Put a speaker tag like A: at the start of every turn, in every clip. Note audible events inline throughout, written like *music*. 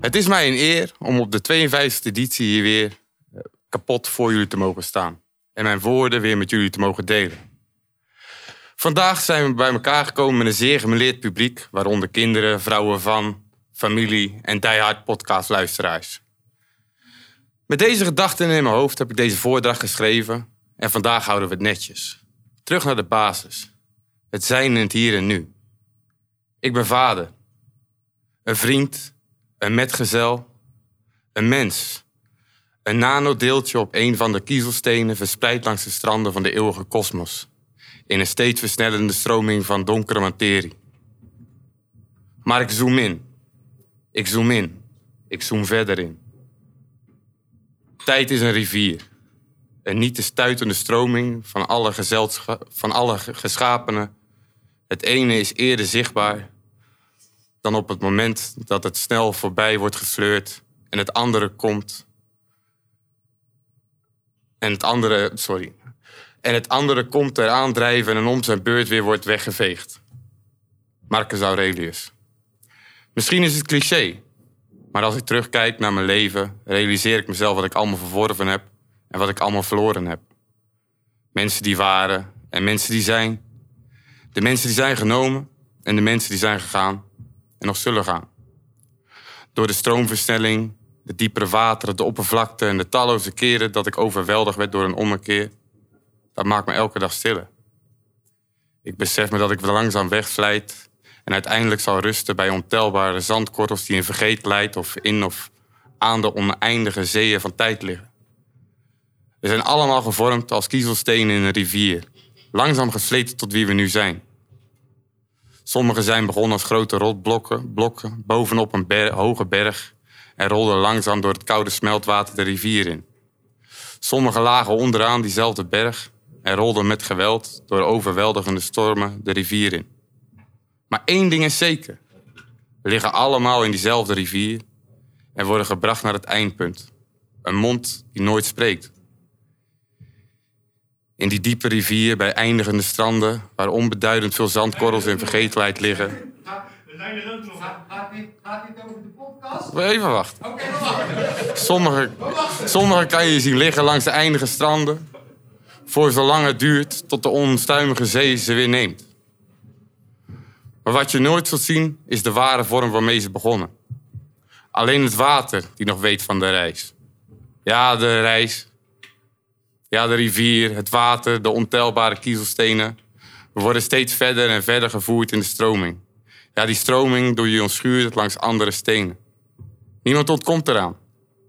A: Het is mij een eer om op de 52e editie hier weer eh, kapot voor jullie te mogen staan. En mijn woorden weer met jullie te mogen delen. Vandaag zijn we bij elkaar gekomen met een zeer gemeleerd publiek, waaronder kinderen, vrouwen van, familie en diehard podcastluisteraars. Met deze gedachten in mijn hoofd heb ik deze voordracht geschreven en vandaag houden we het netjes. Terug naar de basis. Het zijn in het hier en nu. Ik ben vader, een vriend, een metgezel, een mens. Een nanodeeltje op een van de kiezelstenen verspreid langs de stranden van de eeuwige kosmos. In een steeds versnellende stroming van donkere materie. Maar ik zoom in. Ik zoom in. Ik zoom verder in. Tijd is een rivier. Een niet te stuitende stroming van alle, gezelscha- van alle ge- geschapenen. Het ene is eerder zichtbaar dan op het moment dat het snel voorbij wordt gesleurd en het andere komt. En het andere, sorry. En het andere komt eraan drijven en om zijn beurt weer wordt weggeveegd. Marcus Aurelius. Misschien is het cliché, maar als ik terugkijk naar mijn leven, realiseer ik mezelf wat ik allemaal verworven heb en wat ik allemaal verloren heb. Mensen die waren en mensen die zijn. De mensen die zijn genomen en de mensen die zijn gegaan en nog zullen gaan. Door de stroomversnelling, de diepere wateren, de oppervlakte en de talloze keren dat ik overweldigd werd door een ommekeer, dat maakt me elke dag stiller. Ik besef me dat ik wel langzaam wegvlijt en uiteindelijk zal rusten bij ontelbare zandkorrels die in vergeet leidt of in of aan de oneindige zeeën van tijd liggen. We zijn allemaal gevormd als kiezelstenen in een rivier, langzaam gesleten tot wie we nu zijn. Sommige zijn begonnen als grote rotblokken blokken bovenop een ber- hoge berg en rolden langzaam door het koude smeltwater de rivier in. Sommige lagen onderaan diezelfde berg en rolden met geweld door overweldigende stormen de rivier in. Maar één ding is zeker: we liggen allemaal in diezelfde rivier en worden gebracht naar het eindpunt. Een mond die nooit spreekt. In die diepe rivier bij eindigende stranden, waar onbeduidend veel zandkorrels in vergetelheid liggen. We zijn er ook nog. Gaat dit over de podcast? Even wachten. Sommige, sommige kan je zien liggen langs de eindige stranden. Voor zolang het duurt tot de onstuimige zee ze weer neemt. Maar wat je nooit zult zien, is de ware vorm waarmee ze begonnen. Alleen het water die nog weet van de reis. Ja, de reis, ja, de rivier, het water, de ontelbare kiezelstenen. We worden steeds verder en verder gevoerd in de stroming. Ja, die stroming door je schuurt langs andere stenen. Niemand ontkomt eraan.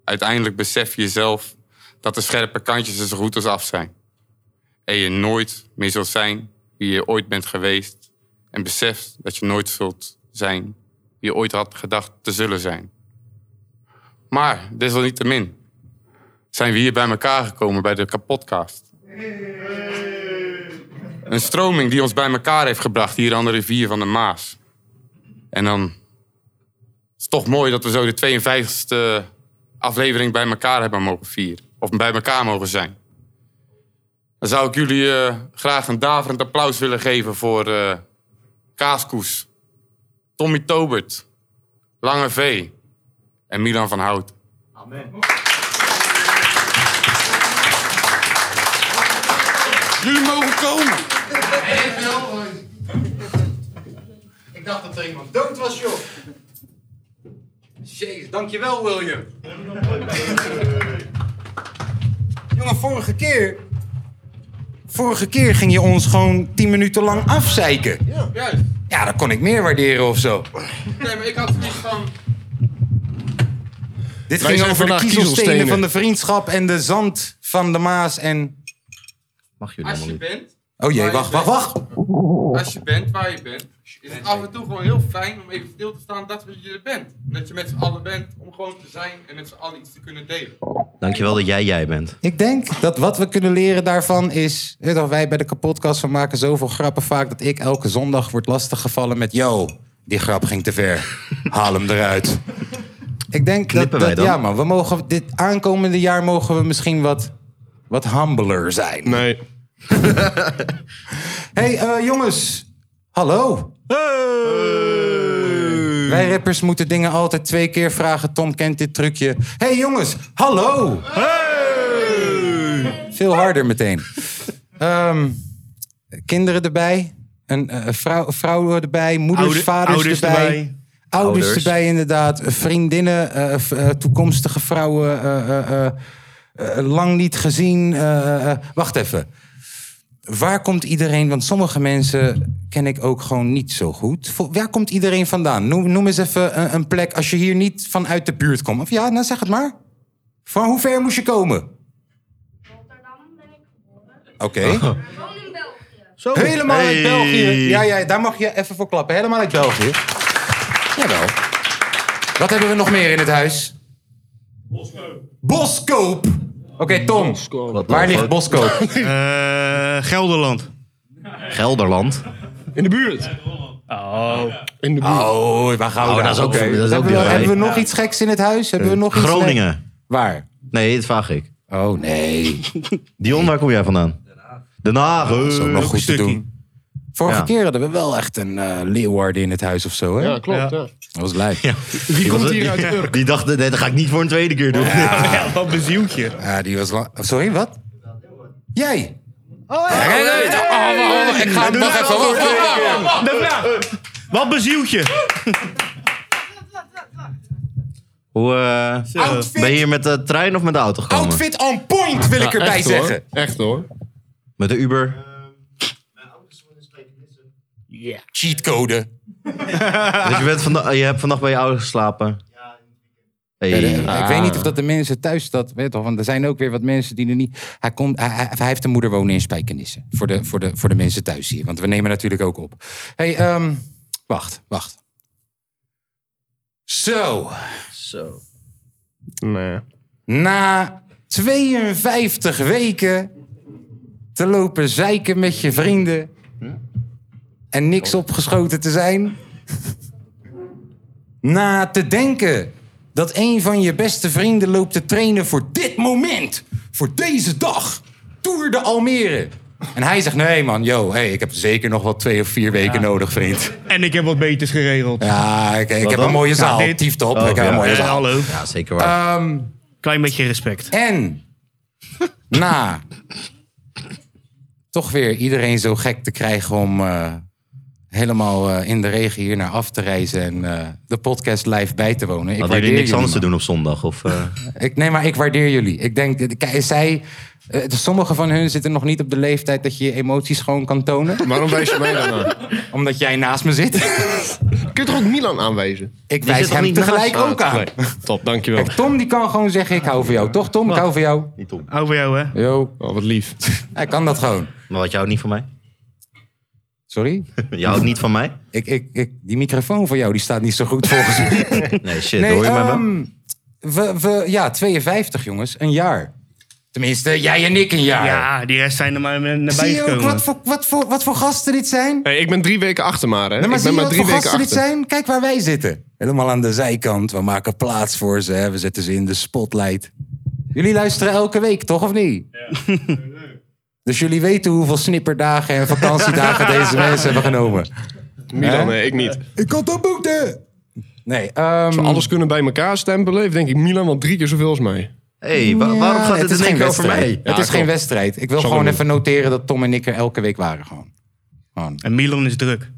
A: Uiteindelijk besef je jezelf dat de scherpe kantjes er zo goed als af zijn. En je nooit meer zult zijn wie je ooit bent geweest. En beseft dat je nooit zult zijn wie je ooit had gedacht te zullen zijn. Maar desalniettemin, zijn we hier bij elkaar gekomen bij de kapotcast. Een stroming die ons bij elkaar heeft gebracht hier aan de rivier van de Maas. En dan is het toch mooi dat we zo de 52e aflevering bij elkaar hebben mogen vieren. Of bij elkaar mogen zijn. Dan zou ik jullie eh, graag een daverend applaus willen geven voor eh, Kaaskoes, Tommy Tobert, Lange V en Milan van Hout. Jullie mogen komen.
B: Ik dacht dat er iemand dood was, joh. Jezus, dankjewel, William.
C: Jongen, vorige keer. Vorige keer ging je ons gewoon 10 minuten lang afzeiken.
A: Juist.
C: Ja, dat kon ik meer waarderen of zo.
A: Nee, maar ik had zoiets van...
C: Dit
D: Wij
C: ging over
D: zijn
C: de
D: vandaag
C: kiezelstenen
D: kiezelstenen.
C: van de vriendschap en de zand van de Maas en.
D: Mag jullie
A: Als
D: helemaal
A: je
D: niet.
A: bent,
C: Oh jee, wacht, wacht, wacht.
A: als je bent waar je bent,
D: is het af en toe gewoon heel fijn om even stil te staan dat je er bent. Dat je met z'n allen bent om gewoon te zijn en met z'n allen iets te kunnen delen.
E: Dankjewel dat jij jij bent.
C: Ik denk dat wat we kunnen leren daarvan is... weet je wel, wij bij de kapotkast we maken zoveel grappen vaak... dat ik elke zondag word lastiggevallen met... yo, die grap ging te ver. Haal hem eruit. Ik denk
E: Knippen
C: dat,
E: wij dan?
C: dat ja man, we mogen, dit aankomende jaar mogen we misschien wat, wat humbler zijn.
F: Nee.
C: *laughs* hey, eh, jongens. Hallo. Wij rappers moeten dingen altijd twee keer vragen. Tom kent dit trucje. hey, jongens. Hallo. Veel harder meteen. Ehm, kinderen erbij. Een eh, vrouw, vrouw erbij. Moeders,
F: Oude-
C: vaders
F: ouders
C: erbij.
F: erbij.
C: Ouders,
E: Ouders.
C: erbij inderdaad. Vriendinnen, eh, v- eh, toekomstige vrouwen. eh, eh, eh, eh, lang niet gezien. eh, eh, wacht even waar komt iedereen? Want sommige mensen ken ik ook gewoon niet zo goed. Vo- Waar komt iedereen vandaan? Noem, noem eens even een, een plek als je hier niet vanuit de buurt komt. Of ja, nou zeg het maar. Van hoe ver moest je komen?
G: Rotterdam ben ik geboren.
C: Oké.
G: Ik woon in België.
F: Zo.
D: Oh.
C: Helemaal uit
F: Hey.
C: België. Ja, ja, daar mag je even voor klappen. Helemaal uit België. Jawel. Wat hebben we nog meer in het huis? Boskoop. Oké, Tom.
E: Wat
C: Waar
E: dan?
C: ligt Boskoop?
F: *laughs* Eh, Gelderland.
E: Gelderland.
F: In de buurt. Oh. In de buurt.
C: Oh, waar gaan we
E: Oh,
C: daar?
E: dat is ook-
C: Oké.
E: dat is ook
C: hebben, we,
E: dichtbij. Eh,
C: hebben we nog iets geks in het huis? Hebben we nog iets geks?
E: Groningen.
C: Waar?
E: Nee, dat vraag ik.
C: Oh nee.
E: Dion, waar kom jij vandaan? Den Haag. Den Haag.
C: Zo
E: eh.
C: nog goed te
F: stukje.
C: doen. Vorige
E: Ja.
C: keer hadden we wel echt een eh Leeuwarden in het huis of zo, hè?
F: Ja, klopt. Ja.
C: Dat was lijp. Ja.
F: Wie komt hier uit
E: die,
F: Urk?
E: die dacht, nee, dat ga ik niet voor een tweede keer doen. *laughs*
F: Ja, wat bezield je.
C: die was lang... Sorry, wat? Jij! Oh, ja. ik ga hem nog even... Wacht, wacht, wacht.
F: Wat bezield je.
E: Hoe, eh,
C: Outfit.
E: ben je hier met de trein of met de auto gekomen?
C: Outfit on point, wil ik erbij
F: Echt
C: zeggen.
F: hoor. Echt hoor.
E: Met de Uber.
C: Cheatcode.
E: *laughs* Dus je, bent vanda- je hebt vannacht bij je ouders geslapen? Hey. eh,
C: Ik weet niet of dat de mensen thuis dat weet toch, want er zijn ook weer wat mensen die er niet. Hij, komt, hij, hij- hij heeft een moeder wonen in Spijkenissen. Voor de, voor, de, voor de mensen thuis hier, want we nemen natuurlijk ook op. Hey, ehm, wacht, wacht. Zo,
E: Zo.
F: Nee.
C: na 52 weken te lopen zeiken met je vrienden en niks opgeschoten te zijn. Na te denken dat een van je beste vrienden loopt te trainen voor dit moment, voor deze dag, Tour de Almere. En hij zegt, nee man, yo, hey, ik heb zeker nog wel twee of vier weken nodig, vriend.
F: En ik heb wat beters geregeld.
C: Ja, ik, ik heb
E: dan?
C: een mooie zaal,
F: dit.
C: tief top,
E: Oh,
C: ik heb
E: ja.
C: een mooie
F: Eh,
C: zaal. Eh, Ehm,
F: hallo.
E: Ja, zeker waar.
F: Klein beetje respect.
C: En na toch weer iedereen zo gek te krijgen om eh, helemaal eh, in de regen hier naar af te reizen en eh, de podcast live bij te wonen. Ik
E: Hadden jullie niks anders te
C: man.
E: doen op zondag? Of, eh,
C: Ik, nee, maar ik waardeer jullie. Ik denk, eh, kijk, zij, eh, sommige van hun zitten nog niet op de leeftijd dat je je emoties gewoon kan tonen.
F: Waarom wijs je mij dan aan?
C: Omdat jij naast me zit.
F: *laughs* Kun je toch ook Milan aanwijzen?
C: Ik
E: zit
C: wijs
E: toch
C: hem
E: niet naast
C: tegelijk ook aan.
F: Top, dankjewel.
C: Kijk, Tom die kan gewoon zeggen, ik hou van jou. Toch Tom, ik hou van jou.
D: Over jou, hè?
C: Yo,
F: Oh, wat lief.
C: hij kan dat gewoon.
E: maar wat, jij houdt niet van mij? *laughs*
C: Sorry?
E: Je houdt niet van mij?
C: Ik, ik, ik, die microfoon van jou die staat niet zo goed volgens mij.
E: *laughs* Nee, shit. hoor je mij wel?
C: ehm, we, we, ja, 52 jongens, een jaar. Tenminste, jij en ik een jaar.
D: Ja, die rest zijn er maar naar
C: Zie
D: bij
C: je ook
D: gekomen.
C: wat voor, wat, voor, wat voor gasten dit zijn?
F: Hey, ik ben drie weken achter maar, hè.
C: Nee, maar zie
F: ik ben
C: je
F: maar
C: wat
F: drie
C: voor
F: weken
C: gasten dit
F: achter.
C: zijn? Kijk waar wij zitten. Helemaal aan de zijkant. We maken plaats voor ze. Hè. We zetten ze in de spotlight. Jullie luisteren elke week, toch of niet?
D: *laughs*
C: dus jullie weten hoeveel snipperdagen en vakantiedagen deze
D: *laughs*
C: mensen hebben genomen.
F: Milan, nee, ik *laughs* niet.
C: Ik had dat boeken! Nee, ehm,
F: Alles kunnen bij elkaar stempelen, heeft denk ik Milan wel drie keer zoveel als mij.
E: hey, wa-
C: Ja,
E: waarom gaat
C: het
E: dit
C: is
E: in één
C: geen
E: keer over
C: wedstrijd.
E: mij?
C: Het is geen
F: klopt.
C: wedstrijd. Ik wil
F: Zal
C: gewoon
F: doen.
C: even noteren dat Tom en ik er elke week waren gewoon. Gewoon,
D: En Milan is druk.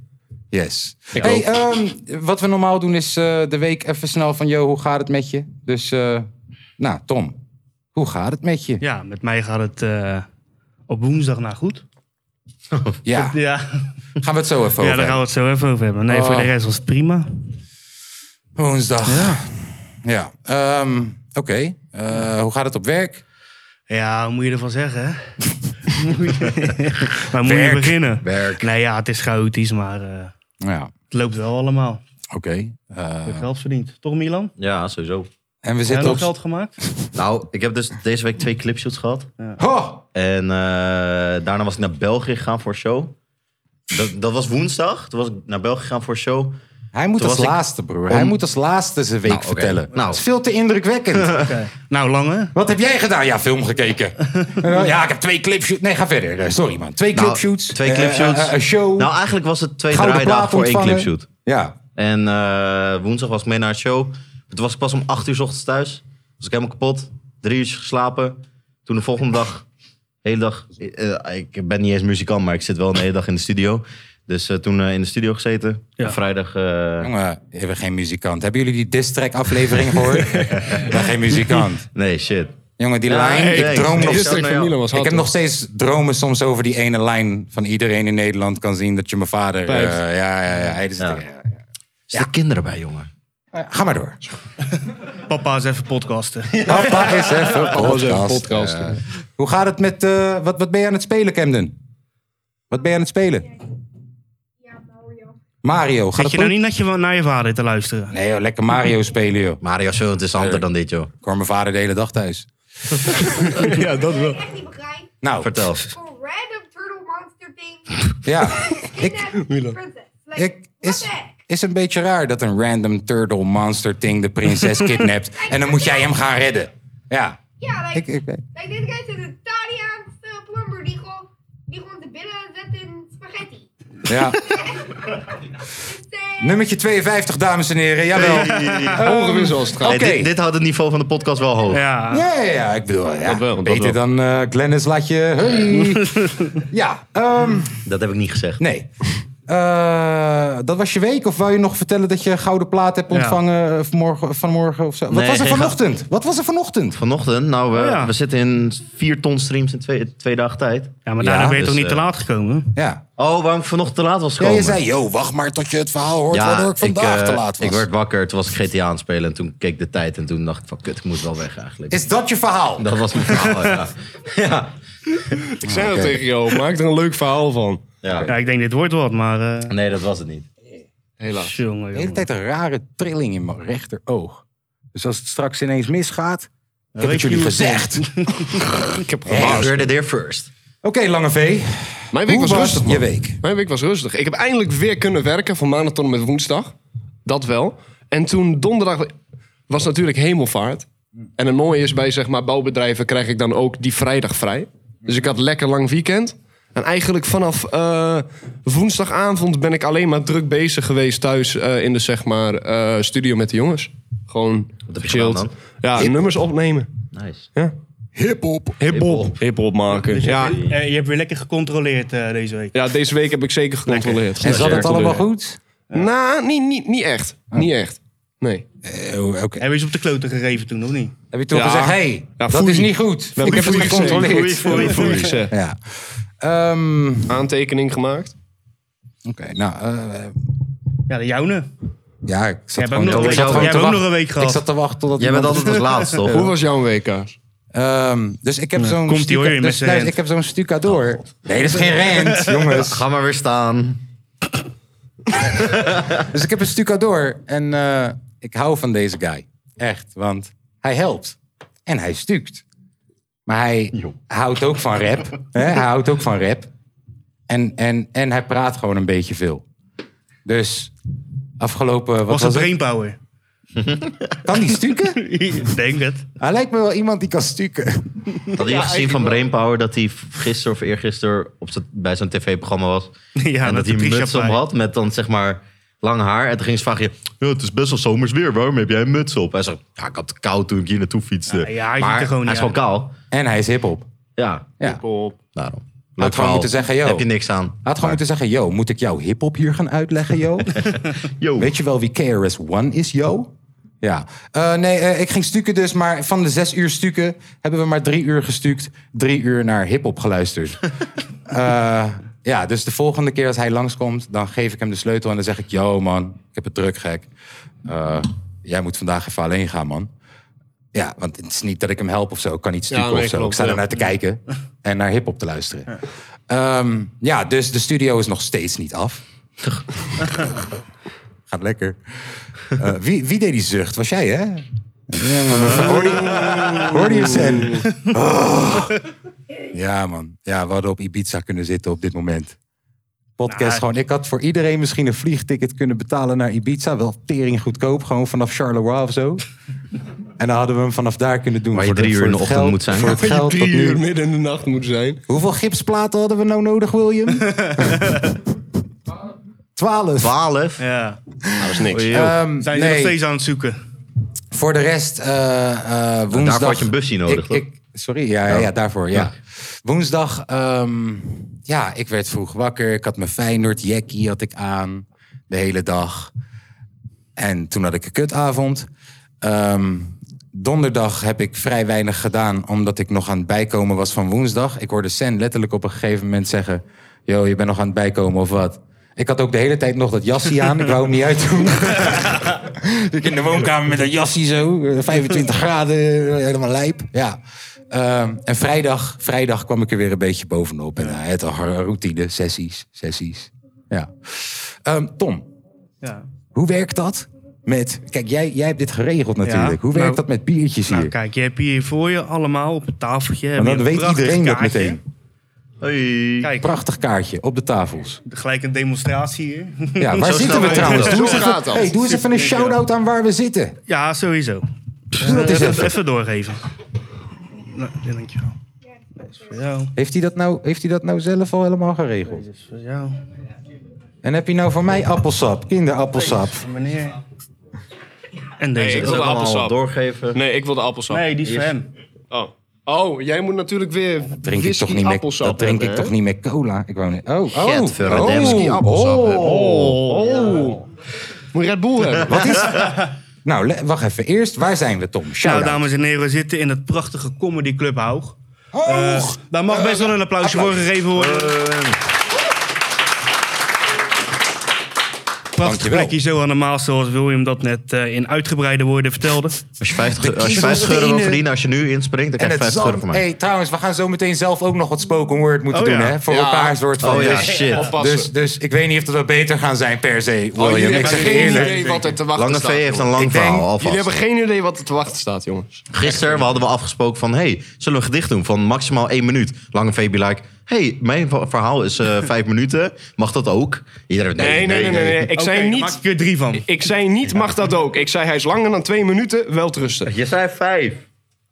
C: yes. hey, ehm, wat we normaal doen is eh, de week even snel van... Yo, hoe gaat het met je? Dus, eh, nou, Tom, hoe gaat het met je?
D: Ja, met mij gaat het eh, op woensdag nou goed.
C: Ja,
D: Ja,
C: gaan we het zo even
D: ja
C: over
D: daar gaan we het zo even over hebben. Nee,
C: Oh.
D: voor de rest was het prima.
C: hebben. Woensdag. Ja, ehm, oké. Eh, hoe gaat het op werk?
D: Ja, hoe moet je ervan zeggen, hè? Waar moet je beginnen?
C: Werk.
D: Nee, ja, het is chaotisch, maar eh,
C: *laughs* Ja, oké.
H: Het loopt wel allemaal.
C: Eh,
H: Je geld verdiend. Toch Milan?
E: Ja, sowieso.
C: En we
H: Heb
E: zitten
H: je
E: op...
H: geld gemaakt?
E: Nou, ik heb dus deze week twee clipshoots gehad.
C: Ho!
E: En eh, daarna was ik naar België gegaan voor een show. Dat, dat was woensdag. Toen was ik naar België gegaan voor een show.
C: Hij moet
E: Toen
C: als
E: was ik
C: laatste, broer.
E: om-
C: Hij moet als laatste zijn week
E: Nou, oké.
C: vertellen.
E: Nou.
C: Het is veel te *laughs* indrukwekkend.
H: Nou, lange.
C: Wat heb jij gedaan? Ja, film gekeken.
E: *laughs*
C: Eh, ja, ik heb twee clipshoots. Nee, ga verder. Eh, Sorry, man. Twee
E: Nou,
C: clipshoots.
E: Twee
C: eh,
E: clipshoots.
C: eh, eh, een show.
E: Nou, eigenlijk was het twee
C: Gouden
E: draaidagen
C: plaat
E: voor één
C: ontvangen.
E: clipshoot.
C: ja.
E: En eh, woensdag was ik mee naar een show. Toen was ik pas om 8 uur 's ochtends thuis. Was ik helemaal kapot. Drie uurtjes geslapen. Toen de volgende dag, de hele dag. eh, ik ben niet eens muzikant, maar ik zit wel een hele dag in de studio. Dus eh, toen eh, in de studio gezeten.
H: Ja.
E: Op Vrijdag. eh,
C: Jongen, we hebben geen muzikant. Hebben jullie die distrack aflevering
E: *laughs*
C: gehoord? We hebben geen muzikant.
E: nee, shit.
C: Jongen, die
E: Ja,
C: lijn,
E: nee,
C: ik
E: nee,
C: droom
E: nee,
C: nog
E: nee,
C: steeds.
E: dat nou ja.
C: Ik heb nog steeds dromen soms over die ene lijn van iedereen in Nederland kan zien dat je mijn vader. eh,
H: Blijft.
C: ja, ja, ja, hij is
E: Ja.
C: ja, ja.
E: Zitten kinderen bij, jongen?
C: Eh, Ga maar door.
H: Papa is even podcasten.
C: *laughs* Papa is even podcast.
F: podcast.
C: Eh, hoe gaat het met. eh, wat, wat ben je aan het spelen, Camden? Wat ben je aan het spelen?
G: Ja, Mario.
C: Mario, gaat
H: Zit
C: het
H: je nou
C: goed?
H: niet dat je wel naar je vader te luisteren?
C: Nee, joh, lekker Mario spelen, joh.
E: Mario is veel interessanter dan dit, joh.
C: Ik hoor mijn vader de hele dag thuis.
H: ja, dat
G: Ik echt niet begrijp.
C: Nou,
G: *laughs*
E: Vertel.
G: Voor Oh, random turtle monster thing. *laughs*
C: ja.
G: Ik, princess. Like,
C: Ik,
G: what
C: is,
G: the heck?
C: is een beetje raar dat een random turtle monster thing de
G: *laughs*
C: prinses kidnapt. en dan moet jij hem gaan redden. Ja.
G: Ja, like,
C: Ik, ik, ik-
G: like dit guy zit een Italiaanse plumber die gewoon, die gewoon de billen zet in spaghetti.
C: ja.
G: Say,
C: Nummertje 52, dames en heren. Jawel. Ehm,
F: Ongewisseld als het gaat.
C: Oké.
E: Hey, Ehm, dit, dit houdt het niveau van de podcast wel hoog.
H: Ja.
C: Ja, ja, ja, ik bedoel, ja.
F: Dat wel, dat
C: beter
F: wel.
C: dan eh Glennis laat je... Hey. *laughs* ja, ehm,
E: Dat heb ik niet gezegd.
C: nee. Eh, dat was je week? Of wou je nog vertellen dat je een gouden plaat hebt
H: Ja.
C: ontvangen eh, vanmorgen, vanmorgen of zo? Wat
E: Nee,
C: was er
E: geen
C: vanochtend? Wat was er vanochtend?
E: Vanochtend, nou, we,
H: Oh, ja.
E: we zitten in 4 ton streams in twee, twee dagen tijd.
H: Ja, maar
C: Ja,
H: daarom ben je
E: dus,
H: toch niet te
E: eh,
H: laat gekomen?
C: Ja.
E: Oh, waarom ik vanochtend te laat was
C: ja,
E: gekomen?
C: je zei, yo, wacht maar tot je het verhaal hoort waardoor ik vandaag
E: eh,
C: te laat was.
E: Ik werd wakker, toen was ik GTA aan het spelen en toen keek ik de tijd en toen dacht ik van kut, ik moet wel weg eigenlijk.
C: Is dat je verhaal?
E: Dat was mijn verhaal,
H: *laughs*
E: ja. ja.
F: Ik zei dat tegen jou. Maak er een leuk verhaal van.
E: Ja.
H: Ja, ik denk dit wordt wat, maar... eh
E: Nee, dat was het niet.
F: Helaas.
H: jongen,
C: De hele
H: jongen.
C: tijd een rare trilling in mijn rechteroog. Dus als het straks ineens misgaat... Ik heb
H: weet
C: het
H: je
C: jullie
H: hoe het
C: gezegd. Oké,
H: *laughs*
F: Ik heb
E: You
F: gewaasd.
E: heard it here first.
C: Lange V.
F: Mijn week
C: Hoe
F: was
C: was
F: rustig, man.
C: je week?
F: Mijn week was rustig. Ik heb eindelijk weer kunnen werken van maandag tot en met woensdag. Dat wel. En toen donderdag was natuurlijk hemelvaart. En het mooie is bij zeg maar, bouwbedrijven krijg ik dan ook die vrijdag vrij. Dus ik had lekker lang weekend. En eigenlijk vanaf eh, woensdagavond ben ik alleen maar druk bezig geweest thuis eh, in de zeg maar, eh, studio met de jongens. Gewoon
E: heb je
F: chilled.
E: gedaan
F: Ja, nummers opnemen.
E: Nice.
F: Ja. Hip-hop. Hip-hop. Hip-hop maken. Ja.
H: Eh, je hebt weer lekker gecontroleerd eh, deze week.
F: ja, deze week heb ik zeker gecontroleerd.
C: En zat het allemaal goed?
F: Nou, niet, niet, niet echt.
C: Oh.
F: Niet echt. Nee.
C: Eh, Oké.
H: Heb je ze op de kloten gegeven toen, of niet?
C: Heb je toen
F: Ja.
C: gezegd, hey,
F: Ja,
C: dat
F: foei.
C: is niet goed.
F: Ja,
C: ik heb het
F: foei, foei,
C: gecontroleerd.
H: foei, foei.
C: Ja. Ehm, Oké,
F: Aantekening gemaakt.
C: nou, eh,
H: Ja, de jouwe.
C: ja, ik zat
H: Jij hebt ook
C: gewoon,
H: nog
E: ik
C: ik
H: een week
E: zat
C: zat
H: gehad.
C: gewoon
H: Jij
C: te
H: hebt ook nog
C: wachten-
H: een week
C: ik
H: gehad.
C: zat te wachten tot
E: Jij bent
C: iemand-
E: altijd als laatste,
C: *laughs*
E: toch?
F: Hoe was jouw week, Kaas?
C: Ehm, dus ik heb zo'n
H: komt-ie, hoor,
C: stuca-
H: met
C: dus,
H: zijn
C: luister,
H: rant.
C: ik heb zo'n stuca door. Oh. nee, dat is geen *laughs* rent, jongens.
E: Ga maar weer staan.
C: *laughs* Dus ik heb een stucador en eh, ik hou van deze guy. Echt, want hij helpt. En hij stukt. Maar hij houdt ook van rap. hè? Hij houdt ook van rap. En, en, en hij praat gewoon een beetje veel. Dus afgelopen... Wat was,
H: Was het
C: het?
H: brainpower?
C: Kan die
H: *laughs*
C: stuken?
H: Ik denk het.
C: hij lijkt me wel iemand die kan stuken.
E: Had je gezien van Brainpower dat hij gisteren of eergisteren op z'n- bij zo'n tv-programma was?
H: Ja,
E: en
H: met
E: dat hij
H: de
E: een
H: Trisha
E: muts op
H: Pye.
E: had met dan zeg maar lang haar. En toen ging ze vragen, ja, het is best wel zomers weer, waarom heb jij een muts op? Hij zegt, ja, ik had het koud toen ik hier naartoe fietste.
H: Ja, ja, hij ziet
E: maar
H: er gewoon
E: hij is
H: niet
E: gewoon kaal.
C: En hij is hiphop.
E: Ja,
C: Ja. Hij
E: daarom. Leuk
C: gewoon
E: verhaal.
C: moeten zeggen, yo.
E: Heb je niks aan.
C: had gewoon moeten zeggen, yo, moet ik jou hiphop hier gaan uitleggen, yo?
E: Yo.
C: Weet je wel wie KRS-One is, yo? Ja. Eh, nee, eh, ik ging stukken dus, maar van de zes uur stukken hebben we maar drie uur gestuukt. Drie uur naar hip-hop geluisterd. Eh, ja, dus de volgende keer als hij langskomt, dan geef ik hem de sleutel en dan zeg ik: Yo, man, ik heb het druk, gek. Eh, jij moet vandaag even alleen gaan, man. Ja, want het is niet dat ik hem help of zo. Ik kan niet stukken
F: Ja, nee,
C: of zo. ik
F: klopt,
C: sta er
F: ja.
C: naar te
F: *laughs*
C: kijken en naar hip-hop te luisteren. Ehm, ja, dus de studio is nog steeds niet af. Gaat lekker. Eh, wie, wie deed die zucht? Was jij, hè? Ja, man. Hoorde je- Hoorde je het, Sen? Oh. Ja, man. Ja, we hadden op Ibiza kunnen zitten op dit moment. Podcast
E: Nou,
C: gewoon. Ik had voor iedereen misschien een vliegticket kunnen betalen naar Ibiza. Wel tering goedkoop, gewoon vanaf Charleroi of zo. En dan hadden we hem vanaf daar kunnen doen.
E: Waar je
C: Voor
E: drie
C: voor
E: uur in de
C: het
E: ochtend
C: geld-
E: moet zijn.
C: Voor het
E: Waar je
C: geld
E: drie
C: tot nu.
E: uur
F: midden in de nacht moet zijn.
C: Hoeveel gipsplaten hadden we nou nodig, William? Twaalf.
E: Twaalf? Nou,
H: Ja.
F: dat is
H: niks.
C: Ehm,
H: Zijn ze
C: nee.
H: nog steeds aan het zoeken?
C: Voor de rest, eh, eh, woensdag...
E: Daarvoor had je een busje nodig,
C: Ik-
E: toch?
C: ik- sorry, ja, ja, ja, daarvoor, ja. Woensdag, ehm, ja, ik werd vroeg wakker. Ik had mijn Feyenoord jackie had ik aan de hele dag. En toen had ik een kutavond. Ehm, donderdag heb ik vrij weinig gedaan, omdat ik nog aan het bijkomen was van woensdag. Ik hoorde Sen letterlijk op een gegeven moment zeggen... Yo, je bent nog aan het bijkomen of wat? Ik had ook de hele tijd nog dat jasje aan. Ik wou hem niet *laughs* uitdoen. ik in de woonkamer met een jasje zo. eh, 25 graden, eh, helemaal lijp. Ja. Ehm, en vrijdag, vrijdag kwam ik er weer een beetje bovenop. En eh, het har- routine, sessies, sessies. Ja. Ehm, Tom,
H: Ja.
C: hoe werkt dat met... Kijk, jij, jij hebt dit geregeld natuurlijk.
H: Ja,
C: hoe werkt
H: nou-
C: dat met biertjes hier?
H: Nou, kijk, je hebt hier voor je allemaal op een tafeltje. heb
C: Want
H: je
C: dan
H: een
C: weet
H: prachtig
C: iedereen dat
H: kaartje.
C: meteen.
H: Kijk,
C: Prachtig kaartje op de tafels.
H: gelijk een demonstratie hier. *laughs*
C: Ja, waar zitten we trouwens? Doe eens, even, hey, doe eens even een shout-out aan waar we zitten.
H: Ja, sowieso.
C: Doe dat eens
H: Eh,
C: even.
H: Even doorgeven. Nou, dankjewel. Ja.
C: Heeft hij, dat nou, heeft hij dat nou zelf al helemaal geregeld?
H: Ja,
C: En heb je nou voor mij appelsap, kinderappelsap?
H: meneer. En
F: Nee,
H: deze
F: ik wil de appelsap.
E: doorgeven.
F: Nee, ik wil de appelsap.
H: Nee, die is voor hem.
F: Oh. Oh, jij moet natuurlijk weer
C: Drink ik
F: whisky
C: toch niet meer,
F: appelsap
C: dat drink ik
F: hebben,
C: toch niet meer cola? Ik wou niet. Oh, oh, oh,
E: Gadverdamme. Whisky appelsap
C: oh,
E: hebben.
C: oh.
F: hè? Moet je Red Bull hebben.
C: Wat is? Nou, le- wacht even. Eerst, waar zijn we, Tom?
H: Nou,
C: Shout-out.
H: dames en heren, we zitten in het prachtige Comedy Club Hoog. Eh, daar mag best wel een applausje voor gegeven worden.
E: Eh,
H: Prachtig
E: Dankjewel.
H: plekje zo aan de Maas, zoals William dat net eh, in uitgebreide woorden vertelde.
E: Als je 50,
C: De
E: als je
C: kiezels
E: 50 euro wil
C: verdienen.
E: verdienen, als je nu inspringt, dan
C: en
E: krijg je
C: het
E: 50 euro
C: zand.
E: van mij.
C: Hey, trouwens, we gaan zo meteen zelf ook nog wat spoken word moeten
H: Oh,
C: doen,
H: ja.
C: hè? Voor
E: Ja.
C: elkaar een soort van.
E: Oh, ja,
C: dus,
E: shit. Oppassen.
C: Dus, dus ik weet niet of dat wel beter gaan zijn per se,
F: Oh,
C: William. ik zeg je eerlijk.
F: wat er te wachten
E: Lange V
F: staat.
E: heeft een lang
C: Ik denk-
E: verhaal alvast.
F: Jullie hebben geen idee wat er te wachten staat, jongens.
E: Gisteren we hadden we afgesproken van... hey, zullen we een gedicht doen van maximaal één minuut? Lange V be like... hey, mijn va- verhaal is
F: *laughs*
E: eh, vijf minuten. Mag dat ook? Iedereen,
F: Nee, nee, nee, nee. nee. Ik zei
H: Oké, dan
F: niet...
H: maak ik er drie van.
F: Ik zei niet, mag dat ook. Ik zei, hij is langer dan twee minuten, wel rusten.
E: Je zei vijf.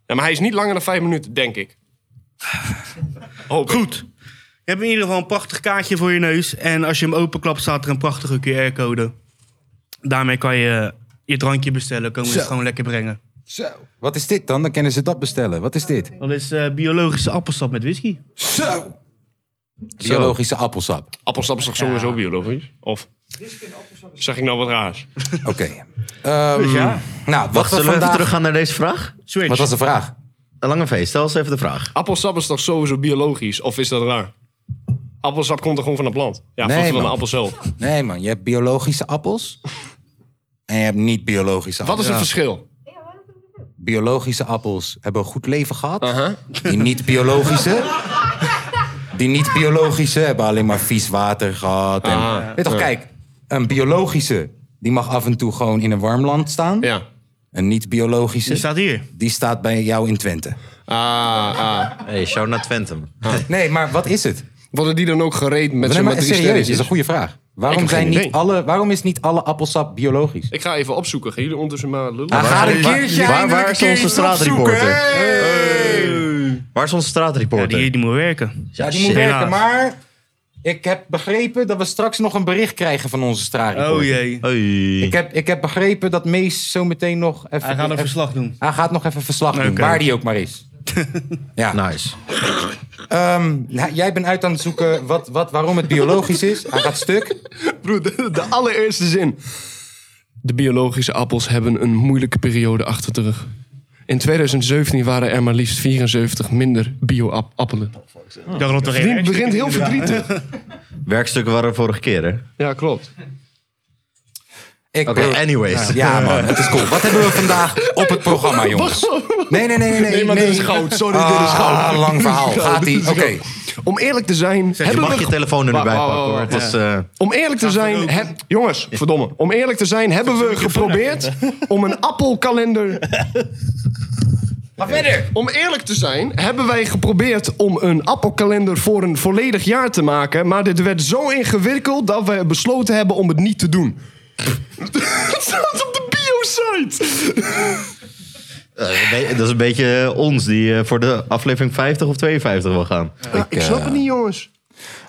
F: Ja, maar hij is niet langer dan vijf minuten, denk ik. Hoop ik.
H: Goed. Je hebt in ieder geval een prachtig kaartje voor je neus. En als je hem openklapt, staat er een prachtige QR-code. Daarmee kan je je drankje bestellen. Komen ze
C: Zo.
H: het gewoon lekker brengen.
C: Zo. Wat is dit dan? Dan kunnen ze dat bestellen. Wat is dit?
H: Dat is eh, biologische appelsap met whisky.
C: Zo. Biologische appelsap.
F: Appelsap is toch sowieso biologisch? Of zeg ik nou wat raars?
C: *laughs* Oké. Ehm,
H: Dus ja.
C: Nou, wat,
E: Wacht, zullen
C: we
E: we even
C: vandaag...
E: teruggaan naar deze vraag?
H: Switch.
C: wat was de vraag?
E: Eh, Lange V, stel eens even de vraag.
F: Appelsap is toch sowieso biologisch? Of is dat raar? Appelsap komt er gewoon van het plant. Ja,
C: Nee,
F: van- van
C: man.
F: de appel zelf.
C: Nee man, je hebt biologische appels en je hebt niet biologische
F: Wat
C: appels.
F: is het verschil?
C: Biologische appels hebben een goed leven gehad. Die niet biologische. Die niet biologische hebben alleen maar vies water gehad. En, Weet toch, kijk, een biologische die mag af en toe gewoon in een warm land staan.
F: Ja.
C: Een niet
H: Die
C: biologische
H: staat hier.
C: die staat bij jou in Twente.
F: Ah, ah.
E: hey, shout naar Twentum. *laughs*
C: Nee, maar wat is het?
F: Worden die dan ook gereed met
C: Nee,
F: z'n
C: maar
F: drie
C: serieus,
F: sterretjes?
C: is een goede vraag. Waarom,
F: heb
C: zijn
F: geen
C: niet
F: idee.
C: alle, waarom is niet alle appelsap biologisch?
F: Ik ga even opzoeken. Gaan jullie ondertussen maar lullen?
C: Ah, ga een keertje
E: waar-
C: eindelijk
E: waar
C: een
E: is
C: keer
E: onze
C: iets
E: straatreporter?
C: opzoeken. Hey!
E: Waar is onze
H: Ja,
E: straatreporter?
H: die, die moet werken.
C: Ja, die moet
E: shit.
C: werken,
H: Helaas.
C: maar ik heb begrepen dat we straks nog een bericht krijgen van onze straatreporter.
H: Oh jee.
E: Hey.
C: Ik heb, ik heb begrepen dat Mees zo meteen nog even...
H: Hij gaat een
C: even-
H: verslag doen.
C: hij gaat nog even verslag doen,
H: Oké.
C: waar die ook maar is. ja.
E: Nice.
C: Ehm, ja, jij bent uit aan het zoeken wat, wat, waarom het biologisch is. Hij gaat stuk.
F: *laughs* Broer, de, de allereerste zin. De biologische appels hebben een moeilijke periode achter de rug. In 2017 waren er maar liefst 74 minder bio-appelen.
H: Ik dacht dat er geen
F: Het begint heel verdrietig.
E: Werkstukken waren er vorige keer, hè? Oké,
F: Ja, klopt.
C: Ik
E: anyways.
C: Ja man, het is cool. Wat hebben we vandaag op het programma, jongens? Nee, nee, nee. Nee,
F: Nee, maar dit is goud. Sorry, dit is goud.
C: Ah, lang verhaal. Gaat-ie. Oké.
F: Om eerlijk te zijn...
E: je mag je telefoon er nu
F: Wa-
E: bij
F: wa- wa-
E: pakken, hoor.
F: wa-
E: Het is,
F: ja.
E: eh,
F: Om eerlijk te zijn... Heb, jongens, verdomme. Om eerlijk te zijn hebben we geprobeerd
E: *laughs*
F: om een appelkalender... *laughs*
C: Ga verder.
F: Om eerlijk te zijn hebben wij geprobeerd om een appelkalender voor een volledig jaar te maken. Maar dit werd zo ingewikkeld dat we besloten hebben om het niet te doen. Het staat op de biosite.
E: eh, be- dat is een beetje eh, ons die eh, voor de aflevering 50 of 52 wil gaan.
F: Ik
C: eh,
F: snap het niet, jongens.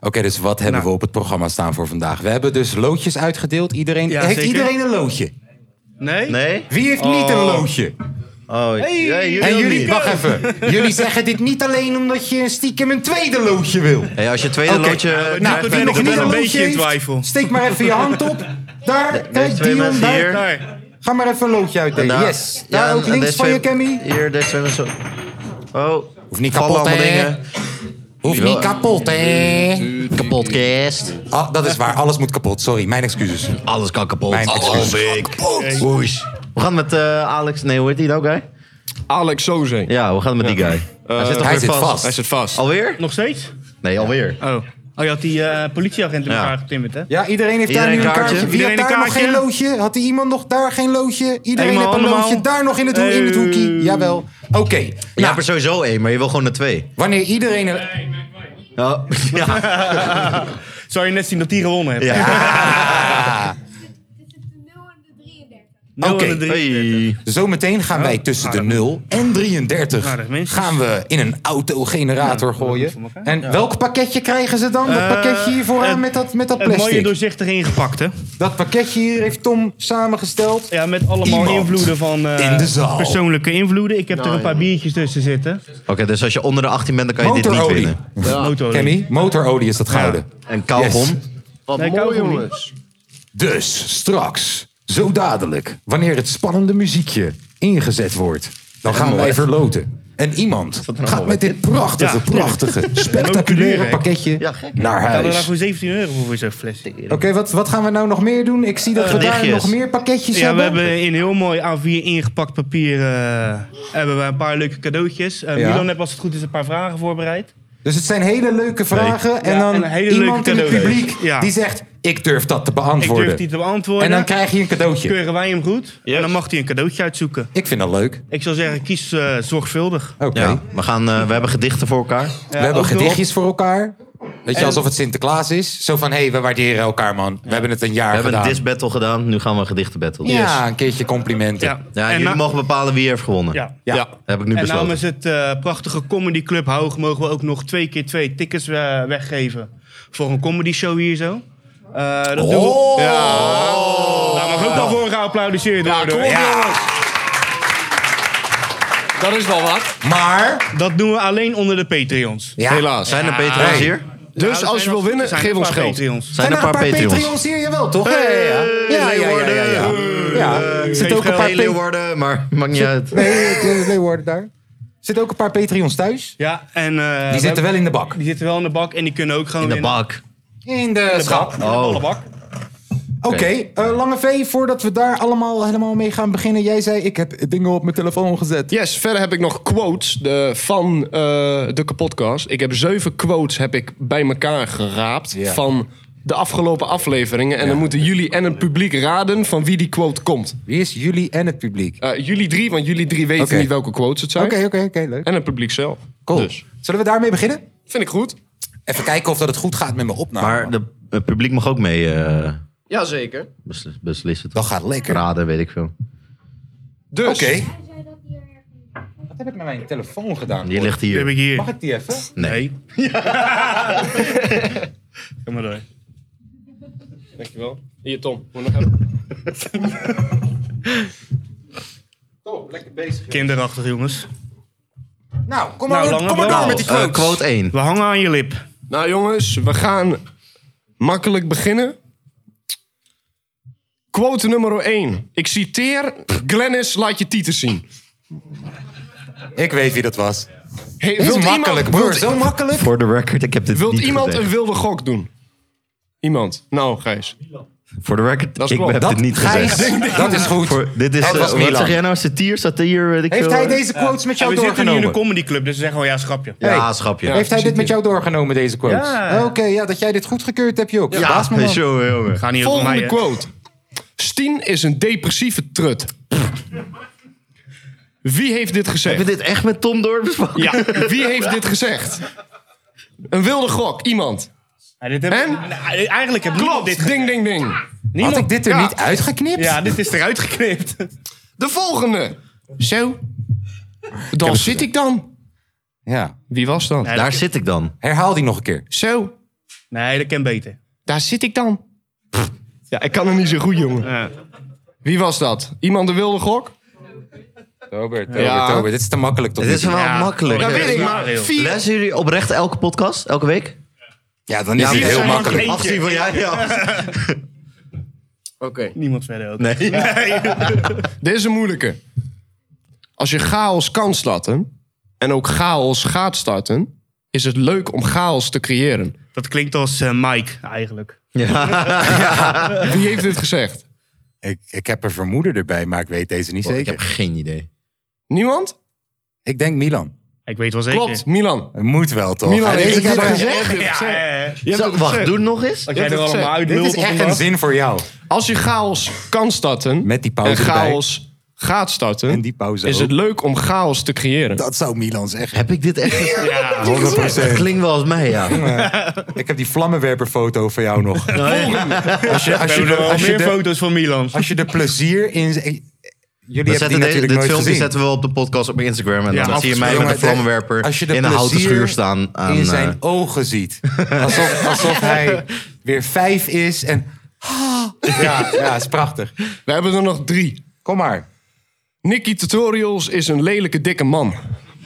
C: Oké, dus wat hebben
H: Nou,
C: we op het programma staan voor vandaag? We hebben dus loodjes uitgedeeld. Iedereen,
H: Ja,
C: heeft
H: zeker.
C: iedereen een loodje?
H: Nee?
E: Nee?
C: Wie heeft niet een loodje?
E: Oh,
H: Hey. jullie
C: en
H: ook
C: jullie,
H: niet.
C: wacht even.
E: *laughs*
C: jullie zeggen dit niet alleen omdat je stiekem een tweede loodje wil.
E: Hey, als je tweede
C: Oké.
E: loodje... eh,
C: Nou,
E: krijgt,
C: nou,
E: ben
C: wie
E: ik
C: nog
E: het
C: niet
E: wel
C: een loodje heeft, Steek maar even je hand op. Daar, kijk,
E: twee
C: Dion,
E: mensen
C: daar.
E: hier.
C: daar. Ga maar even een loodje
E: En
C: uitdelen.
E: daar-
C: yes.
E: *laughs* ja,
C: Daar
E: en-
C: ook
E: en
C: links
E: deze
C: van je,
E: twee-
C: Cammy.
E: Hier, deze twee mensen. Oh.
C: Hoeft niet
E: vallen
C: kapot,
E: allemaal
C: hè?
E: dingen.
C: Hoeft
E: Jawel.
C: niet kapot, hè?
E: Kapotkast.
C: Ah, dat is waar. Alles moet kapot. Sorry, mijn excuses.
E: Alles kan kapot.
C: Mijn
E: Alles
C: excuses.
E: kan kapot. Woes. We gaan met eh, Alex... Nee, hoe heet die nou, guy?
F: Alex Soze.
E: Ja, we gaan met die guy. Eh, hij
C: Eh,
E: zit, toch weer
F: Hij zit vast.
E: Alweer?
H: Nog steeds?
E: Nee, alweer.
H: Oh. Oh, je had die eh, politieagent in
E: Ja.
H: elkaar getimmerd, hè?
C: Ja, iedereen heeft
E: Iedereen
C: daar nu
E: een
C: een kaartje.
E: kaartje.
C: Wie
H: Iedereen
C: had
H: een
C: daar
H: kaartje.
C: nog geen loodje? Had er iemand nog daar geen loodje? Iedereen
H: Eenmaal
C: heeft een
H: allemaal.
C: loodje. Daar nog in het, ho- in het hoekje. Jawel. Oké.
E: Ja, maar sowieso één, maar je wil gewoon er twee.
C: Wanneer iedereen... een-
E: Oh, ja.
H: *laughs* Zou je net zien dat die gewonnen heeft?
E: Ja.
H: *laughs*
C: Ah.
H: Nul
C: Oké.
H: en de drie.
E: Hey.
C: Zometeen gaan wij tussen de 0 en 33
H: Aardig mens.
C: gaan we in een autogenerator gooien. En welk pakketje krijgen ze dan? Dat
H: Eh,
C: pakketje hier vooraan
H: het-
C: met dat, met dat
H: Het mooie
C: plastic.
H: doorzichtig ingepakt, hè?
C: Dat pakketje hier heeft Tom samengesteld.
H: Ja, met allemaal
C: Iemand
H: invloeden van eh,
C: in de zaal.
H: persoonlijke invloeden. Ik heb er een paar biertjes tussen zitten.
E: Oké, dus als je onder de 18 bent, dan kan je dit niet
C: Motorolie.
E: winnen.
H: Motorolie.
C: Kenny, motorolie is dat gouden.
E: En kauwgom.
C: Yes.
F: Wat
H: Nee,
F: mooi,
H: kauwgom niet.
F: jongens.
C: Dus straks, zo dadelijk, wanneer het spannende muziekje ingezet wordt, dan gaan wij verloten. En iemand gaat met dit prachtige,
H: Ja. *laughs*
C: prachtige, spectaculaire
H: Nocturne, hè?
C: pakketje naar
H: Ik had er daar
C: huis.
H: voor 17 euro voor, voor zo'n fles. Eh,
C: Oké, wat, wat gaan we nou nog meer doen? Ik zie dat we daar
E: Eh, lichtjes.
C: nog meer pakketjes
H: Ja, we
C: hebben.
H: hebben in heel mooi A4 ingepakt papier eh, hebben we een paar leuke cadeautjes. Eh,
C: Ja.
H: Milan heeft als het goed is een paar vragen voorbereid.
C: Dus het zijn hele leuke vragen. En
H: Ja,
C: dan
H: en een hele
C: iemand
H: leuke
C: in het
H: cadeautjes.
C: publiek
H: Ja.
C: die zegt, ik durf dat te
H: Ik
C: beantwoorden.
H: durf die te beantwoorden.
C: en dan krijg je een cadeautje.
H: Keuren wij hem goed. En dan mag hij een cadeautje uitzoeken.
C: Ik vind dat leuk.
H: Ik zou zeggen, kies eh, zorgvuldig.
C: Oké.
E: Ja, we, gaan, eh, we hebben gedichten voor elkaar.
C: we hebben
H: ook nog.
C: gedichtjes voor elkaar. Weet je, alsof het Sinterklaas is. Zo van, hé, hey, we waarderen elkaar, man. We hebben het een jaar
E: We hebben een
C: gedaan.
E: disbattle gedaan, nu gaan we een gedichtenbattle.
C: Ja, een keertje complimenten.
H: Ja.
E: Ja,
H: en
E: jullie
H: na-
E: mogen bepalen wie heeft gewonnen.
H: ja.
C: Ja. nou
E: Heb ik nu
H: En
E: besloten.
H: namens het eh, prachtige Comedy Club Hoog mogen we ook nog twee keer twee tickets eh, weggeven. Voor een comedy show hier zo. Eh, dat doen we. Ja. Daar mag ook al voor geapplaudisseerd worden. hoor.
F: Dat is wel wat.
C: Maar,
H: Dat doen we alleen onder de Patreons.
C: ja.
F: Helaas.
E: Zijn er
H: Ja. Nou,
E: Patreons
C: Hey.
E: hier?
F: Dus als je wil winnen, geef ons geld.
E: Zijn er een paar Patreons?
C: hier? Jawel, Oh, toch? Ja, ja, ja. Ja, ja, ja, ja, ja. Ja, er zitten ook een paar
E: Geen
C: Patreons.
E: Leeuwarden, maar maakt niet uit.
C: Nee, Leeuwarden daar. Er zitten ook een paar Patreons thuis.
H: Ja, en eh,
C: Die
H: we-
C: zitten wel in de bak.
H: die zitten wel in de bak en die kunnen ook gewoon
E: In de
H: winnen.
E: bak.
C: In de schap.
H: In de
E: Oh,
H: bak.
C: Oké, eh, Lange V, voordat we daar allemaal helemaal mee gaan beginnen. Jij zei, ik heb dingen op mijn telefoon gezet.
F: Yes, verder heb ik nog quotes de, van eh, de kapotcast. Ik heb zeven quotes heb ik bij elkaar geraapt
C: Ja.
F: van de afgelopen afleveringen. En dan moeten jullie en het publiek raden van wie die quote komt.
C: Wie is jullie en het publiek?
F: Eh, jullie drie, want jullie drie weten
C: Oké.
F: niet welke quotes het zijn.
C: Oké, oké, oké, leuk.
F: En het publiek zelf.
C: Cool.
F: Dus,
C: Zullen we daarmee beginnen?
F: vind ik goed.
C: Even kijken of dat het goed gaat met mijn opname.
E: maar de- het publiek mag ook mee eh,
F: Jazeker.
E: beslis- beslissen.
C: Dat
E: toch?
C: gaat lekker. Oké.
E: Raden, weet ik veel.
F: Dus,
C: Wat heb ik met mijn telefoon gedaan?
E: Die ligt
H: Die heb
E: hier.
H: ik hier.
C: Mag ik die even?
E: Nee.
H: *laughs* Kom maar door.
F: dankjewel. Hier, Tom. Moet nog even.
H: *laughs*
C: Oh,
H: Kinderachtig, jongens.
C: Nou, kom maar,
H: Nou, Lange
C: kom maar
H: Bel.
C: door met die
E: Eh,
C: quotes.
E: quote 1.
H: We hangen aan je lip.
F: Nou jongens, we gaan makkelijk beginnen. Quote nummer 1. Ik citeer, Glennis laat je tieten zien.
C: Ik weet wie dat was.
F: Hey,
C: Heel
F: wilt
C: makkelijk,
F: iemand,
C: broer.
F: wilt,
C: Zo makkelijk.
E: Voor de record, ik heb dit
F: wilt
E: niet
F: iemand
E: gezegd.
F: een wilde gok doen? Iemand. Nou, Gijs.
E: Voor de record,
C: Dat is *laughs*
E: ik
C: klopt.
E: heb
C: Dat-
E: dit niet
C: Gijs,
F: *laughs*
E: gezegd.
C: dat is goed.
E: Voor- dit is,
C: Dat
E: eh,
C: was
E: wat
C: Milan.
E: zeg jij nou? Satire, satire, weet ik
C: Heeft
E: veel. eh.
C: hij deze quotes met jou
H: en we zitten nu in
C: doorgenomen?
H: een comedyclub, dus ze zeggen wel ja, schrapje.
E: Ja, schapje.
C: Heeft hij dit met jou doorgenomen, deze quotes? Oh.
H: Ja.
C: Oké, ja, dat jij dit goedgekeurd hebt, joh. Verbaas me, man.
H: Ga niet over mij,
F: Volgende
H: hè.
F: quote. Stien is een depressieve trut. Wie heeft dit gezegd?
E: Heb je dit echt met Tom Door besproken?
F: Ja. Wie heeft dit gezegd? Een wilde gok. Iemand. en?
H: eigenlijk heb
F: Klopt. dit Ding, ding, ding.
H: Niemand- ik dit er niet
C: uitgeknipt?
H: Ja, dit is eruit geknipt.
F: De volgende. Zo. Dan
C: het
F: zit ik dan.
C: Ja.
F: Wie was dan?
H: Daar zit
E: ik dan.
C: Herhaal die nog een keer.
F: Zo.
H: Nee, dat kan beter.
F: Daar zit ik dan. Ja, ik kan er niet zo goed, jongen. Wie was dat? Iemand een wilde gok?
C: Robert,
F: Robert, Ja. Robert,
C: dit is te makkelijk toch?
E: Dit is wel makkelijk.
F: Dat weet ik maar. Vier-
E: *laughs* Lezen jullie oprecht elke podcast, elke week?
C: Ja, dan is het heel makkelijk.
E: Afzien van jij, ja.
F: *laughs* Oké.
H: Niemand verder ook.
E: Nee.
F: Dit is een moeilijke. Als je chaos kan starten en ook chaos gaat starten, is het leuk om chaos te creëren.
H: Dat klinkt als eh, Mike, *laughs* eigenlijk.
F: *laughs* Wie heeft dit gezegd?
C: Ik, ik heb een vermoeden erbij, maar ik weet deze niet zeker. Ik heb
E: Oh, geen idee.
F: Niemand?
C: Ik denk Milan.
H: Ik weet wel zeker.
F: Klopt, Milan.
C: Het moet wel, toch?
F: Milan
C: Hij
F: heeft
C: heeft
F: het
C: het
F: gezegd.
C: gezegd.
H: Ja, eh,
E: Zo, wacht, doe het nog eens.
H: dat jij er
F: hebt het
H: allemaal
F: gezegd.
H: uit
C: Dit is
H: lult op
C: echt
H: een
C: een
H: dag.
C: zin voor jou.
F: Als je chaos kan starten
C: Met die
F: en
C: pauze erbij.
F: chaos gaat starten,
C: En die pauze
F: is
C: ook.
F: het leuk om chaos te creëren.
C: Dat zou Milan zeggen.
E: Heb ik dit echt?
H: Ja.
C: 100
E: Dat klinkt wel als mij, ja.
C: Ik heb die vlammenwerperfoto voor jou
H: *laughs*
C: nog.
H: Nou
C: *laughs* Als je,
H: We
C: als je,
H: hebben
C: de,
H: nog wel
C: als je,
H: meer
C: de,
H: foto's van Milan.
C: als je de plezier in... Jullie
E: We
C: hebben die
E: zetten deze,
C: natuurlijk
E: dit
C: nooit
E: filmpje
C: gezien.
E: zetten we op de podcast op Instagram. En
H: Ja,
E: dan zie je
H: afgesproken.
E: mij met een
C: Jongen,
E: vlammenwerper
C: als je de
E: in een houten
C: plezier
E: schuur staan. Aan,
C: in zijn
E: eh,
C: ogen ziet. Alsof, alsof hij weer vijf is en... Ah, Ja, ja, is prachtig.
F: We hebben er nog drie.
C: Kom maar.
F: Nicky Tutorials is een lelijke dikke man.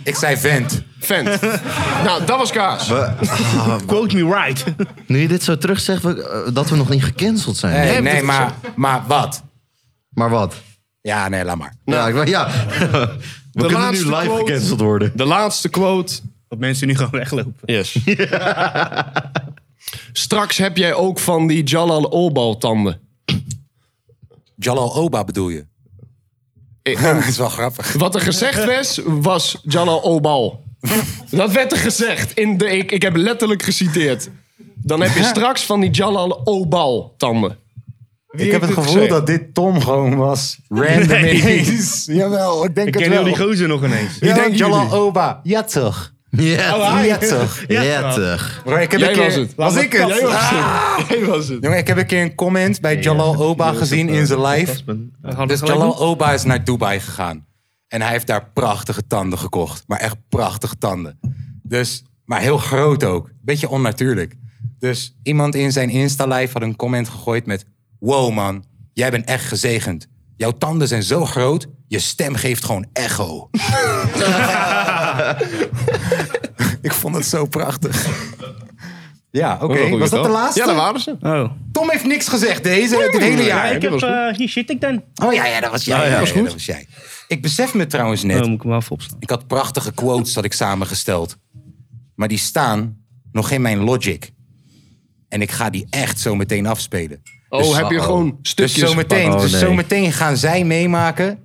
C: Ik zei vent.
F: Vent. nou, dat was kaas.
C: *laughs*
H: Quote me right.
E: *laughs* nu je dit zo terug zegt, we, eh, dat we nog niet gecanceld zijn.
C: Nee,
F: hebt
C: nee
F: het
C: maar, maar wat?
E: Maar wat?
C: Ja, nee, laat maar.
E: ja, ik
H: *laughs*
E: wou- ja. we kunnen nu
F: laatste
E: live
F: quote.
E: gecanceld worden.
F: De laatste quote.
H: Dat mensen nu gaan weglopen.
E: *laughs*
F: Yes. Straks heb jij ook van die Jalal Olbal tanden.
C: Jalal Oba bedoel je?
F: Eh,
C: *laughs* Dat is wel grappig.
F: Wat er gezegd was, was Jalal Obal. Dat werd er gezegd. In de, ik, ik heb letterlijk geciteerd. Dan
C: *laughs*
F: heb je straks van die Jalal Obal tanden.
C: ik heb het
F: dit
C: gevoel
F: gezegd?
C: dat dit Tom gewoon was. Random
H: Nee.
C: ineens. *laughs* Jawel, ik denk
H: Ik
C: het
H: ken
C: wel.
H: heel die gozer nog ineens.
C: Wie denkt
H: jullie?
C: Jalal Oba? Ja toch?
E: Ja,
C: Ja toch?
E: ja,
H: Ja.
E: toch.
C: Bro, ik heb
F: Jij
C: een keer-
F: was het.
C: Was ik het? Ah.
F: Jij was het. Jij was het.
C: Jongen, ik heb een keer een comment bij Jalal Oba gezien in zijn live. Dus Jalal Oba is naar Dubai gegaan. En hij heeft daar prachtige tanden gekocht. Maar echt prachtige tanden. Dus, maar heel groot ook. Beetje onnatuurlijk. Dus iemand in zijn Insta-live had een comment gegooid met... Wow man, jij bent echt gezegend. Jouw tanden zijn zo groot, je stem geeft gewoon *laughs* echo. Ik vond het zo prachtig. Ja, oké.
F: Wat een goeie
C: Was dat de
F: toch?
C: laatste?
F: Ja, dat waren ze.
H: Oh.
C: Tom heeft niks gezegd deze, dit hele
H: Ja,
C: jaar.
H: ik heb... eh, hier zit ik dan.
C: Oh ja, ja dat was jij.
H: ja,
C: Ja,
H: dat
C: ja,
H: was goed.
C: dat was jij. Ik besef me trouwens
H: Oh,
C: net,
H: moet ik hem af opstaan.
C: ik had prachtige quotes dat ik samengesteld. Maar die staan nog in mijn logic. En ik ga die echt zo meteen afspelen.
F: Oh, heb je gewoon
C: Dus
F: stukjes
C: zometeen
H: Oh,
F: gepakt?
C: dus
E: nee.
C: zo meteen gaan zij meemaken.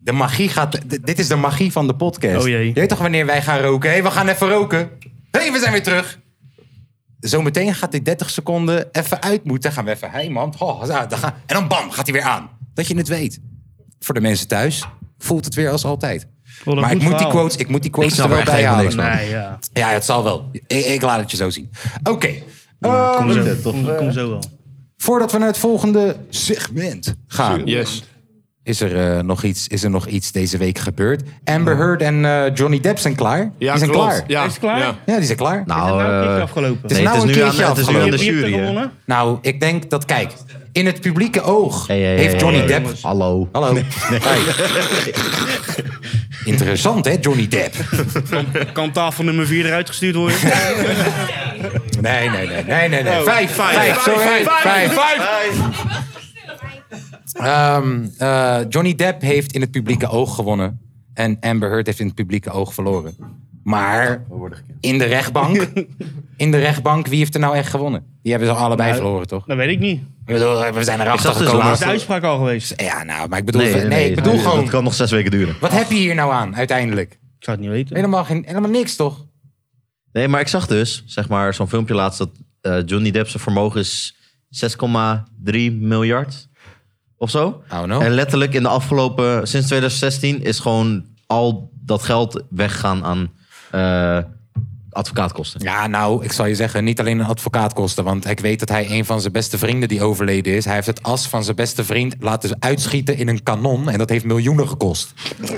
C: De magie gaat. d- Dit is de magie van de podcast.
H: Oh, jee.
C: Je weet toch wanneer wij gaan roken? Hé, we gaan even roken. Hé, we zijn weer terug. Zometeen gaat die 30 seconden even uit moeten. Gaan we even. Hé, man. Oh, ja, dan gaan- en dan bam, gaat hij weer aan. Dat je het weet. Voor de mensen thuis voelt het weer als altijd.
H: dat
C: maar
H: goed
C: ik moet, die
H: verhaal.
C: quotes, ik moet die quotes er
E: snap
C: wel
E: er echt
C: bij
E: helemaal
C: halen.
E: niks
H: Nee, ja.
C: Ja, het zal wel. Ik, ik laat het je zo zien. Oké. Ah,
H: Kom
E: Is
H: zo,
E: dat toch,
H: kom, kom zo wel.
C: eh. Voordat we naar het volgende segment gaan.
F: Yes.
C: Is er, eh, nog iets, is er nog iets deze week gebeurd? Amber Heard en eh, Johnny Depp zijn klaar. die zijn
F: klopt.
C: klaar.
F: Ja.
H: Is het klaar?
F: Ja.
C: Ja, die zijn klaar. Nou,
E: Nou,
H: nou een keertje
E: eh,
H: afgelopen.
E: nee,
C: nou
E: het is
C: een
E: nu aan-
C: keertje Nou,
E: het is nu aan de
H: Je hebt
E: jury.
H: er
E: hè.
H: gewonnen.
C: ik denk dat, kijk, in het publieke oog
E: Hey, hey, hey,
C: heeft Johnny
E: hey,
C: Depp...
E: jongens. Hallo.
C: Hallo.
E: *laughs*
C: Hey. Interessant, hè, Johnny Depp?
H: Kan tafel nummer 4 eruit gestuurd worden? Oh.
C: Nee, nee, nee, nee, nee. nee. Vijf, vijf, sorry. vijf. Ehm, eh, Johnny Depp heeft in het publieke oog gewonnen. En Amber Heard heeft in het publieke oog verloren. Maar in de
H: *laughs*
C: rechtbank, in de rechtbank, wie heeft er nou echt gewonnen? Die hebben ze allebei
H: Nou,
C: verloren, toch?
H: Dat weet ik niet.
C: Ik bedoel, we zijn erachter
H: Is dat
C: gekomen.
H: de uitspraak al geweest?
C: Ja, nou, maar ik bedoel, nee, ik bedoel gewoon,
E: Dat kan nog zes weken duren.
C: wat heb je hier nou aan uiteindelijk? Ik
H: zou het niet weten.
C: Helemaal, geen, helemaal niks, toch?
E: Nee, maar ik zag dus, zeg maar, zo'n filmpje laatst dat eh, Johnny Depp zijn vermogen is 6,3 miljard of zo.
C: no.
E: En letterlijk in de afgelopen, sinds 2016 is gewoon al dat geld weggegaan aan eh, advocaatkosten.
C: Ja, nou, ik zal je zeggen, niet alleen een advocaat kosten. Want ik weet dat hij een van zijn beste vrienden die overleden is. Hij heeft het as van zijn beste vriend laten uitschieten in een kanon. En dat heeft miljoenen gekost.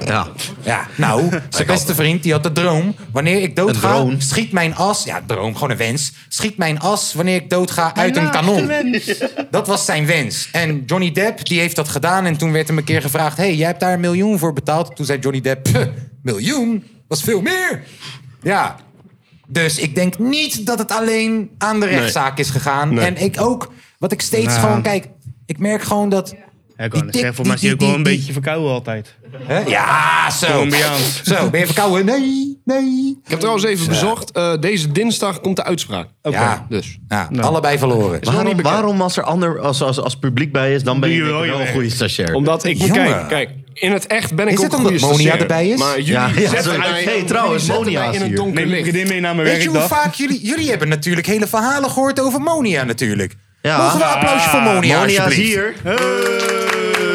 E: Ja.
C: Ja, nou, zijn beste vriend die had de droom. Wanneer ik doodga, schiet mijn as... Ja, droom, gewoon een wens. Schiet mijn as wanneer ik doodga uit een kanon. Dat was zijn wens. En Johnny Depp, die heeft dat gedaan. En toen werd hem een keer gevraagd... hey, jij hebt daar een miljoen voor betaald. Toen zei Johnny Depp... "Puh, Miljoen? Was veel meer. Ja. Dus ik denk niet dat het alleen aan de
H: Nee.
C: rechtszaak is gegaan.
H: Nee.
C: En ik ook, wat ik steeds
H: Nou.
C: gewoon... Kijk, ik merk gewoon dat...
H: Ik kan het
C: dik-
H: zeggen, voor mij is hij
C: die-
H: ook wel
C: die-
H: een
C: die-
H: beetje verkouden altijd.
C: Hè? Ja, zo.
H: Colombiaans.
C: Zo, ben je verkouden? Nee, nee.
F: Ik heb trouwens even bezocht. eh, deze dinsdag komt de uitspraak.
C: Ja.
F: Dus.
C: Ja, allebei verloren.
E: Nou. Waarom, waarom als er ander, als, als, als publiek bij is, dan ben je wel een goede stagiair.
F: Omdat ik...
E: Jongen.
F: Kijk, kijk. In het echt ben ik
E: Is
F: ook
E: het
F: een
E: omdat
F: goede
E: Monia
F: stagiair.
E: erbij is?
F: Maar jullie
E: Ja, ja,
F: zetten
E: sorry.
F: mij...
E: Hey, trouwens,
F: jullie zetten
E: Monia
F: mij
E: is
F: in het
E: hier.
F: donker
E: Neem je
F: licht.
H: vriendin mee naar
C: Weet je hoe vaak jullie... Jullie hebben natuurlijk hele verhalen gehoord over Monia natuurlijk. Mogen we een applausje voor Monia, alsjeblieft?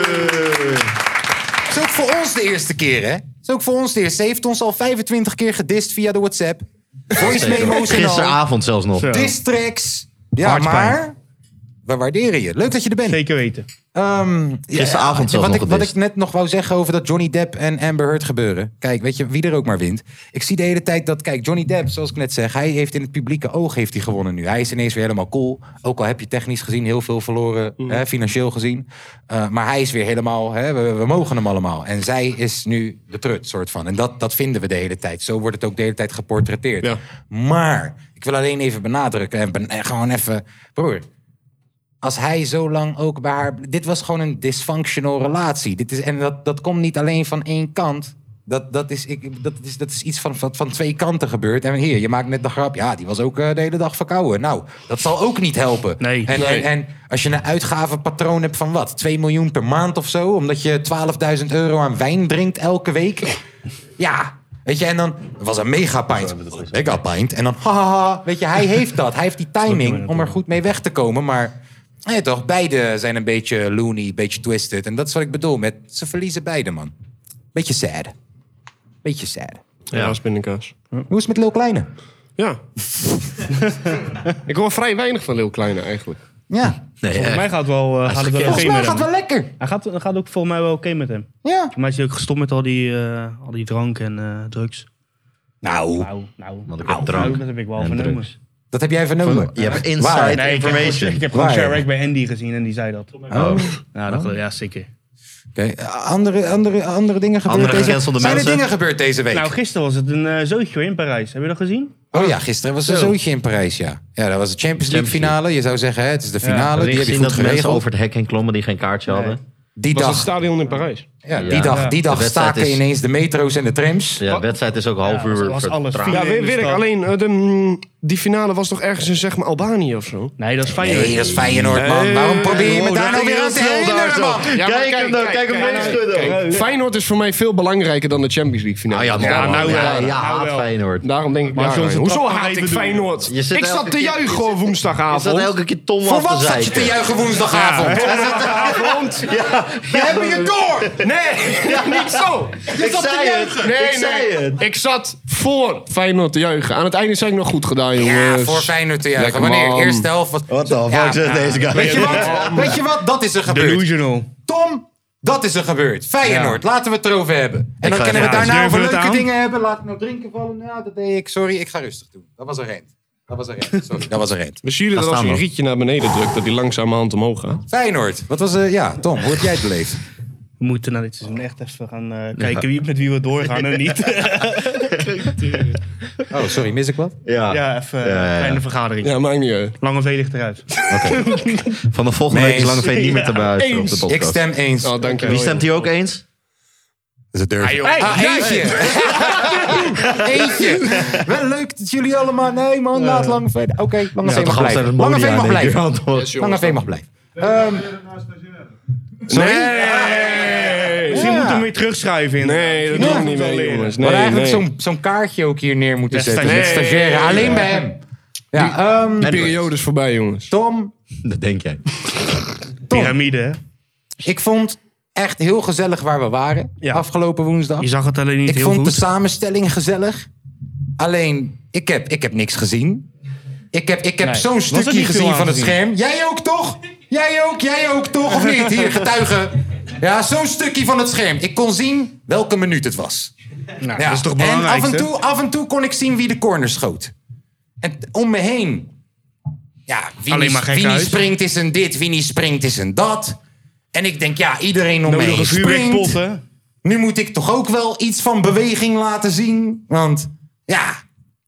C: Het is ook voor ons de eerste keer, hè? Het is ook voor ons de eerste. Ze heeft ons al 25 keer gedist via de WhatsApp. Voice memo's en al.
E: Gisteravond zelfs nog.
C: Diss tracks. Ja,
E: Hartpijn.
C: maar... We waarderen je. Leuk dat je er bent.
H: Zeker weten.
E: Gisteravond zelfs
C: Ehm, wat
E: nog
C: ik, wat ik
E: gedist.
C: net nog wou zeggen over dat Johnny Depp en Amber Heard gebeuren. Kijk, weet je, wie er ook maar wint. Ik zie de hele tijd dat, kijk, Johnny Depp, zoals ik net zeg... hij heeft in het publieke oog heeft hij gewonnen nu. Hij is ineens weer helemaal cool. Ook al heb je technisch gezien heel veel verloren, hè, financieel gezien. Eh, maar hij is weer helemaal, hè, we, we mogen hem allemaal. En zij is nu de trut, soort van. En dat, dat vinden we de hele tijd. Zo wordt het ook de hele tijd geportretteerd. Maar, ik wil alleen even benadrukken en, ben- en gewoon even... Broer, als hij zo lang ook bij haar. Dit was gewoon een dysfunctional relatie. Dit is, en dat, dat komt niet alleen van één kant. Dat, dat, is, ik, ik- dat, is, dat is iets van, van, van twee kanten gebeurd. En hier, je maakt net de grap. Ja, die was ook eh, de hele dag verkouden. Nou, dat zal ook niet helpen.
H: Nee.
C: En,
H: Nee.
C: En, en als je een uitgavenpatroon hebt van wat? 2 miljoen per maand of zo? Omdat je 12.000 euro aan wijn drinkt elke week? Ja. Weet je, en dan het was een mega pint. Mega pint. En dan, haha, weet je, hij heeft dat. Hij heeft die timing om er goed mee weg te komen. Maar ja, toch, beide zijn een beetje loony, een beetje twisted. En dat is wat ik bedoel met ze verliezen beide, man. Beetje sad. Beetje sad. Hm?
F: Ja, spinnenkaas.
C: Hoe is het met Lil Kleine?
F: Ja. ik hoor vrij weinig van Leeuw Kleine eigenlijk.
C: Ja.
H: Volgens mij gaat wel, eh, gaat het wel oké
C: Volgens mij
H: met
C: gaat
H: hem.
C: wel lekker.
H: Hij gaat, gaat ook volgens mij wel oké met hem.
C: Ja.
H: Maar is hij ook gestopt met al die, eh, al die drank en eh, drugs?
C: Nou.
H: Nou, nou.
E: Want ik
H: Nou,
E: heb drank
H: Dat heb ik wel
E: en
H: vernomen.
E: drugs.
C: Dat heb jij vernomen?
E: Je hebt
C: Waar?
E: inside
H: Nee, ik heb gewoon-
E: information.
H: Ik heb gewoon
C: Waar?
H: Sharek bij Andy gezien en die zei dat.
C: Oh.
H: Ja, dat, ja zeker.
C: Oké, Andere, andere, andere dingen gebeurd
H: Andere
C: deze
H: gecancelde
C: Zijn er
H: mensen?
C: dingen gebeurd deze week?
H: Nou, gisteren was het een eh, zootje hoor, in Parijs. Heb je dat gezien?
C: Oh ja, gisteren was er een
H: Zo.
C: zootje in Parijs, ja. Ja, dat was de Champions League finale. Je zou zeggen, hè, het is de
E: Heb
C: finale.
E: je
C: die heb je
E: gezien
C: goed
E: dat mensen
C: geregeld.
E: over het hek heen klommen die geen kaartje hadden?
C: Die
F: was
C: dag-
F: het stadion in Parijs.
C: Ja, die
E: Ja.
C: dag, die
E: De
C: dag
E: wedstrijd
C: staken
E: is-
C: ineens de metro's en de trams.
E: Ja, de wedstrijd is ook een half uur vertraagd.
F: Ja, weet, weet ik. Alleen, eh, de, mm, die finale was toch ergens in zeg maar Albanië of zo?
H: Nee, dat is
C: Feyenoord. Nee, dat is Feyenoord, man. Waarom probeer je me daar nou weer aan te herinneren, man?
F: Ja, maar kijk, kijk, kijk, kijk, kijk, Feyenoord is voor mij veel belangrijker dan de Champions League finale.
E: Ah, ja,
F: Ja, nou
E: ja, ja,
F: wel.
E: haat Feyenoord.
F: Daarom denk ik,
E: Maar
F: daar
E: zoals
F: aan.
E: het
F: hoezo
E: dat maar
F: haat
E: even
F: ik
E: doen.
F: Feyenoord?
E: Je zit
F: Ik
E: elke
F: zat te
E: keer- je
F: juichen
E: zit-
F: woensdagavond.
E: je zat elke keer Tom
C: Voor
E: af te
C: wat zat je
E: zeiken.
C: te juichen
F: *laughs*
C: woensdagavond?
F: Woensdagavond?
E: Ja.
F: We hebben je door! Nee, niet zo!
E: Ik
F: zat te
E: zei het.
F: juichen. Nee,
E: Ik zei
F: nee. Ik zat voor Feyenoord te juichen. Aan het einde zei ik nog goed gedaan,
C: Ja,
F: jongens.
C: voor Feyenoord te juichen.
F: Lekker,
C: Wanneer?
F: man.
C: Eerste helft? Wat nou,
E: the fuck zegt deze guy?
C: Weet je wat? Weet je wat? Dat is er gebeurd.
H: Delusional.
C: Tom, dat is er gebeurd. Feyenoord, laten we het erover hebben. En
E: Ik
C: dan
E: ga-
C: kunnen we
E: ja,
C: het daarna
H: durven
C: over
H: we het
C: leuke
H: aan?
C: dingen hebben. Laat het nou drinken vallen. Nou, dat deed ik. Sorry, ik ga rustig doen. Dat was een rent. Dat was een rent.
F: *laughs*
C: Sorry, dat was een rent.
F: We zien dat als je een rietje naar beneden drukt, dat die langzamerhand omhoog gaat.
C: Feyenoord, wat was... eh ja, Tom, hoe heb jij het beleefd?
H: We moeten nou dit seizoen echt even gaan eh, kijken wie, met wie we doorgaan en *laughs* niet.
C: Oh, sorry, mis ik wat?
E: Ja.
H: ja, even eh,
E: Ja, ja, ja.
H: kleine vergadering.
F: Ja, maakt niet uit.
H: Lange V ligt eruit. *laughs*
E: Van de volgende
C: Nee,
E: week is Lange Veen niet meer te beluisteren op de
C: Ik
E: podcast.
C: stem eens.
F: Oh, dank je
E: Wie
F: wel.
E: stemt hier ook eens?
C: Dat is het durven.
H: joh.
C: Ah,
H: Hey,
C: eentje. eentje. Wel leuk dat jullie allemaal... Nee man, laat lang verder. Oké, Lange
E: Ja,
C: Veen mag
E: toch altijd het
C: blijven. Lange
E: Moria
C: Veen mag
E: in één
C: blijven.
E: keer antwoord. Yes, jongens,
C: Lange Veen mag
E: dat-
C: blijven. Ehm,
H: Nee. Misschien moeten we hem weer terugschrijven. In nee,
C: dat doe ik niet mee,
H: jongens.
C: we hadden eigenlijk zo'n zo'n kaartje ook hier neer moeten
H: Ja,
C: zetten.
H: stagiair.
C: Met stagiaire.
H: Nee.
C: Alleen bij hem. Ja, ehm,
F: De periode is voorbij, jongens.
C: Tom.
E: Dat denk
C: *laughs*
E: jij.
H: Pyramide, hè?
C: Ik vond echt heel gezellig waar we waren afgelopen woensdag.
H: Je zag het alleen niet
C: ik
H: heel
C: vond
H: goed.
C: de samenstelling gezellig. Alleen, ik heb, ik heb niks gezien. Ik heb, ik heb
H: Nee.
C: zo'n
H: Was er
C: stukje
H: niet veel
C: gezien van het
H: aangezien?
C: scherm. Jij ook toch? Jij ook, jij ook toch? Of niet? Hier, getuigen. Ja, zo'n stukje van het scherm. Ik kon zien welke minuut het was.
H: Nou,
C: Ja,
H: dat is toch
C: en
H: belangrijk,
C: af en, toe, af en toe kon ik zien wie de corner schoot. En t- om me heen. Ja, wie,
H: Alleen
C: niet-
H: maar gekke
C: wie niet
H: huis.
C: springt is een dit, wie niet springt is een dat. En ik denk, ja, iedereen om me
H: Nodige
C: heen springt.
H: vuurwerkpot, hè?
C: Nu moet ik toch ook wel iets van beweging laten zien. Want ja,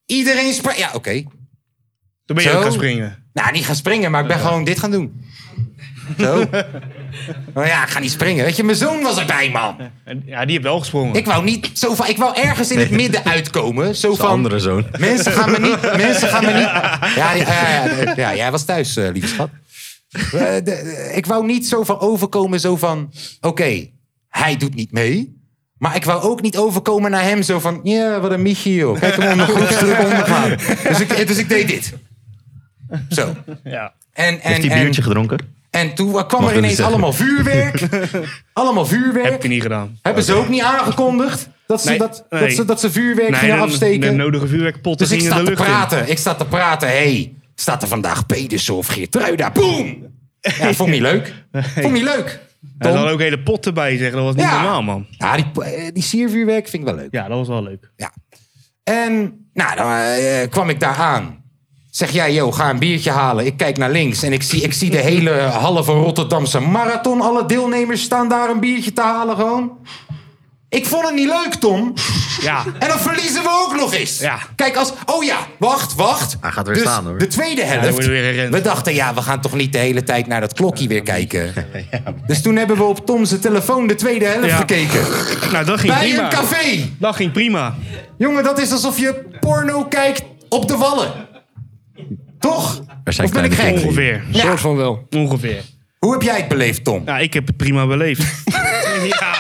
C: iedereen springt. Ja, oké.
H: Toen ben je
C: Zo.
H: ook gaan springen.
C: Nou, niet gaan springen, maar ik ben gewoon dit gaan doen.
H: *laughs*
C: Zo. Nou ja, ik ga niet springen. Weet je, mijn zoon was *laughs* erbij, man.
H: Ja, die heeft wel gesprongen.
C: Ik wou niet zo van, ik wou ergens in het midden uitkomen. Zo
E: Zijn
C: van,
E: andere zoon.
C: mensen gaan me
H: *laughs*
C: niet, mensen gaan me niet. Ja, die- ja, ja, ja, ja, jij was thuis, eh, lieve schat. Eh, de- de- ik wou niet zo van overkomen, zo van, oké, hij doet niet mee. Maar ik wou ook niet overkomen naar hem, zo van, ja, wat een mietje, joh. Kijk hem onder groepsdruk ondergaan. Dus ik, dus ik deed dit. Zo.
H: Ja.
C: En, en,
E: Heeft hij
C: en,
E: biertje gedronken?
C: en toen
E: Mag
C: kwam er
E: dat
C: ineens
E: niet zeggen.
C: allemaal vuurwerk. allemaal vuurwerk.
H: Heb ik niet gedaan.
C: Hebben ze ook niet aangekondigd dat ze,
H: Nee,
C: dat, dat
H: nee.
C: ze, dat ze vuurwerk
H: Nee,
C: gingen
H: de-
C: afsteken?
H: De nodige vuurwerkpotten
C: dus ik
H: gingen
C: sta
H: de
C: te
H: lucht
C: praten. Ik sta te praten. Hé, hey, staat er vandaag Pedersen of Geertruida? Boom! Ja, vond ik niet leuk. Vond ik niet leuk.
H: in. Er
C: Tom?
H: hadden ook hele potten bij, zeggen. Dat was niet
C: Ja.
H: normaal, man.
C: Ja, die, *laughs* eh, die siervuurwerk vind ik wel leuk.
H: Ja, dat was wel leuk.
C: En nou, dan eh, kwam ik daar aan. Zeg jij, yo, ga een biertje halen. Ik kijk naar links en ik zie, ik *laughs* zie de hele halve Rotterdamse marathon. Alle deelnemers staan daar een biertje te halen gewoon. Ik vond het niet leuk, Tom.
H: Ja.
C: En dan verliezen we ook nog eens.
H: Ja.
C: Kijk, als... Oh ja, wacht, wacht.
E: Hij gaat weer
C: Dus
E: staan, hoor.
C: de tweede
H: dan
C: helft.
H: wordt er weer gerend.
C: we dachten, ja, we gaan toch niet de hele tijd naar dat klokje weer kijken.
E: *laughs*
C: Dus toen hebben we op Tom zijn telefoon de tweede helft
H: Ja.
C: gekeken.
H: *laughs* Nou, dat ging
C: Bij
H: prima.
C: een café.
H: Dat ging prima.
C: Jongen, dat is alsof je porno kijkt op de wallen. Toch?
E: Er zijn
C: Of ben ik
E: kleine
C: gek?
E: kinderen.
H: Ongeveer.
C: Ja.
F: Soort van wel.
H: Ongeveer.
C: Hoe heb jij het beleefd, Tom?
H: Nou, ik heb het
C: *laughs*
H: prima beleefd. ja.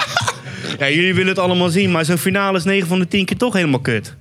H: ja, jullie willen het allemaal zien, maar zo'n finale is 9 van de 10 keer toch helemaal kut.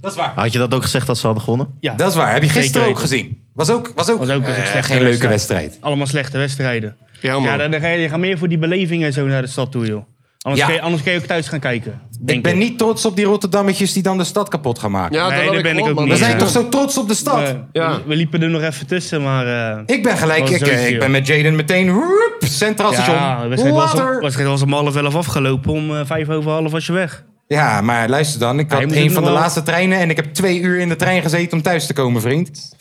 C: Dat is waar.
E: *laughs* Had je dat ook gezegd dat ze hadden gewonnen?
H: Ja,
C: Dat is waar. Heb je gisteren
H: Zeker
C: ook gezien? Was ook, was ook,
H: was ook een
C: eh,
H: slechte
C: geen leuke wedstrijd.
H: Allemaal slechte wedstrijden.
F: Ja, man.
H: Ja, dan, dan ga je, je gaat meer voor die belevingen zo naar de stad toe, joh. Anders,
C: Ja.
H: kun, je, anders kun je ook thuis gaan kijken. Denk
C: Ik ben niet trots op die Rotterdammetjes die dan de stad kapot gaan maken.
F: Ja,
H: Nee,
F: dat
H: daar ben ik ook
C: We
H: niet.
C: zijn
H: Ja.
C: toch zo trots op de stad?
H: Eh,
F: Ja.
H: we, we liepen er nog even tussen, maar... eh,
C: Ik ben gelijk,
H: was
C: ik,
H: sowieso.
C: eh, ik ben met Jaden meteen woep, Centraal
H: ja, de
C: Station.
H: wedstrijd was, om,
C: Later.
H: wedstrijd was om half elf afgelopen. Om eh, vijf over half was je weg.
C: Ja, maar luister dan. Ik had
H: Hij moet
C: een
H: het
C: van de
H: nog wel-
C: laatste treinen en ik heb twee uur in de trein gezeten om thuis te komen, vriend.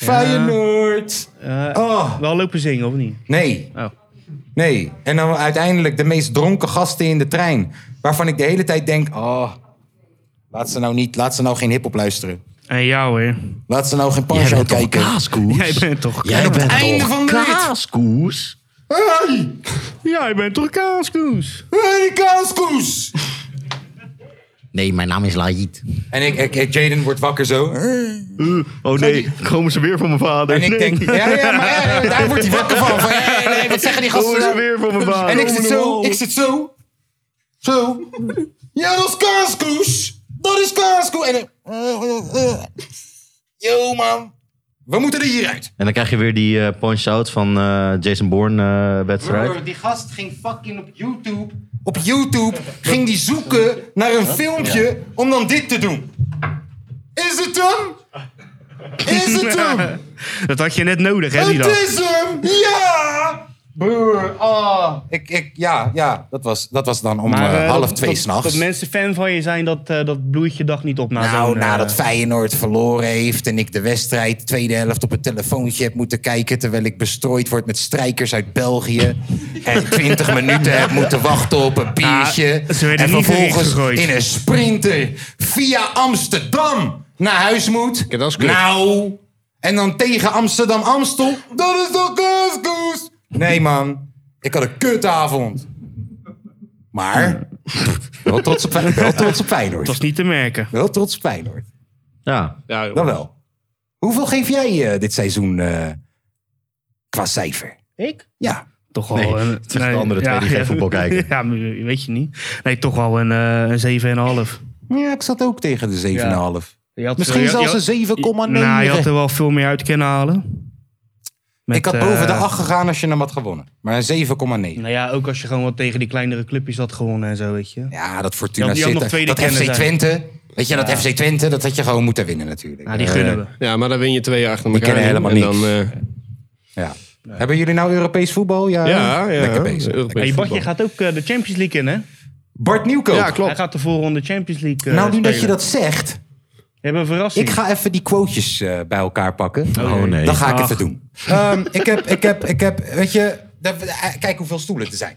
C: Feyenoord.
H: Eh,
C: Oh,
H: Wel lopen zingen, of niet?
C: nee.
H: Oh.
C: Nee. En dan uiteindelijk de meest dronken gasten in de trein. Waarvan ik de hele tijd denk: oh, laat ze nou, niet, laat ze nou geen hip-hop luisteren.
H: En jou, hoor.
C: Laat ze nou geen Pancho kijken.
E: Kaaskoes?
H: Jij bent toch...
E: Jij bent
C: einde
E: toch
C: van de rit.
E: kaaskoes?
C: Hey,
H: Jij bent toch kaaskoes?
C: hey, kaaskoes!
E: Nee, mijn naam is Laïd.
C: En ik, ik, ik- Jaden wordt wakker zo.
E: oh nee, komen ze weer voor mijn vader?
C: En ik
E: *laughs*
C: denk: ja, ja, maar
H: *laughs*
C: eh, daar wordt hij wakker van. van eh, nee, wat zeggen die gasten? nou?
E: voor mijn vader?
C: En ik zit zo, ik zit zo. Zo. Ja, dat is kaaskoes. Dat is kaaskoes. En eh, dan... Yo, man. We moeten er hieruit.
E: En dan krijg je weer die eh, punch-out van eh, Jason eh, Bourne-wedstrijd.
C: Die gast ging fucking op YouTube... Op YouTube ging die zoeken naar een filmpje om dan dit te doen. Is het hem? Is
H: *laughs*
C: het hem?
H: Dat had je net nodig, hè, die
C: Het
H: dag.
C: is hem! Ja! Broer, ah. Ik, ik, ja, ja, dat was, dat was dan om
H: Maar,
C: eh,
H: eh,
C: half
H: dat-
C: twee
H: dat-
C: s'nachts.
H: Dat mensen fan van je zijn, dat, eh, dat bloeit je dag niet op na
C: Nou,
H: zo'n, eh,
C: nadat Feyenoord verloren heeft en ik de wedstrijd tweede helft op het telefoontje heb moeten kijken... terwijl ik bestrooid word met strijkers uit
H: *laughs*
C: België... en 20 minuten heb moeten wachten op een biertje...
H: Ah, ze werden
C: en
H: niet erin
C: vervolgens
H: gegooid.
C: in een sprinter via Amsterdam naar huis moet.
F: Ja, dat is kut.
C: nou, en dan tegen Amsterdam-Amstel. Dat is toch kutkoes? Nee, man. Ik had een kutavond. Maar... *laughs* Wel trots op, Fey- wel trots op Feyenoord. Dat
H: was niet te merken.
C: Wel trots op Feyenoord.
E: Ja.
C: Dan wel. Hoeveel geef jij eh, dit seizoen eh, qua cijfer?
H: Ik?
C: Ja.
H: Toch wel eh,
C: Nee,
H: een...
C: het zegt de andere twee die geen voetbal kijken.
H: *laughs* Ja, maar weet je niet. Nee, toch wel een, eh, een 7,5.
C: Ja, ik zat ook tegen de 7,5.
H: Je had-
C: Misschien
H: je- je had-
C: zelfs een 7,9.
H: Nou, je had er wel veel meer uit kunnen halen. Met,
C: ik had boven de
H: eh,
C: 8 gegaan als je hem had gewonnen. Maar een 7,9.
H: Nou ja, ook als je gewoon wat tegen die kleinere clubjes had gewonnen en zo, weet je.
C: Ja, dat
H: Die
C: Fortuna
H: had- die had nog
C: zit
H: tweede
C: Dat
H: kunnen
C: FC
H: zijn.
C: Twente. Weet je,
H: Ja.
C: dat FC Twente, dat had je gewoon moeten winnen natuurlijk.
H: Ja, die gunnen we.
F: Ja, maar dan win je twee jaar achter
C: Die
F: elkaar.
C: kennen helemaal
F: en eh,
C: niks. Ja. Hebben jullie nou Europees voetbal? Ja,
F: Ja, ja,
C: lekker bezig.
F: Europees
H: Hey,
C: Lekker
H: Bartje
C: voetbal.
H: gaat ook eh, de Champions League in, hè?
C: Bart Nieuwkoop. Ja, klopt.
H: Hij gaat de voorronde Champions League eh,
C: nou, nu dat je
H: spelen.
C: dat zegt,
H: We hebben een verrassing.
C: ik ga even die quotejes eh, bij elkaar pakken.
H: Oh, Oh, nee.
C: Dat ga ik
H: Ach.
C: even doen. Ehm, ik, heb, ik, heb, ik heb, weet je, daar- eh, kijk hoeveel stoelen er zijn.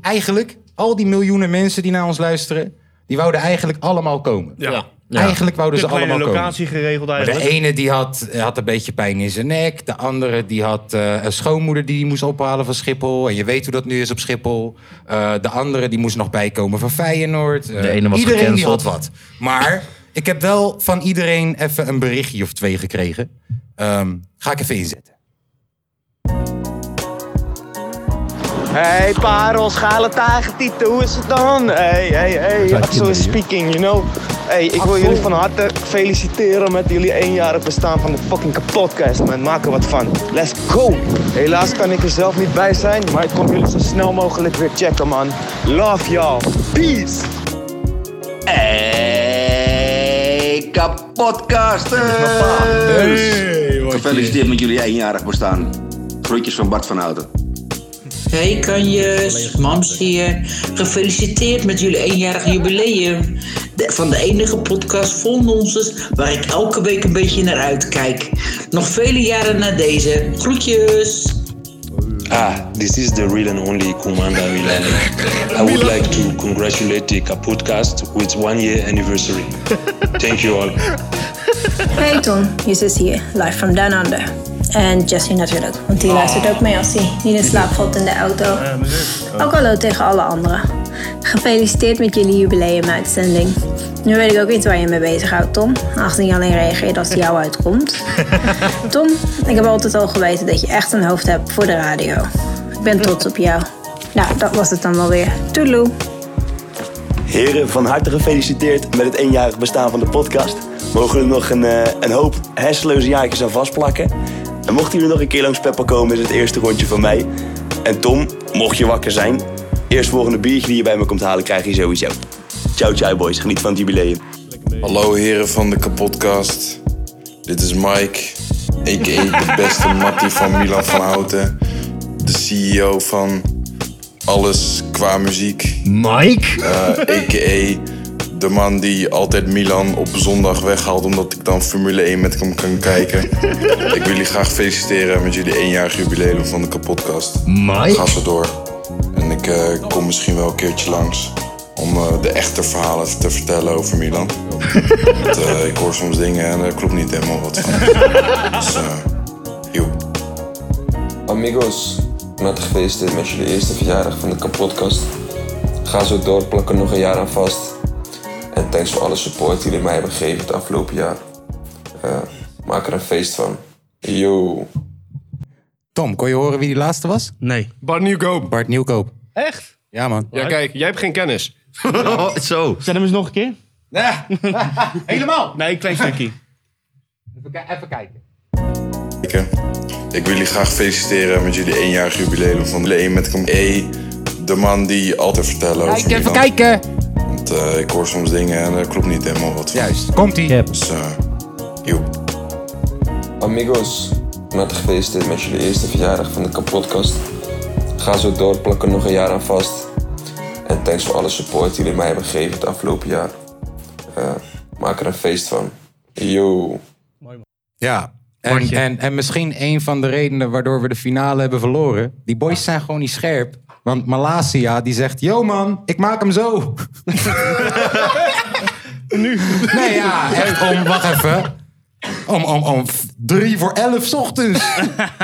C: Eigenlijk, al die miljoenen mensen die naar ons luisteren, die wouden eigenlijk allemaal komen.
H: Ja.
C: Eigenlijk wouden ze
H: Te kleine
C: allemaal komen.
H: locatie geregeld
C: Maar de
H: eigenlijk.
C: ene die had, had een beetje pijn in zijn nek. De andere die had eh, een schoonmoeder die die moest ophalen van Schiphol. En je weet hoe dat nu is op Schiphol. Eh, de andere die moest nog bijkomen van Feyenoord. Eh,
E: De ene was
C: iedereen die
E: gecanceld.
C: had wat. Maar ik heb wel van iedereen even een berichtje of twee gekregen. Ehm, ga ik even inzetten.
I: Hey parels, gale tijgertieten, hoe is het dan? Hey, hey, hey, Axel is speaking, you know. Hey, ik wil jullie van harte feliciteren met jullie eenjarig bestaan van de fucking podcast, man. Maak er wat van. Let's go! Helaas kan ik er zelf niet bij zijn, maar ik kom jullie zo snel mogelijk weer checken, man. Love y'all. Peace!
J: Hey, kapotcasters! Gefeliciteerd met jullie eenjarig bestaan. Groetjes van Bart van Houten.
K: Hey kanjes, Mams hier. Gefeliciteerd met jullie eenjarig jubileum. De- van de enige podcast vol nonsens waar ik elke week een beetje naar uitkijk. Nog vele jaren na deze. Groetjes!
L: Ah, this is the real and only Kumanda Milani. I would like to congratulate the Kapodcast with one year anniversary. Thank you all.
M: Hey Ton, Justus hier, live from Down Under. En Jesse natuurlijk, want die luistert ook mee als hij niet in slaap valt in de auto. Ook hallo tegen alle anderen. Gefeliciteerd met jullie jubileumuitzending. Nu weet ik ook iets waar je mee bezighoudt, Tom. 18 jaar alleen reageert als die jou uitkomt. Tom, ik heb altijd al geweten dat je echt een hoofd hebt voor de radio. Ik ben trots op jou. Nou, dat was het dan wel weer. Toedeloe.
N: Heren, van harte gefeliciteerd met het eenjarig bestaan van de podcast. Mogen er nog een, eh, een hoop hersenloze jaartjes aan vastplakken. En mochten jullie nog een keer langs Peppa komen, is het eerste rondje van mij. En Tom, mocht je wakker zijn, eerst volgende biertje die je bij me komt halen, krijg je sowieso. Ciao, ciao boys, geniet van het jubileum.
O: Hallo heren van de kapotcast. Dit is Mike, a.k.a. de
E: *laughs*
O: beste Mattie van Milan van Houten. De CEO van alles qua muziek. Eh,
E: Mike?
O: a.k.a. de man die altijd Milan op zondag weghaalt... omdat ik dan Formule 1 met hem kan
E: *laughs*
O: kijken. ik wil jullie graag feliciteren met jullie eenjarig jubileum van de kapotcast.
E: Mike?
O: Ga zo door. En ik eh, kom misschien wel een keertje langs... om eh, de echte verhalen te vertellen over Milan. Want, eh, ik hoor soms dingen en daar klopt niet helemaal wat *laughs* van. Dus, eh,
P: Amigos, van harte gefeliciteerd met jullie eerste verjaardag van de kapotkast. Ga zo door, plak er nog een jaar aan vast. En thanks voor alle support die jullie mij hebben gegeven het afgelopen jaar. Eh, maak er een feest van. Yo.
C: Tom, kon je horen wie die laatste was?
H: Nee.
C: Bart Nieuwkoop. Bart Nieuwkoop.
H: Echt?
C: Ja, man.
F: Ja, kijk, jij hebt geen kennis.
E: *laughs* Zo.
H: Zet hem eens nog een keer.
C: Ja. *laughs* Helemaal?
H: Nee, een klein stukje.
C: Even kijken.
O: Kijken. Ik wil jullie graag feliciteren met jullie eenjarig jubileum van de 1 met kom E. De man die altijd vertellen over
C: Kijken, even
O: Milan.
C: kijken.
O: Want eh, ik hoor soms dingen en daar klopt niet helemaal wat van.
C: Juist. Komt-ie.
O: Dus, eh, joep.
P: Amigos, van harte gefeliciteerd met jullie eerste verjaardag van de kapotkast. Ga zo door, plak er nog een jaar aan vast. En thanks voor alle support die jullie mij hebben gegeven het afgelopen jaar. Eh, maak er een feest van. Yo.
C: Ja. En, en, en misschien een van de redenen waardoor we de finale hebben verloren. Die boys zijn gewoon niet scherp. Want Malasia die zegt: Yo man, ik maak hem *laughs* zo. nu? Nee, ja, echt om. Wacht even. Om, om, om f- drie voor elf 's ochtends. *laughs*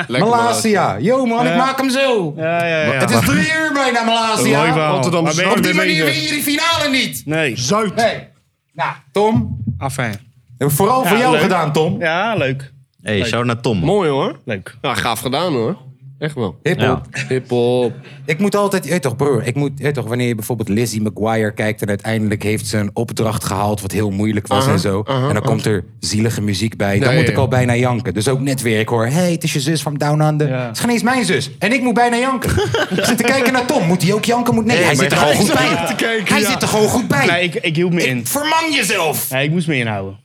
C: Malasia.
H: Malasia.
C: Yo man, ik
H: Ja.
C: maak hem zo.
H: Eh, Ja, ja, ja.
C: Het is drie uur bijna Malasia.
H: Mooi verhaal.
C: Rotterdam
H: Waar ben je
C: Op die
H: mee
C: manier
H: bezig?
C: win Oh, je die finale niet.
H: Nee. Zuid.
C: Nee. Nou, Tom.
H: Afijn.
C: Hebben we vooral voor jou gedaan, Tom.
H: Ja, leuk.
E: Hey, shout naar Tom.
F: Mooi hoor.
H: Leuk.
F: Ja, gaaf gedaan hoor. Echt wel.
C: Hip-hop.
F: Hip-hop.
C: Ik moet altijd, je weet toch broer, ik moet, je weet toch, wanneer je bijvoorbeeld Lizzie McGuire kijkt en uiteindelijk heeft ze een opdracht gehaald wat heel moeilijk was
F: Aha,
C: en zo.
F: aha,
C: en dan
F: aha.
C: komt er zielige muziek bij. Dan
F: Uh-huh, Nee,
C: moet
F: ja,
C: ik
F: ja.
C: al bijna janken. Dus ook net weer, ik hoor, hey, het is je zus van Down Under. Het is geen eens mijn zus. En ik moet bijna
F: *laughs*
C: janken. ik zit te kijken naar Tom. Moet hij ook janken? Moet... Nee, hij zit er gewoon goed bij.
F: *laughs*
C: hij zit er gewoon goed bij.
H: Nee, ik, ik hield me in.
C: Verman jezelf! Ah.
H: Nee, ik moest me inhouden.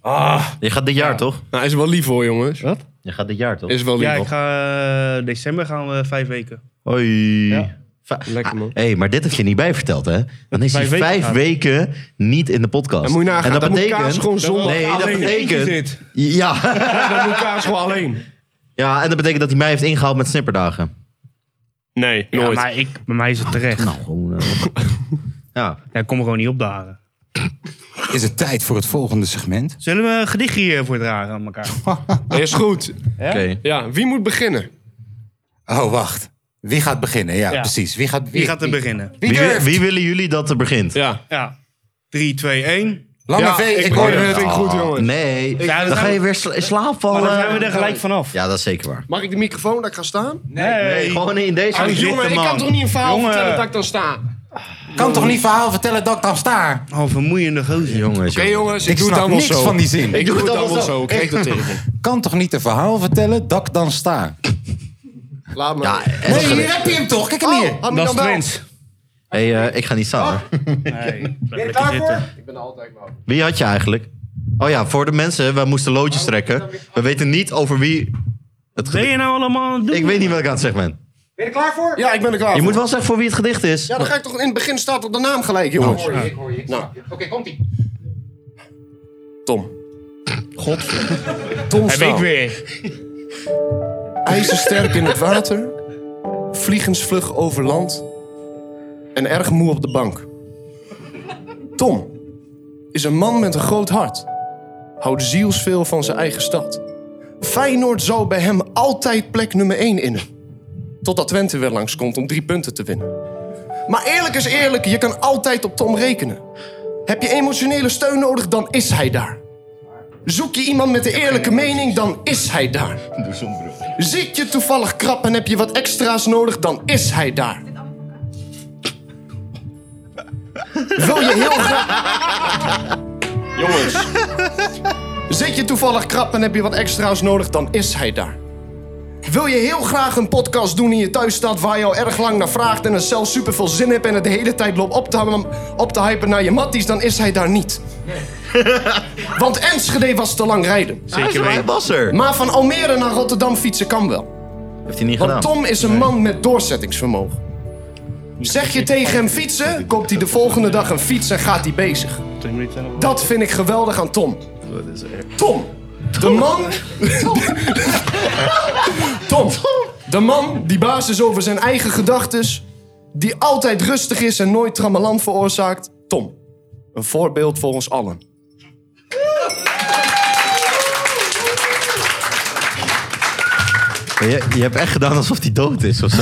E: Je gaat dit jaar, toch?
F: Nou, is wel lief hoor, jongens.
H: Wat?
E: Je gaat dit jaar, toch?
F: Is wel lief.
H: Ja, ik ga, eh, december gaan we vijf weken.
E: Hoi. Lekker man. Hé, maar dit heb je niet bijverteld, hè? Dan is hij
H: Vijf weken
E: vijf
H: gaan.
E: weken niet in de podcast.
F: Dan moet je nagaan,
E: en dat
F: dan moet
E: betekent...
F: Kaas gewoon zondag
E: Nee, dat
F: alleen in zijn eentje
E: betekent... Ja.
F: Dan moet Kaas gewoon alleen.
E: Ja, en dat betekent dat hij mij heeft ingehaald met snipperdagen.
F: Nee,
H: Ja, maar ik, bij mij is het terecht.
E: Ah, Gewoon, eh,
H: *laughs*
E: ja.
H: Ik kom gewoon niet op dagen.
C: Is het tijd voor het volgende
E: Hm?
C: segment?
H: Zullen we een gedichtje eh, voordragen aan elkaar?
F: *laughs* Is goed.
H: Ja? Oké.
F: Ja, wie moet beginnen?
C: Oh, wacht. Wie gaat beginnen? Ja,
H: Ja.
C: precies. Wie gaat,
H: Wie gaat er beginnen?
C: Wie,
E: Wie, wi-
C: durft?
E: wie willen jullie dat er begint?
F: Ja.
H: Ja. 3, 2, 1.
C: Lange V, ik hoor het.
E: Ah, Nee,
H: Ja, dat
E: dan ga
H: zijn
E: je
H: we-
E: weer sla- in slaap vallen.
H: Maar dan zijn we er gelijk vanaf.
E: Ja, dat is zeker waar.
F: Mag ik de microfoon dat ik ga staan?
H: Nee.
E: Nee, gewoon in deze
F: Ah,
E: gezichten,
F: jongen, ik kan
E: man.
F: toch niet een verhaal
H: Jongen.
F: vertellen dat ik dan sta? Oké
C: Kan toch niet verhaal vertellen dat ik dan sta?
H: Oh, vermoeiende gozer.
E: Jongens,
F: jongens, ik,
C: Ik
F: doe het
C: snap
F: dan wel
C: niks
F: zo.
C: van die zin.
F: Ik doe het dan wel zo. Ik geef dat tegen.
C: Kan toch niet een verhaal vertellen dat ik dan sta?
F: Laat me. Ja,
C: Nee, hier heb je hem toch? Kijk hem hier.
H: Dat is Twins.
E: Hey, eh, ik ga niet
J: Ah.
E: staan. hoor.
H: Nee,
C: je klaar voor?
F: Ik ben er altijd wel.
E: Wie had je eigenlijk? Oh ja, voor de mensen, wij moesten loodjes trekken. We weten niet over wie het
H: Ben je
E: gedicht...
H: nou allemaal aan het doen?
E: Ik weet niet wat ik aan het zeggen ben.
C: Ben je er klaar voor?
F: Ja, ik ben er klaar
E: Je
F: voor.
E: moet wel zeggen voor wie het gedicht is.
F: Ja, dan ga ik toch in het begin staat op de naam gelijk, jongens.
C: hoor je, ik hoor je. ik
F: Nou.
C: snap je. Oké, komt-ie.
F: Tom.
H: Heb
F: Tom
H: ik
F: Staal.
H: weer.
F: IJzersterk in het water. Vliegensvlug over land. En erg moe op de bank. Tom is een man met een groot hart. Houdt zielsveel van zijn eigen stad. Feyenoord zou bij hem altijd plek nummer 1 innen. Totdat Twente weer langskomt om drie punten te winnen. Maar eerlijk is eerlijk, je kan altijd op Tom rekenen. Heb je emotionele steun nodig, dan is hij daar. Zoek je iemand met een eerlijke mening, dan is hij daar. Zit je toevallig krap en heb je wat extra's nodig, dan is hij daar. Wil je heel
C: *laughs*
F: graag... Jongens. Zit je toevallig krap en heb je wat extra's nodig, dan is hij daar. Wil je heel graag een podcast doen in je thuisstad waar je al erg lang naar vraagt en er zelf super veel zin hebt en het de hele tijd loopt op te, op te hypen naar je matties, dan is hij daar niet. *laughs* Want Enschede was te lang rijden.
E: Zeker Hij was er.
F: Maar van Almere naar Rotterdam fietsen kan wel.
E: Heeft hij niet gedaan.
F: Want Tom is een man met doorzettingsvermogen. Zeg je tegen hem fietsen, koopt hij de volgende dag een fiets en gaat hij bezig.
H: Twee minuten zijn we wel.
F: Dat vind ik geweldig aan Tom. Tom, de man. *laughs* Tom, de man die baas is over zijn eigen gedachten, die altijd rustig is en nooit trammeland veroorzaakt. Tom, een voorbeeld voor ons allen.
E: Je, je hebt echt gedaan alsof hij dood is of zo.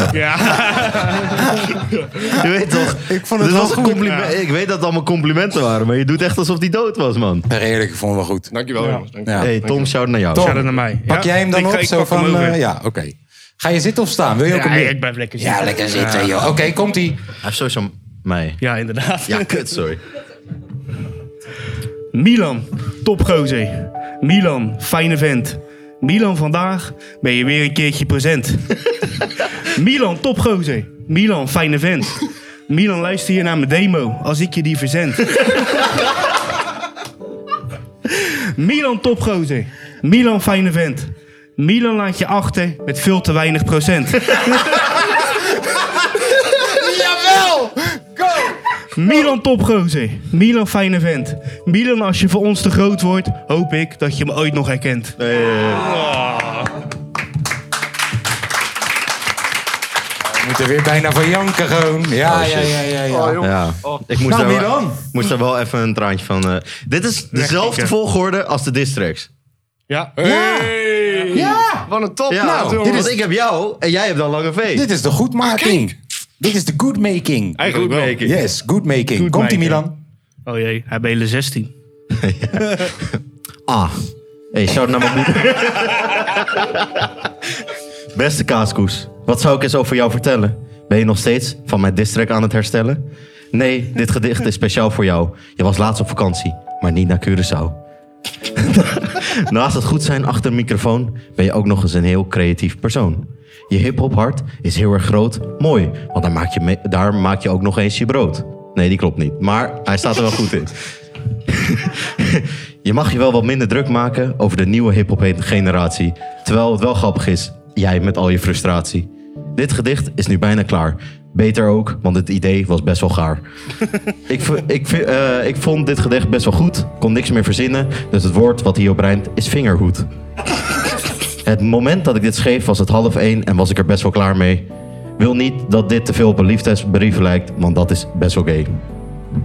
E: *laughs* Je weet toch? Ik
H: Oh,
C: vond het wel
E: was Dus een
C: goed, *laughs*
E: compliment. Ik weet dat het allemaal complimenten waren, maar je doet echt alsof hij dood was, man.
C: Maar eerlijk, ik vond hem wel goed.
F: Dankjewel, jongens.
C: Ja.
E: hey, Tom, shout naar jou.
C: Tom,
H: Shout-out naar mij.
C: Pak
H: Ja,
C: jij hem dan
H: ik-
C: op?
H: ik
C: zo
H: pak hem
C: van,
H: over.
C: eh, ja, oké. Ga je zitten of staan? Wil je ook
H: Ja,
C: een
H: ik
C: bier?
H: blijf lekker zitten.
C: Ja, lekker zitten,
H: Ja.
C: joh. Oké, komt-ie.
E: Hij heeft sowieso mij.
H: Ja, inderdaad.
E: Ja, kut, sorry.
H: Milan, topgozer. Milan, fijne vent. Milan, vandaag ben je weer een keertje
E: *laughs*
H: present. Milan, topgozer. Milan, fijne vent. Milan, luister je naar mijn demo als ik je die verzend.
E: *laughs*
H: Milan, topgozer. Milan, fijne vent. Milan laat je achter met veel te weinig procent.
E: *laughs*
F: Jawel! Go!
H: Milan topgozer. Milan fijne vent. Milan, als je voor ons te groot wordt, hoop ik dat je me ooit nog herkent. eh, Ah.
C: Ik moet er weer bijna van janken gewoon. Ja,
E: Oh,
C: ja,
E: shit.
C: ja, ja. ja.
E: Ja. Ik moest,
C: Nou,
E: daar
C: wie
E: wel,
C: dan?
E: moest daar wel even een traantje van... eh, dit is dezelfde volgorde als de distracts.
H: Ja.
F: Hey.
C: Ja.
F: Wat een top.
E: Ja,
F: Nou,
E: nou,
F: jongens.
E: want ik heb jou en jij hebt dan lange V.
C: Dit is de goedmaking. Dit is de goodmaking.
H: Eigenlijk wel.
C: making. Yes, goodmaking.
H: Goed
C: Komt-ie
H: maken.
C: Milan.
H: Oh jee, hij belde 16.
E: Ah. Hey, shout naar mijn moeder. Beste kaaskoes, wat zou ik eens over jou vertellen? Ben je nog steeds van mijn district aan het herstellen? Nee, dit gedicht is speciaal voor jou. Je was laatst op vakantie, maar niet naar Curaçao. *laughs* Naast het goed zijn achter een microfoon ben je ook nog eens een heel creatief persoon. Je hip-hop hart is heel erg groot, mooi, want daar maak, je me- daar maak je ook nog eens je brood. Nee, die klopt niet, maar hij staat er wel goed in. Je mag je wel wat minder druk maken over de nieuwe hip-hop generatie. Terwijl het wel grappig is, jij met al je frustratie. Dit gedicht is nu bijna klaar. Beter ook, want het idee was best wel gaar. ik, v- ik, v- eh, ik vond dit gedicht best wel goed, kon niks meer verzinnen. Dus het woord wat hierop rijmt is vingerhoed. Het moment dat ik dit schreef was het half één en was ik er best wel klaar mee. Wil niet dat dit te veel op een liefdesbrief lijkt, want dat is best wel gay.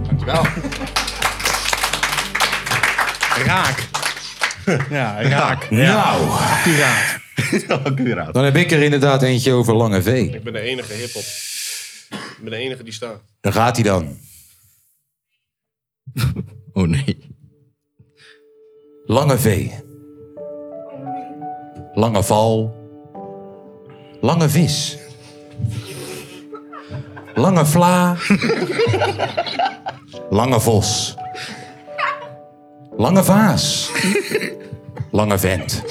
F: Dankjewel.
H: Raak. Ja, raak.
C: Nou.
H: Accuraat.
C: Oh,
E: Accuraat.
C: Dan heb ik er inderdaad eentje over lange V.
Q: Ik ben de enige hiphop. Ik ben de enige die staat.
C: Daar gaat hij dan.
E: oh nee.
C: Lange V. Lange val. Lange vis. Lange vla. Lange vos. Lange vaas. Lange vent.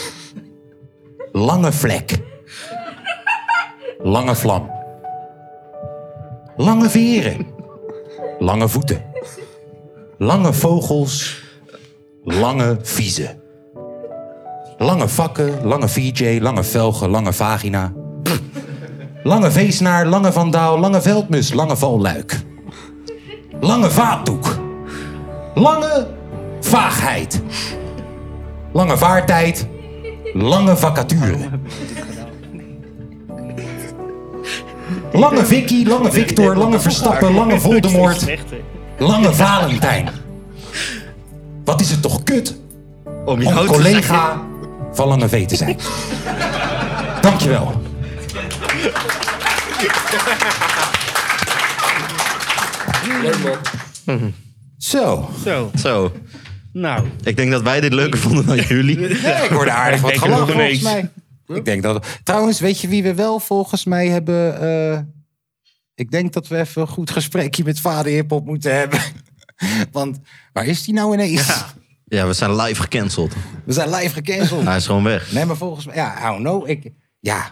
C: Lange vlek. Lange vlam. Lange veren. Lange voeten. Lange vogels. Lange viezen. Lange vakken, lange VJ, lange velgen, lange vagina. Pff. Lange veesnaar, lange vandaal, lange veldmus, lange valluik. Lange vaatdoek. Lange vaagheid. Lange vaartijd. Lange vacature. Lange Vicky, lange Victor, lange Verstappen, lange Voldemort. Lange Valentijn. Wat is het toch kut om,
E: jou te
C: collega van Lange V te zijn. Dankjewel.
Q: Leuk man.
C: Zo.
H: Zo.
E: Mhm. Zo.
H: Nou.
E: Ik denk dat wij dit leuker vonden dan jullie.
C: *laughs* Ja, ik hoorde aardig wat gelachen volgens mij. Ik denk dat... Trouwens, weet je wie we wel volgens mij hebben... eh, ik denk dat we even een goed gesprekje met vader Hiphop moeten hebben. *laughs* Want waar is die nou ineens?
E: Ja, we zijn live gecanceld.
C: We zijn live gecanceld.
E: Hij is gewoon weg.
C: Nee, maar volgens mij... Ja, I don't know. Ik, ja,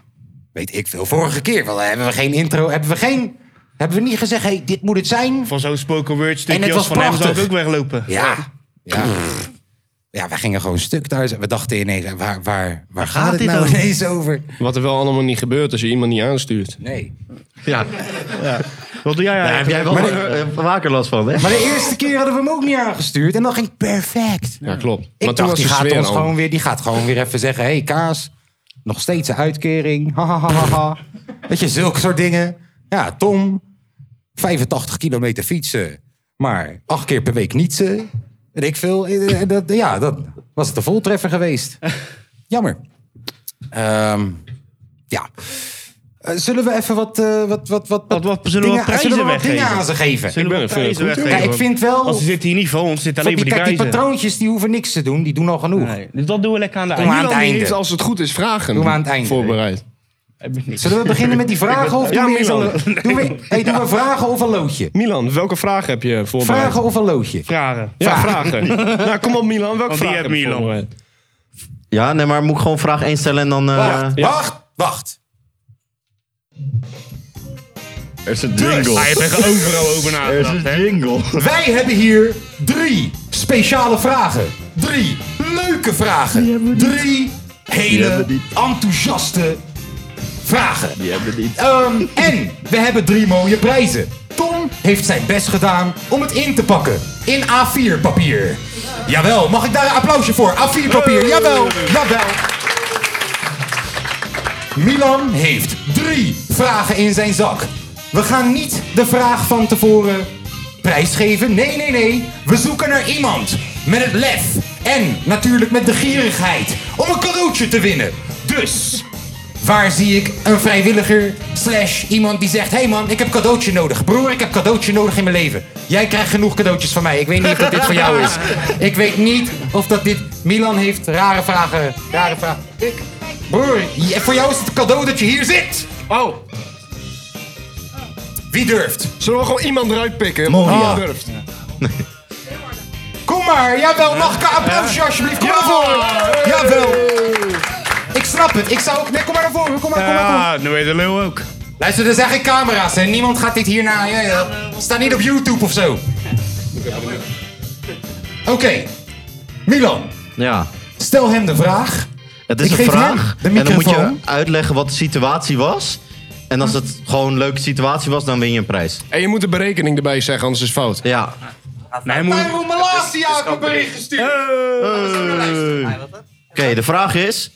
C: weet ik veel. Vorige keer wel, hebben we geen intro. Hebben we geen... Hebben we niet gezegd, hey, dit moet het zijn?
H: Van zo'n spoken word
C: En
H: stukje
C: het
H: als
C: was
H: van hem zou ik
C: prachtig.
H: ook weglopen.
C: Ja. Ja. ja, wij gingen gewoon stuk thuis. En we dachten ineens, waar, waar, waar, gaat, het nou ineens over?
F: Wat er wel allemaal niet gebeurt als je iemand niet aanstuurt.
C: Nee. *laughs*
E: Ja.
H: ja. Wat doe jij
E: Daar heb jij wel
C: Maar
E: wa- eh, vaker last van, hè?
C: Maar de eerste keer hadden we hem ook niet aangestuurd. En dan ging het perfect.
F: Ja, klopt.
C: Ik
F: Maar
C: dacht,
F: was
C: die
F: de
C: gaat,
F: sfeer
C: ons
F: al.
C: gewoon weer, die gaat gewoon weer even zeggen... Hé, hey, Kaas, nog steeds een uitkering. Ha, ha, ha, ha, ha. Weet je, zulke soort dingen. Ja, Tom, 85 kilometer fietsen. Maar acht keer per week nietsen. Weet ik veel. Eh, eh, Dat, ja, dat was het de voltreffer
H: *laughs*
C: geweest. Jammer. Ehm, ja. Eh, Zullen we even wat, eh, wat, wat, wat, wat,
H: Zullen we
C: dingen- eh,
H: wat prijzen
C: zullen we wat
H: weggeven?
C: dingen aan ze geven?
H: Zullen we wat prijzen weggeven?
C: Kijk, ik vind wel...
H: Want ze zitten hier niet voor ons, zitten alleen
C: Want
H: maar
C: die,
H: die
C: kijk, die
H: prijzen.
C: patroontjes die hoeven niks te doen, die doen al genoeg.
H: Dus dat doen we lekker aan de
F: Nou,
C: Doen we aan het einde.
F: Als het goed is, vragen.
C: Doen we aan het einde.
F: Voorbereid.
C: Zullen we beginnen
E: *laughs*
C: met die vragen of doen we eerst
H: *laughs*
C: een- *laughs* doen we- hey, doen we vragen of een loodje?
F: Milan, welke vraag heb je voorbereid?
C: Vragen of een loodje?
H: Vragen.
F: *laughs* Ja, vragen.
C: *laughs*
F: nou, kom op Milan. Welke
H: Want die
F: vraag
H: heeft Milan.
E: Ja, nee, maar moet ik gewoon vraag één stellen en dan... eh,
C: Wacht, wacht, wacht.
E: Er is een jingle.
H: Hij heeft Ah, er overal over nagedacht,
E: *laughs* Er is een jingle.
C: Dus- Wij hebben hier drie speciale vragen. Drie leuke vragen. Drie hele enthousiaste vragen. Die hebben niet. en we hebben drie mooie prijzen. Tom heeft zijn best gedaan om het in te pakken. In A4 papier. Jawel, mag ik daar een applausje voor? A4 papier, jawel, jawel. Milan heeft drie vragen in zijn zak. We gaan niet de vraag van tevoren prijsgeven. Nee, nee, nee. We zoeken naar iemand met het lef En natuurlijk met de gierigheid om een cadeautje te winnen. Dus, waar zie ik een vrijwilliger slash iemand die zegt... Hé hey man, ik heb cadeautje nodig. Broer, ik heb cadeautje nodig in mijn leven. Jij krijgt genoeg cadeautjes van mij. Ik weet niet of dat dit voor jou is. Ik weet niet of dat dit... Milan heeft rare vragen. Rare vragen. Ik... Broer, je- voor jou is het een cadeau dat je hier zit. Oh. Wie durft?
F: Zullen we gewoon iemand eruit pikken?
C: Moria.
F: Wie durft?
C: Ah, Kom maar, jawel, mag ik een applausje alsjeblieft? Kom maar naar voren. Jawel. Ik snap het, ik zou... Nee, kom maar naar voren, kom maar, kom maar, kom maar.
H: Ja, nu weet de leeuw ook.
C: Luister, er zijn geen camera's en niemand gaat dit hierna... Ja, ja. Staat niet op YouTube of zo. Oké. Milan,
E: Ja.
C: stel hem de vraag.
E: Het is
C: Ik
E: een
C: geef
E: vraag.
C: hem de
E: en dan moet je
C: microfoon. Ah.
E: uitleggen wat de situatie was. En als het gewoon een leuke situatie was, dan win je een prijs.
F: En je moet de berekening erbij zeggen, anders is het fout.
E: Ja.
H: Nee,
C: Tyrone Malasia heeft een bericht gestuurd.
E: Oké, de vraag is: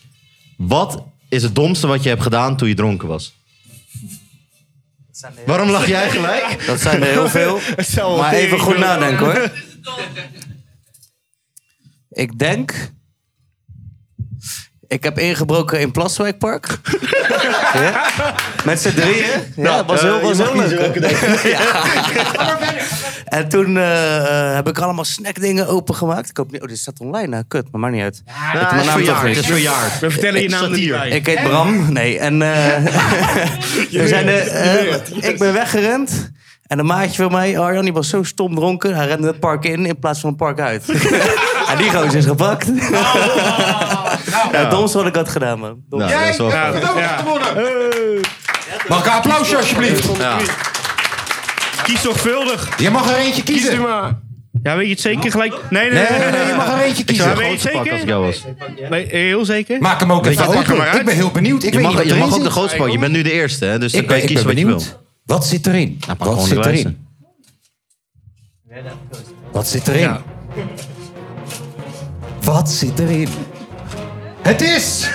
E: wat is het domste wat je hebt gedaan toen je dronken was? Waarom lach jij gelijk?
B: *laughs* Dat zijn er heel
E: *laughs*
B: veel. maar even goed nadenken hoor. Ik denk. Ik heb ingebroken in
E: *laughs*
B: Plaswijkpark. ja. Met z'n drieën. Ja,
E: Nou,
B: het was heel,
E: eh,
B: was
E: je
B: heel
E: mag
B: leuk.
E: niet zo
B: *laughs*
H: *laughs*
B: hè? ja. En toen eh, eh, heb ik allemaal snackdingen opengemaakt. Ik hoop niet, oh, dit staat online. hè? kut, maar maakt niet uit.
H: het is verjaard, het is verjaard. We vertellen je
B: Ik-
H: naam er niet
B: satire.
H: bij.
B: Ik heet Bram. Nee, en eh,
H: *laughs* Je
B: er zijn
H: weet het,
B: de,
H: je
B: eh,
H: weet het.
B: ik ben weggerend. En een maatje van mij, Arjan, die was zo stom dronken. Hij rende het park in in plaats van het park uit. en die gozer is gepakt. *laughs* Ja, het domste wat ik had gedaan, man.
E: Nou, dat is wel
B: Jij
E: goed.
B: hebt cadeau
C: gewonnen. Mag ik een applausje alsjeblieft?
H: Kies zorgvuldig.
C: Je mag er eentje kiezen.
H: Kies u maar. Ja, weet je het zeker gelijk? Nee, nee,
C: Nee, nee, nee, je mag er eentje Ik zou kiezen. een
H: Ja, weet je
C: grootste
H: het
C: pakken
H: zeker?
C: als ik jou was.
H: Nee, heel zeker?
C: Maak hem ook
H: Weet je,
C: even
H: pak
C: open.
H: hem maar uit.
C: Ik ben heel benieuwd. Ik
E: je
C: weet
E: mag,
C: niet wat
E: je
C: erin
E: mag ook
C: zit.
E: de grootste pakken. Je bent nu de eerste, hè? dus dan
C: Ik
E: kan je
C: ben- ik
E: kiezen
C: ben
E: wat je wil.
C: benieuwd. Wat zit erin? Wat
E: Nou, gewoon
C: zit
E: die
C: erin? Wat zit erin? Wat zit erin? Het is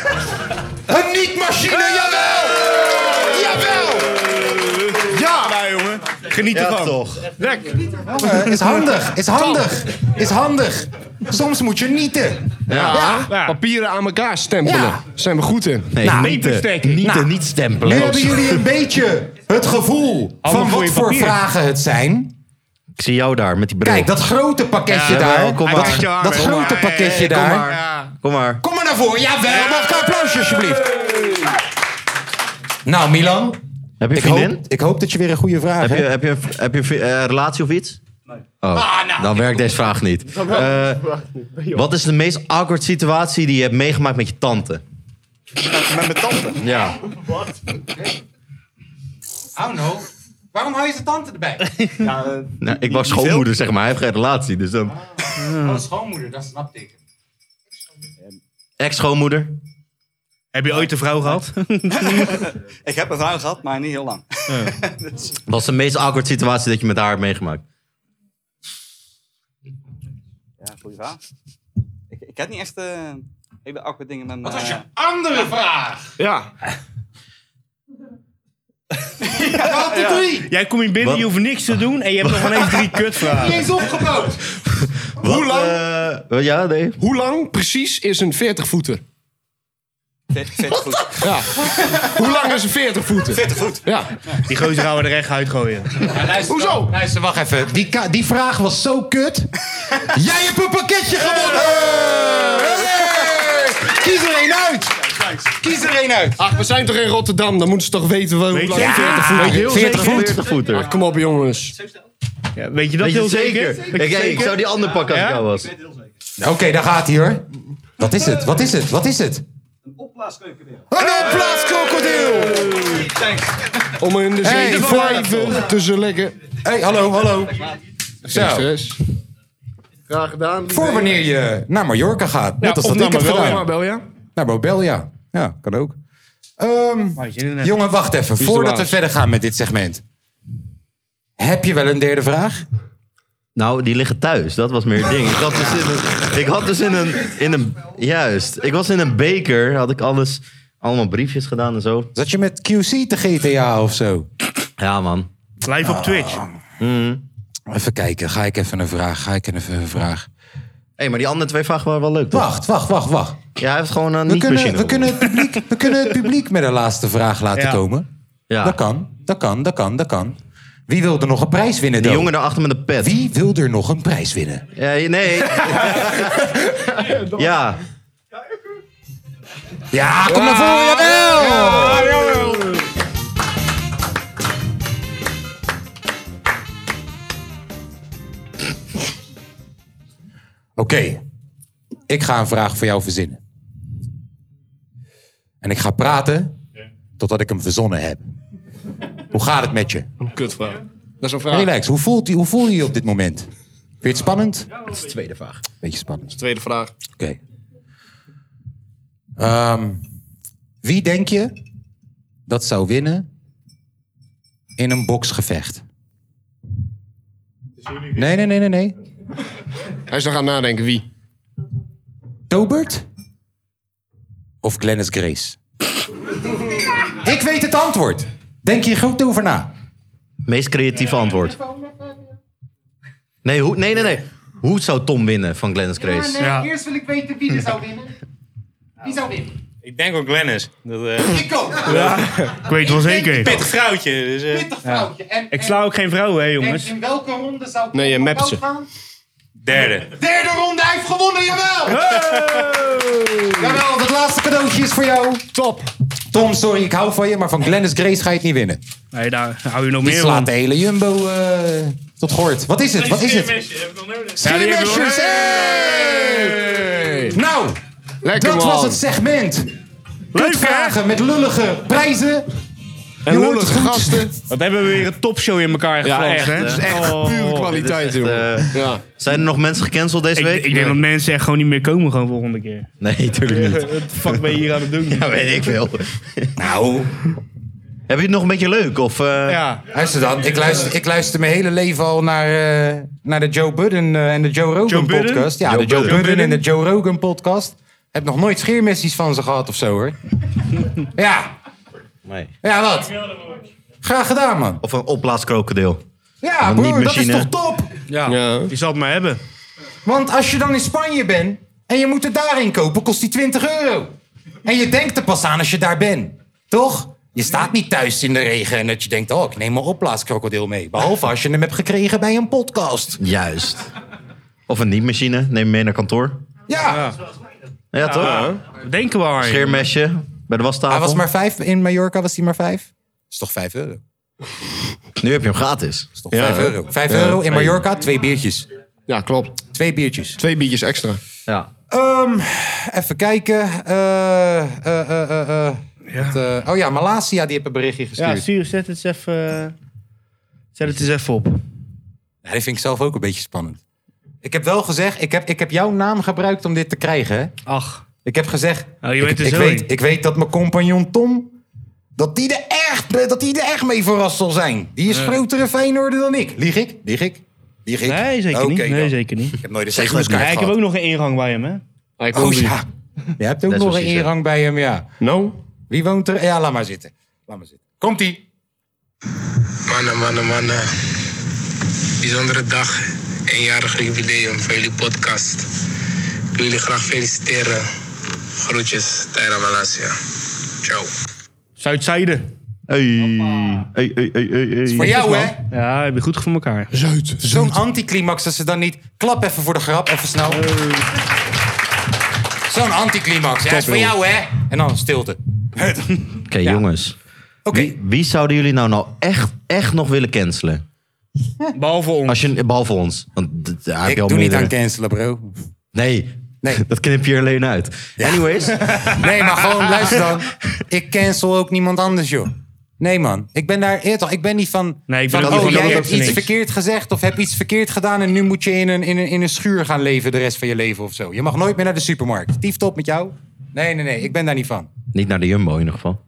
C: een niet-machine, jawel! Jawel!
H: Ja! Nou jongen, geniet
C: Ja,
H: ervan.
C: toch.
H: Lekker.
C: Eh, Is handig, is handig, is handig. Soms moet je nieten.
F: Ja. Papieren aan elkaar stempelen.
C: Ja.
F: Zijn we goed in?
C: Nee, Nou, nieten.
H: eh,
C: paperstek. Nieten, Nou, niet
F: stempelen.
C: Nu hebben jullie
F: *laughs*
C: een beetje het gevoel
E: Allemaal
C: van
E: voor
C: wat
E: je
C: voor
E: papier.
C: vragen het zijn.
E: Ik zie jou daar met die bril.
C: Kijk, dat grote pakketje
E: Ja,
C: daar.
E: jawel, kom
C: dat-
E: maar.
C: dat
E: Kom maar.
C: grote pakketje
E: Kom
C: daar.
E: maar. Kom maar.
C: Kom maar naar voren. Jawel, mag ik een applausje alsjeblieft. Nou, Milan.
E: Heb je
C: ik
E: vriendin?
C: hoop, ik hoop dat je weer een goede vraag
E: Heb je,
C: hebt.
E: heb je, een, heb je een vi- eh, relatie of iets? Nee. Oh, dan werkt deze vraag niet. Eh, wat is de meest awkward situatie die je hebt meegemaakt met je tante?
Q: Met mijn tante.
E: Ja.
Q: Wat?
C: Oh no. Waarom hou je zijn tante *laughs* erbij?
Q: Ja, eh,
E: Nou, ik was schoonmoeder, zeg maar. Hij heeft geen relatie, dus dan...
C: Oh, schoonmoeder, dat snap ik.
E: Ex-schoonmoeder?
H: Heb je ooit een vrouw gehad?
Q: *laughs* ik heb een vrouw gehad, maar niet heel lang. *laughs* Dus,
E: Wat is de meest awkward situatie dat je met haar hebt meegemaakt?
Q: Ja, goeie vraag. Ik, ik heb niet echt eh, hele awkward dingen met mijn... eh,
C: Wat was je andere vraag?
Q: Ja.
C: Wat de drie?
H: Jij komt hier binnen, je hoeft niks te doen en je hebt nog ineens drie
C: Niet
H: kutvragen.
C: eens opgebouwd.
F: Hoe lang? eh,
E: ja, nee.
F: Hoe lang precies is een 40 voeter?
Q: 40 voet.
F: Ja. Hoe lang is een 40 voeter?
Q: 40 voet.
F: Ja.
H: Die gozer gaan we er echt uitgooien.
C: Hoezo? Luister, wacht even. Die, ka- die vraag was zo *laughs* kut. Jij hebt een pakketje gewonnen! Hey! Kies er één uit! Kies er één uit!
F: Ach, we zijn toch in Rotterdam? Dan moeten ze toch weten wel hoe
H: Weet
F: lang
H: je-
F: een 40
H: Ja,
F: voeter
H: weet je heel 40 zeker? voet.
F: 40 voeter. Ach, kom op jongens.
H: Ja, weet je dat
E: Weet je
H: heel
E: het
H: zeker?
E: zeker?
H: Weet je
E: Ik-
H: het
E: ik
H: zeker?
E: zou die andere pakken als ik jou was.
C: Nou, Oké, daar gaat hij hoor. Wat is het? Wat is het? Wat is het? Een opblaaskrokodil!
F: Om in de
C: Hey,
F: zeven
C: voor-
F: vijven te zullen
C: hey, hallo, hallo. Zo.
F: Graag gedaan.
C: Voor wanneer je naar Mallorca gaat. Net als dat ik heb gedaan. Naar Marbella. Ja, kan ook. Ehm, jongen, wacht even.
F: Wie is de
C: Voordat we
F: baas?
C: verder gaan met dit segment. Heb je wel een derde vraag?
E: Nou, die liggen thuis. Dat was meer het ding. Ik had dus in *laughs* een... Ik had dus in een, in een juist. Ik was in een beker. Had ik alles... Allemaal briefjes gedaan en zo.
C: Zat je met QC te GTA of zo?
E: Ja, man. Ah.
H: Live op Twitch.
C: Even kijken. Ga ik even een vraag. Ga ik even een vraag.
E: hey, maar die andere twee vragen waren wel leuk, toch?
C: Wacht, wacht, wacht, wacht.
E: Ja, hij heeft gewoon eh, een
C: Nou, We kunnen,
E: niet-machine.
C: we, kunnen het publiek, we kunnen het publiek met een laatste vraag laten
E: Ja.
C: komen.
E: Ja.
C: Dat kan, dat kan, dat kan, dat kan. Wie wil er nog een prijs winnen?
E: Die
C: dan?
E: jongen daarachter met een pet.
C: Wie wil er nog een prijs winnen?
E: Ja,
C: *laughs*
E: nee. ja.
C: Ja, kom naar voren, jawel! Oké, ik ga een vraag voor jou verzinnen. En ik ga praten totdat ik hem verzonnen heb. Hoe gaat het met je?
F: Een kutvraag. Dat is een vraag.
C: Relax, hoe, voelt, hoe voel je je op dit moment? Vind je het spannend?
F: Dat is de tweede vraag.
C: Beetje spannend.
F: De tweede vraag.
C: Oké. Ehm, wie denk je dat zou winnen in een boksgevecht? Nee, nee, nee, nee, nee.
F: Hij is nog aan het nadenken, wie?
C: Tobert? Of Glennis Grace? Ik weet het antwoord. Denk hier goed over na.
E: Meest creatieve antwoord. Nee, hoe, nee, nee, nee. Hoe zou Tom winnen van Glennis Grace?
J: Eerst wil ik weten wie er zou winnen. Wie zou winnen?
B: Ik denk ook Glennis. Dat,
H: eh,
J: Ik ook.
H: Ik weet wel zeker.
B: Pittig vrouwtje. Dus, eh.
J: vrouwtje. En-
H: Ik sla ook geen vrouwen, hè, jongens.
J: En in welke ronde zou
H: Nee, je mept ze.
J: gaan?
B: Derde.
J: Derde ronde, hij heeft gewonnen, jawel!
C: Jawel, dat laatste cadeautje is voor jou. Top. Tom, sorry, ik hou van je, maar van Glennis Grace ga je het niet winnen.
H: Nee, daar hou je nog
C: Die
H: meer
C: slaat
H: van.
C: de hele Jumbo eh, tot goord. Wat is het? Wat is het? Skimmershers, hey! Nou,
F: Lekker,
C: dat
F: man.
C: was het segment. Leuk vragen met lullige prijzen.
H: En
C: Je hoort het goed.
H: gasten. Wat hebben we weer een topshow in elkaar geflanst, hè? Oh,
E: Dit is echt, eh, Zijn er nog mensen gecanceld deze
H: Ik,
E: week?
H: ik denk dat mensen echt gewoon niet meer komen gewoon volgende keer.
E: Nee, *laughs* tuurlijk niet.
H: Wat fuck ben je hier aan het doen?
E: *laughs* Ja, weet ik veel.
C: Nou.
E: Heb je het nog een beetje leuk? Of, eh?
H: Ja.
C: Luister dan, ik luister, ik luister mijn hele leven al naar, eh, naar de Joe Budden eh, en de Joe Rogan
H: Joe Budden?
C: podcast. Ja,
H: Joe
C: de Joe
H: Budden.
C: Budden, en de
H: Budden.
C: Joe Rogan podcast. Heb nog nooit scheermessies van ze gehad of zo hoor. ja.
E: Nee.
C: Ja, wat? Graag gedaan, man.
E: Of een opblaaskrokodil.
C: Ja,
E: Een
C: broer, dat is
E: niet-machine.
C: toch top?
H: Ja. Die zal het maar hebben.
C: Want als je dan in Spanje bent en je moet het daarin kopen, kost die 20 euro. En je denkt er pas aan als je daar bent. Toch? Je staat niet thuis in de regen en dat je denkt, oh, ik neem mijn opblaaskrokodil mee. Behalve als je hem hebt gekregen bij een podcast.
E: Juist. Of een nietmachine. Neem hem mee naar kantoor.
C: Ja.
E: Ja, toch?
H: denken we aan.
E: Scheermesje bij de wastafel.
C: Hij was maar vijf, in Mallorca was hij maar vijf. is toch vijf euro?
E: Nu heb je hem gratis.
C: Toch vijf euro. Vijf euro in Mallorca, twee biertjes. Ja, klopt. Twee biertjes.
F: Twee biertjes extra.
E: Ja.
C: Ehm, even kijken. Eh, eh, eh, eh, eh. Wat, eh, oh ja, Malasia, die heeft een berichtje
H: Ja,
C: gestuurd.
H: stuur, zet het eens even... eh, Zet het eens even op.
C: Ja, die vind ik zelf ook een beetje spannend. Ik heb wel gezegd, ik heb, ik heb jouw naam gebruikt om dit te krijgen. Hè?
H: Ach.
C: Ik heb gezegd,
H: Oh, je
C: ik,
H: weet er
C: ik
H: zo
C: weet,
H: in.
C: ik weet dat mijn compagnon Tom, dat die er echt, dat die er echt mee verrast zal zijn. Die is
H: Ja.
C: grotere Feyenoorder dan ik. Lieg ik? Lieg ik? Lieg ik?
H: Nee, zeker niet.
C: Oké
H: Nee,
C: dan.
H: zeker niet.
C: Ik heb nooit een
H: Ja,
C: seizoenskaart
H: ik heb
C: gehad.
H: ook nog een ingang bij hem, hè?
C: Oh ja, je hebt ook
H: Dat is
C: nog een
H: precies, ja.
C: ingang bij hem, ja.
F: Nou?
C: Wie woont er? Ja, laat maar zitten. Laat maar zitten. Komt-ie.
R: Mannen, mannen, mannen. Bijzondere dag. Eenjarig jubileum van jullie podcast. Ik wil jullie graag feliciteren. Groetjes, Tyra Malasia. Ciao.
H: Zuidzijde.
E: Hey. Hey, hey, hey, hey, hey.
C: Voor jou, hè?
H: Ja, heb je goed voor elkaar.
F: Zuid.
C: Zo'n anticlimax dat ze dan niet... Klap even voor de grap, even snel. Zo'n anticlimax. Ja,
E: Top,
C: is voor
E: joh.
C: jou, hè? En dan stilte.
E: Oké, jongens. Wie, wie zouden jullie nou nou echt, echt nog willen cancelen?
H: Behalve ons.
E: Als je, behalve ons. Want d- daar heb
C: Ik
E: je al
C: doe niet
E: meerdere-
C: aan cancelen, bro.
E: Nee. nee, *laughs* dat knip je er alleen uit. Anyways.
C: *laughs* Nee, maar gewoon, luister dan. Ik cancel ook niemand anders, joh. Nee, man. Ik ben daar eerder. Ik ben niet van.
H: Nee, ik
C: van,
H: ben ook
C: oh,
H: niet van
C: jij
H: dat
C: hebt
H: dat
C: iets
H: niks.
C: verkeerd gezegd of heb iets verkeerd gedaan. en nu moet je in een, in, een, in een schuur gaan leven de rest van je leven of zo. Je mag nooit meer naar de supermarkt. Tief top met jou. Nee, nee, nee. Ik ben daar niet van.
E: Niet naar de Jumbo in ieder geval.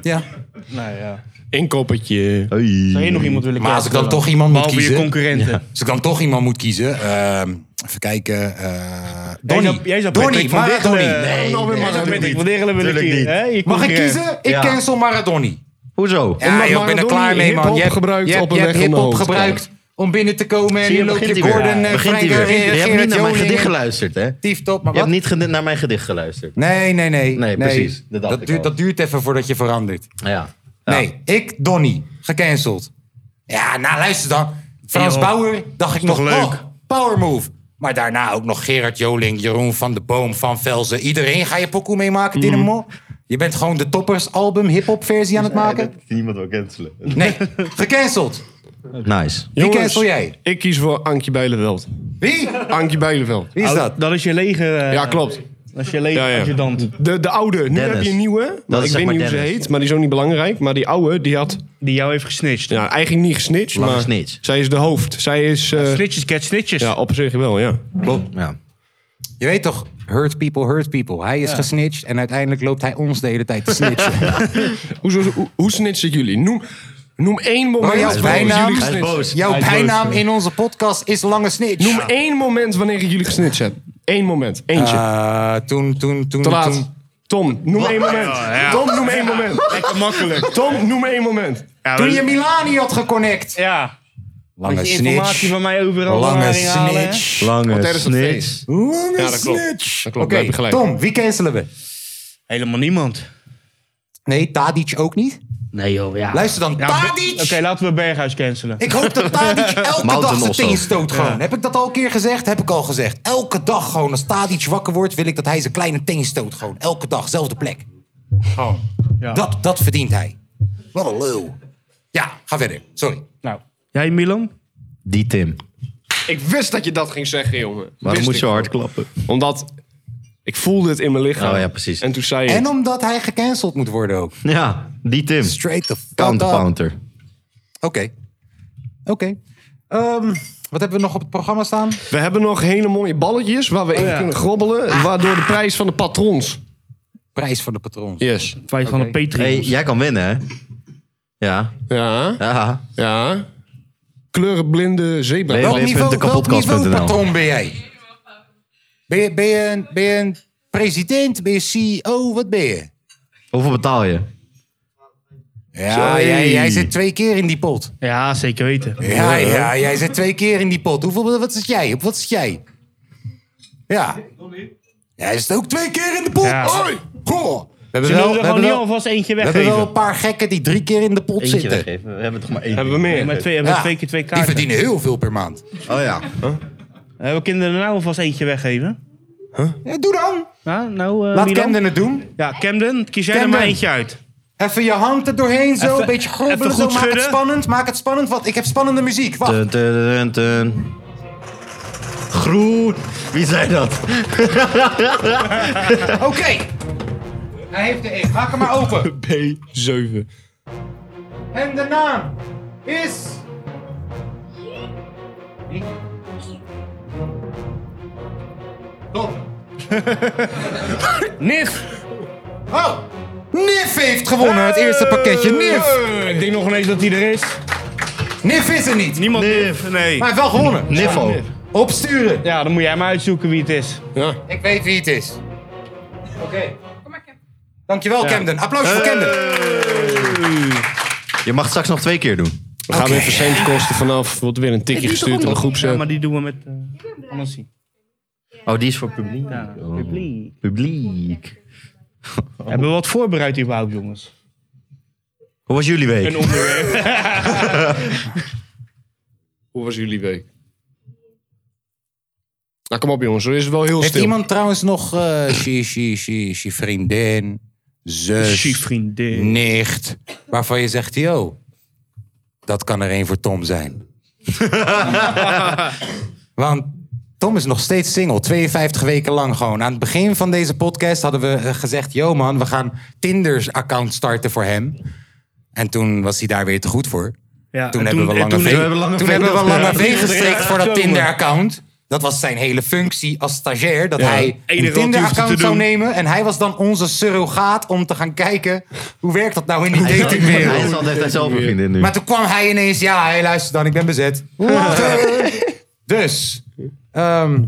C: Ja.
H: Nou ja.
F: Inkoppertje.
H: Zou je nog iemand willen
C: Maar als ik
H: cancelen
C: dan
H: dan?
C: toch iemand moet
H: Behalve je
C: kiezen.
H: concurrenten.
C: Ja. Als ik dan toch iemand moet kiezen. ehm, even kijken. eh Donnie.
H: zou- jij zou
C: Donnie.
H: Patrick van
C: Maradoni.
H: Diggelen-
C: Nee,
H: Oh, nou,
C: nee,
H: maar
C: natuurlijk
H: Patrick
C: niet.
H: van Diggelen wil ik
C: Natuurlijk
H: hier, hè? Je
C: Mag ik
H: concurrent.
C: kiezen? Ik
H: Ja.
C: cancel Maradoni.
E: Hoezo?
C: Ja, joh, ik ben er klaar mee, man. Je hebt- je hebt- je hebt hiphop gebruikt om binnen te komen. En nu loop je Gordon, eh, Frank,
E: Je
C: eh,
E: hebt niet
C: Gerard
E: naar mijn
C: Joling.
E: gedicht geluisterd, hè?
C: Tief top, maar
E: Je hebt
C: wat?
E: niet gede- naar mijn gedicht geluisterd.
C: Nee, nee, nee.
E: Nee, precies. Dat
C: Dat,
E: dacht ik
C: duurt,
E: al.
C: dat duurt even voordat je verandert.
E: Ja.
C: Nee, ik, Donny, gecanceld. Ja, nou luister dan. Frans
E: Joh,
C: Bauer dacht ik
E: is toch
C: nog,
E: leuk?
C: oh, power move. Maar daarna ook nog Gerard Joling, Jeroen van de Boom, Van Velzen. Iedereen ga je pokoe meemaken,
E: Mm.
C: Dynamo. Je bent gewoon de toppers album hip-hop versie aan het maken.
E: Niemand wil cancelen. *laughs*
C: Nee, gecanceld.
E: Nice.
C: Wie cancel jij?
F: Ik kies voor Ankie Bijleveld.
C: Wie?
F: Ankie Bijleveld.
H: Wie is Oud- dat?
F: Dat is je lege. ja, klopt.
H: Dat is je lege adjudant.
F: De, de oude. Nu
H: Dennis.
F: heb je een nieuwe.
H: Dat
F: maar
H: is
F: ik
H: zeg
F: weet
H: maar
F: niet hoe ze
H: Dennis.
F: heet, maar die is ook niet belangrijk. Maar die oude, die had...
H: Die jou heeft gesnitcht.
F: Ja, eigenlijk niet gesnitcht,
H: Lange
F: maar...
H: snitch.
F: Zij is de hoofd. Zij is... eh
H: Snitches get snitches.
F: Ja, op zich wel, ja. Klopt.
E: Ja.
C: Je weet toch, hurt people, hurt people. Hij is
F: Ja.
C: gesnitcht en uiteindelijk loopt hij ons de hele tijd te
E: *laughs*
C: snitchen.
F: hoe, hoe, hoe snitsen jullie? Noem, noem één moment...
C: Maar jouw
F: waarop
C: bijnaam,
F: jullie gesnitst-
C: jouw bijnaam in onze podcast is Lange Snitch.
F: Noem één moment wanneer jullie gesnitcht hebben. Eén moment. Eentje.
C: Eh, toen, toen, toen...
F: Te laat.
C: toen-
F: Tom, noem één moment.
C: Ja, ja.
F: Tom, noem één moment.
H: Lekker makkelijk.
F: Tom, noem één moment.
C: Toen je Milani had geconnect.
H: Ja.
C: Lange
H: Moet je
C: snitch.
H: informatie van mij overal
C: Lange
H: online halen, hè?
C: snitch.
E: Lange
H: Want er is een
E: snitch.
H: feest.
C: Lange
H: Ja, dat klopt.
C: snitch.
H: Dat klopt,
C: Oké,
H: daar heb je gelijk.
C: Tom, wie cancelen we?
H: Helemaal niemand.
C: Nee, Tadic ook niet?
H: Nee joh, ja.
C: Luister dan,
H: Ja,
C: Tadic!
H: Oké, laten we Berghuis cancelen.
C: Ik hoop dat
H: *laughs*
C: Tadic elke dag zijn teen stoot gewoon.
H: Ja.
C: Heb ik dat al een keer gezegd? Heb ik al gezegd. Elke dag gewoon, als Tadic wakker wordt, wil ik dat hij zijn kleine teen stoot gewoon. Elke dag, zelfde plek.
F: Oh.
C: Gewoon. Dat, dat verdient hij. Wat een lul. Ja, ga verder. Sorry.
H: Nou. Jij Milan?
E: Die Tim.
F: Ik wist dat je dat ging zeggen, jongen.
E: Waarom
F: Wist
E: moet je
F: ik.
E: hard klappen?
F: Omdat ik voelde het in mijn lichaam.
E: Oh ja, precies.
F: En toen zei je...
C: En omdat hij gecanceld moet worden ook.
E: Ja, die Tim.
C: Straight the
E: Counterpounter.
C: Oké. Oké. Ehm, wat hebben we nog op het programma staan?
F: We hebben nog hele mooie balletjes waar we in
C: ja.
F: kunnen grobbelen. Waardoor de prijs van de patrons.
C: Prijs van de patrons.
F: Yes.
H: Prijs van de Patreons.
E: Hey, jij kan winnen, hè? Ja.
F: Ja.
E: Ja.
F: Ja. Kleurenblinde zebra.
E: Welk Welk niveau- niveau- welk
C: Welk patron ben jij? Ben je, ben, je een, ben je een president? Ben je CEO? Wat ben je?
E: Hoeveel betaal je?
C: Ja,
E: Sorry.
C: jij, jij zit twee keer in die pot.
H: Ja, zeker weten.
C: Ja, ja, jij zit twee keer in die pot. Hoeveel, wat zit jij? Op wat zit jij? Ja. Jij zit ook twee keer in de pot.
H: Ja.
C: Hoi! Goh. We hebben
H: Zullen
C: wel-
H: we
C: we hebben
H: er gewoon nu
C: wel-
H: alvast eentje
C: We
H: weggeven?
C: hebben wel een paar gekken die drie keer in de pot
E: Eentje
C: zitten.
E: weggeven. We hebben toch maar één.
F: Hebben we meer?
H: Nee, maar twee, hebben we
C: Ja,
H: twee keer twee
C: Die
H: kaarten.
C: verdienen heel veel per maand.
E: Oh ja.
H: Hebben we kinderen nou alvast eentje weggeven?
C: Ja, doe dan.
H: Ja, nou, eh,
C: Laat
H: Milan?
C: Camden het doen.
H: Ja, Camden, kies jij er
C: Camden.
H: maar eentje uit.
C: Even je hand er doorheen zo,
H: Even-
C: een beetje grobbelen
H: even
C: zo.
H: goed
C: Maak het
H: schudden.
C: spannend, maak het spannend. Want ik heb spannende muziek. Wacht.
E: Dun, dun, dun, dun. Groen. Wie zei dat?
C: Oké. Hij heeft de E. Maak hem maar open.
F: *laughs* B7.
C: En de naam is... Top.
H: Nif!
C: Oh! Nif heeft gewonnen, het eerste pakketje. Nif!
H: Ik denk nog ineens dat hij er *laughs* is.
C: Nif is er niet.
H: Niemand Nif, nee.
C: Maar hij heeft wel gewonnen.
E: Niffo.
C: Opsturen.
H: Ja, dan moet jij maar uitzoeken wie het is.
F: Ja.
C: Ik weet wie het is. Oké. Dankjewel, Camden. Applaus voor Camden.
E: Je mag het straks nog twee keer doen.
F: We gaan weer verzendkosten vanaf. Wordt weer een tikje gestuurd in de groep.
H: Ja, maar die doen we met eh Anansi.
E: Oh, die is voor publiek. Oh.
H: Publiek.
E: Publiek.
H: *laughs* Hebben we wat voorbereid überhaupt, jongens?
E: Hoe was jullie week?
H: Een onderwerp.
C: *laughs*
F: Hoe was jullie week? Nou, kom op jongens. Er is het wel heel
C: Heeft
F: stil.
C: iemand trouwens nog... eh she, she, she, she vriendin, zus,
H: Chie vriendin.
C: nicht... waarvan je zegt, yo, dat kan er één voor Tom zijn. Want Tom is nog steeds single, 52 weken lang gewoon. Aan het begin van deze podcast hadden we eh, gezegd... yo man, we gaan Tinder's account starten voor hem. En toen was hij daar weer te goed voor.
H: Ja,
C: toen,
H: en
C: hebben we
H: en
C: Lange V
H: hebben we Lange
C: toen
H: V
C: hebben we
H: nog-
C: Lange
H: Ja,
C: V gestrikt
H: ja,
C: voor dat
H: zomer.
C: Tinder-account. Dat was zijn hele functie als stagiair. Dat
H: Ja,
C: hij een
H: enige wat hij hoefde
C: Tinder-account
H: te
C: zou
H: doen.
C: nemen. En hij was dan onze surrogaat om te gaan kijken... hoe werkt dat nou in die
E: Hij is-
C: datingwereld?
E: Hij is altijd hij zelf een vriendin nu.
C: Maar toen kwam hij ineens, ja, hé, luister dan, ik ben bezet. Lachen. dus, ehm,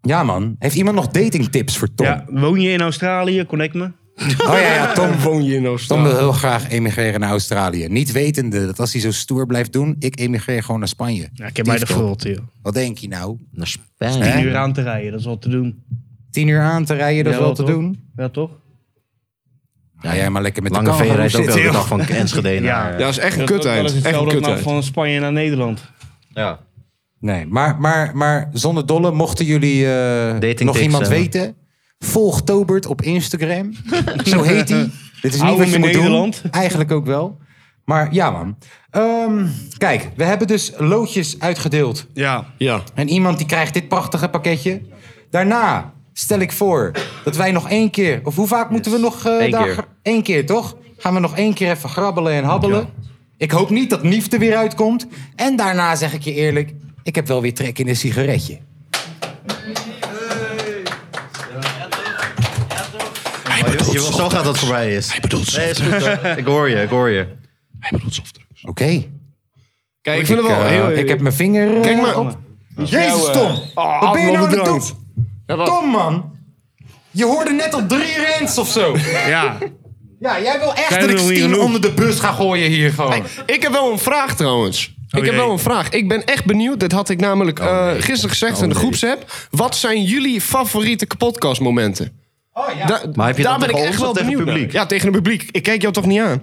C: ja man. Heeft iemand nog datingtips voor Tom?
H: Ja, woon je in Australië? Connect me.
C: Oh ja, ja
H: *laughs*
C: Tom,
F: woon je in
C: Tom wil heel graag emigreren naar Australië. Niet wetende dat als hij zo stoer blijft doen, ik emigreer gewoon naar Spanje.
H: Ja, ik heb mij de
C: Diefkop.
H: vult, joh.
C: Wat denk je nou?
E: Naar
H: Tien
C: Spanje.
H: uur aan te rijden, dat is wel te doen.
C: Tien uur aan te rijden, dat is wel te doen.
H: Ja, toch?
C: Ga jij maar lekker met
E: Lange
C: de
E: V
C: kangaroo
E: rijdt ook
C: zitten,
E: elke dag
C: joh.
E: van Enschede naar-
H: Ja,
E: Ja, dat is echt een
H: dat-
E: kuteind.
H: Dat is
E: Echt een
H: hetzelfde als nou
E: kuteind.
H: van Spanje naar Nederland.
E: Ja.
C: Nee, maar, maar, maar zonder dolle, mochten jullie eh, nog
E: tips
C: iemand
E: hebben.
C: weten, volg Tobert op Instagram. *laughs* Zo heet hij. Dit is niet
H: Hou
C: wat
H: hem
C: je
H: in
C: moet
H: Nederland.
C: doen. Eigenlijk ook wel. Maar ja, man. Ehm, kijk, we hebben dus loodjes uitgedeeld.
H: Ja.
F: ja.
C: Oh. En iemand die krijgt dit prachtige pakketje. Daarna stel ik voor dat wij nog één keer... Of hoe vaak moeten we nog... eh
E: Eén
C: daar-
E: keer.
C: Eén keer, toch? Gaan we nog één keer even grabbelen en habbelen. Ik hoop niet dat Nief er weer uitkomt. En daarna zeg ik je eerlijk... Ik heb wel weer trek in een sigaretje.
E: Oh, je wil zo gaat dat voorbij is. Hij bedoelt nee, is goed, hoor. Ik hoor je, ik hoor je. Hij bedoelt softdrugs.
C: Oké. Kijk,
E: ik vind het wel
C: eh,
E: heel-
C: Ik heb mijn vinger... eh,
E: Kijk maar.
C: op.
E: Is
C: Jezus,
E: jou, eh,
C: Tom.
E: oh,
C: Wat ben je nou aan het
F: allemaal
C: doen?
F: bedankt.
C: Tom, man. Je hoorde net al drie rants of zo.
H: Ja.
C: Ja, jij wil echt
F: Zijn
C: dat
F: er
C: ik
F: nog niet
C: Steen
F: genoeg?
C: onder de bus ga gooien hier gewoon. Oh,
F: Ik heb wel een vraag trouwens. ik heb
C: jee. Oh,
F: wel een vraag. Ik ben echt benieuwd. Dat had ik namelijk eh, gisteren gezegd in de groepsapp. Wat zijn jullie favoriete podcastmomenten? Oh, ja.
E: Maar heb je
F: daar
E: dat
F: ben ik
E: tegen
F: echt
E: ons
F: wel
E: of tegen
F: benieuwd
E: het publiek?
F: naar. Ja, tegen het publiek. Ik kijk jou toch niet aan?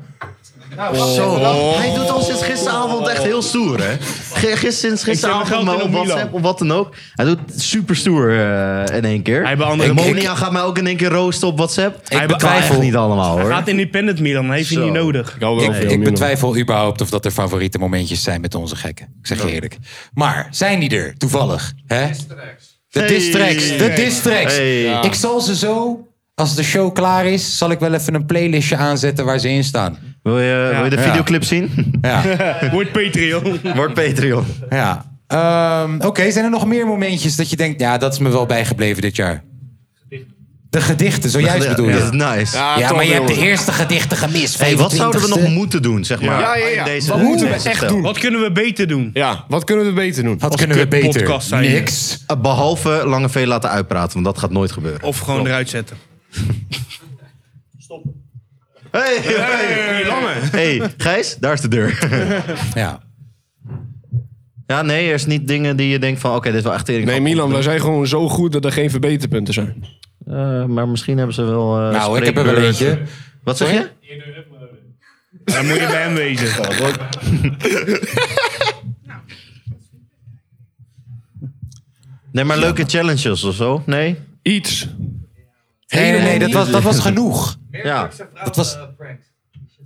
E: Zo,
C: Oh.
E: dat- hij doet ons sinds gisteravond echt heel stoer, hè? G- Gisteren, sinds gisteravond
H: geld
E: maar
H: in
E: op
H: op Milan.
E: WhatsApp of wat dan ook. Hij doet super stoer eh, in één keer. Hij
H: beantwoordt-
E: en
H: Ik- ik-
E: Monia gaat mij ook in één keer roosten op WhatsApp.
H: Hij
E: Ik
H: betwijfel.
E: betwijfel echt niet allemaal,
H: Hij
E: hoor.
H: gaat independent Milan, heeft hij
E: Zo.
H: niet nodig.
C: Ik, ik betwijfel überhaupt of dat er favoriete momentjes zijn met onze gekken. Ik zeg je eerlijk. Maar zijn die er toevallig? Hè? De
H: Hey.
C: distracks. De
H: Hey.
C: distracks.
H: Hey. Ja.
C: Ik zal ze zo, als de show klaar is, zal ik wel even een playlistje aanzetten waar ze in staan.
E: Wil je, wil je de
C: Ja.
E: videoclip zien?
C: Ja.
H: *laughs* Wordt Patreon.
E: Wordt *laughs* Patreon.
C: Ja. Ehm, Oké, zijn er nog meer momentjes dat je denkt, ja, dat is me wel bijgebleven dit jaar? De gedichten, zojuist
E: Dat-
C: bedoel je?
E: dat is nice.
C: Ja,
E: Ja,
C: maar
E: toch,
C: je hebt de
E: jongen.
C: eerste gedichten gemist.
E: Hey, wat zouden we
C: 25ste.
E: nog moeten doen, zeg maar?
F: Ja, ja, ja.
E: in Deze,
F: Wat moeten we
E: deze
F: echt
E: stel?
F: doen?
H: Wat kunnen we beter doen?
F: Ja, wat kunnen we beter doen?
C: Wat
E: Eh, Behalve Lange V laten uitpraten, want dat gaat nooit gebeuren.
H: Of gewoon eruit zetten.
E: Hey, hey,
K: Oh.
E: hey, Gijs, daar is de deur.
C: ja.
E: Ja, nee, er is niet dingen die je denkt van, oké, dit is wel echt tering.
F: Nee, Milan, wij zijn gewoon zo goed dat er geen verbeterpunten zijn.
E: Eh, maar misschien hebben ze wel. eh,
F: Nou, ik heb er wel
E: spreekbeurzen.
F: eentje.
E: Wat zeg je?
H: Dan moet je bij hem wezen.
E: *laughs* Nee, maar leuke challenges of zo? Nee?
F: Iets.
C: Nee, nee, nee, dat was, dat was genoeg.
E: Ja.
C: Dat was...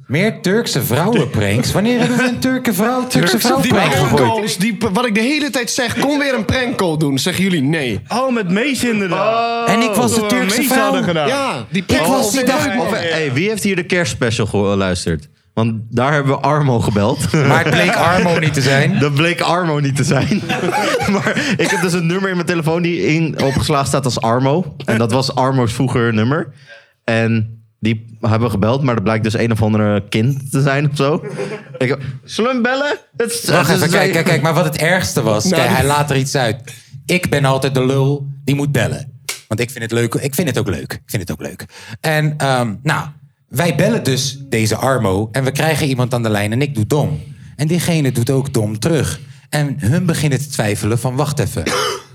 C: Meer Turkse vrouwenpranks? Wanneer hebben we een Turkse vrouw, Turkse vrouw
F: die
C: prank gegooid?
F: prankcalls, die, wat ik de hele tijd zeg, kom weer een prankcall doen. Zeggen jullie nee.
H: Oh, met Mees inderdaad.
C: En
E: Oh.
C: ik was de
H: Toen we
C: Turkse
H: Mees
C: vrouw.
H: hadden gedaan.
F: Ja, die
C: Ik was die dag...
E: eh,
C: eh,
E: hey, wie heeft hier de kerstspecial geluisterd? Want daar hebben we Armo gebeld.
C: Maar het bleek Armo niet te
E: *laughs*
C: zijn.
E: Dat bleek Armo niet te zijn. *laughs* maar ik heb dus een nummer in mijn telefoon die in, opgeslagen staat als Armo. En dat was Armo's vroeger nummer. En die hebben gebeld, maar dat blijkt dus een of andere kind te zijn of zo. Ik, heb- Zullen we hem bellen? Het is- het
C: Wacht
E: is-
C: even, kijk, kijk, kijk. Maar wat het ergste was,
E: Nou,
C: kijk,
E: die-
C: hij laat er iets uit. Ik ben altijd de lul die moet bellen. Want ik vind het leuk. Ik vind het ook leuk. Ik vind het ook leuk. En ehm, nou, wij bellen dus deze Armo en we krijgen iemand aan de lijn en ik doe dom. En diegene doet ook dom terug. En hun beginnen te twijfelen van wacht even.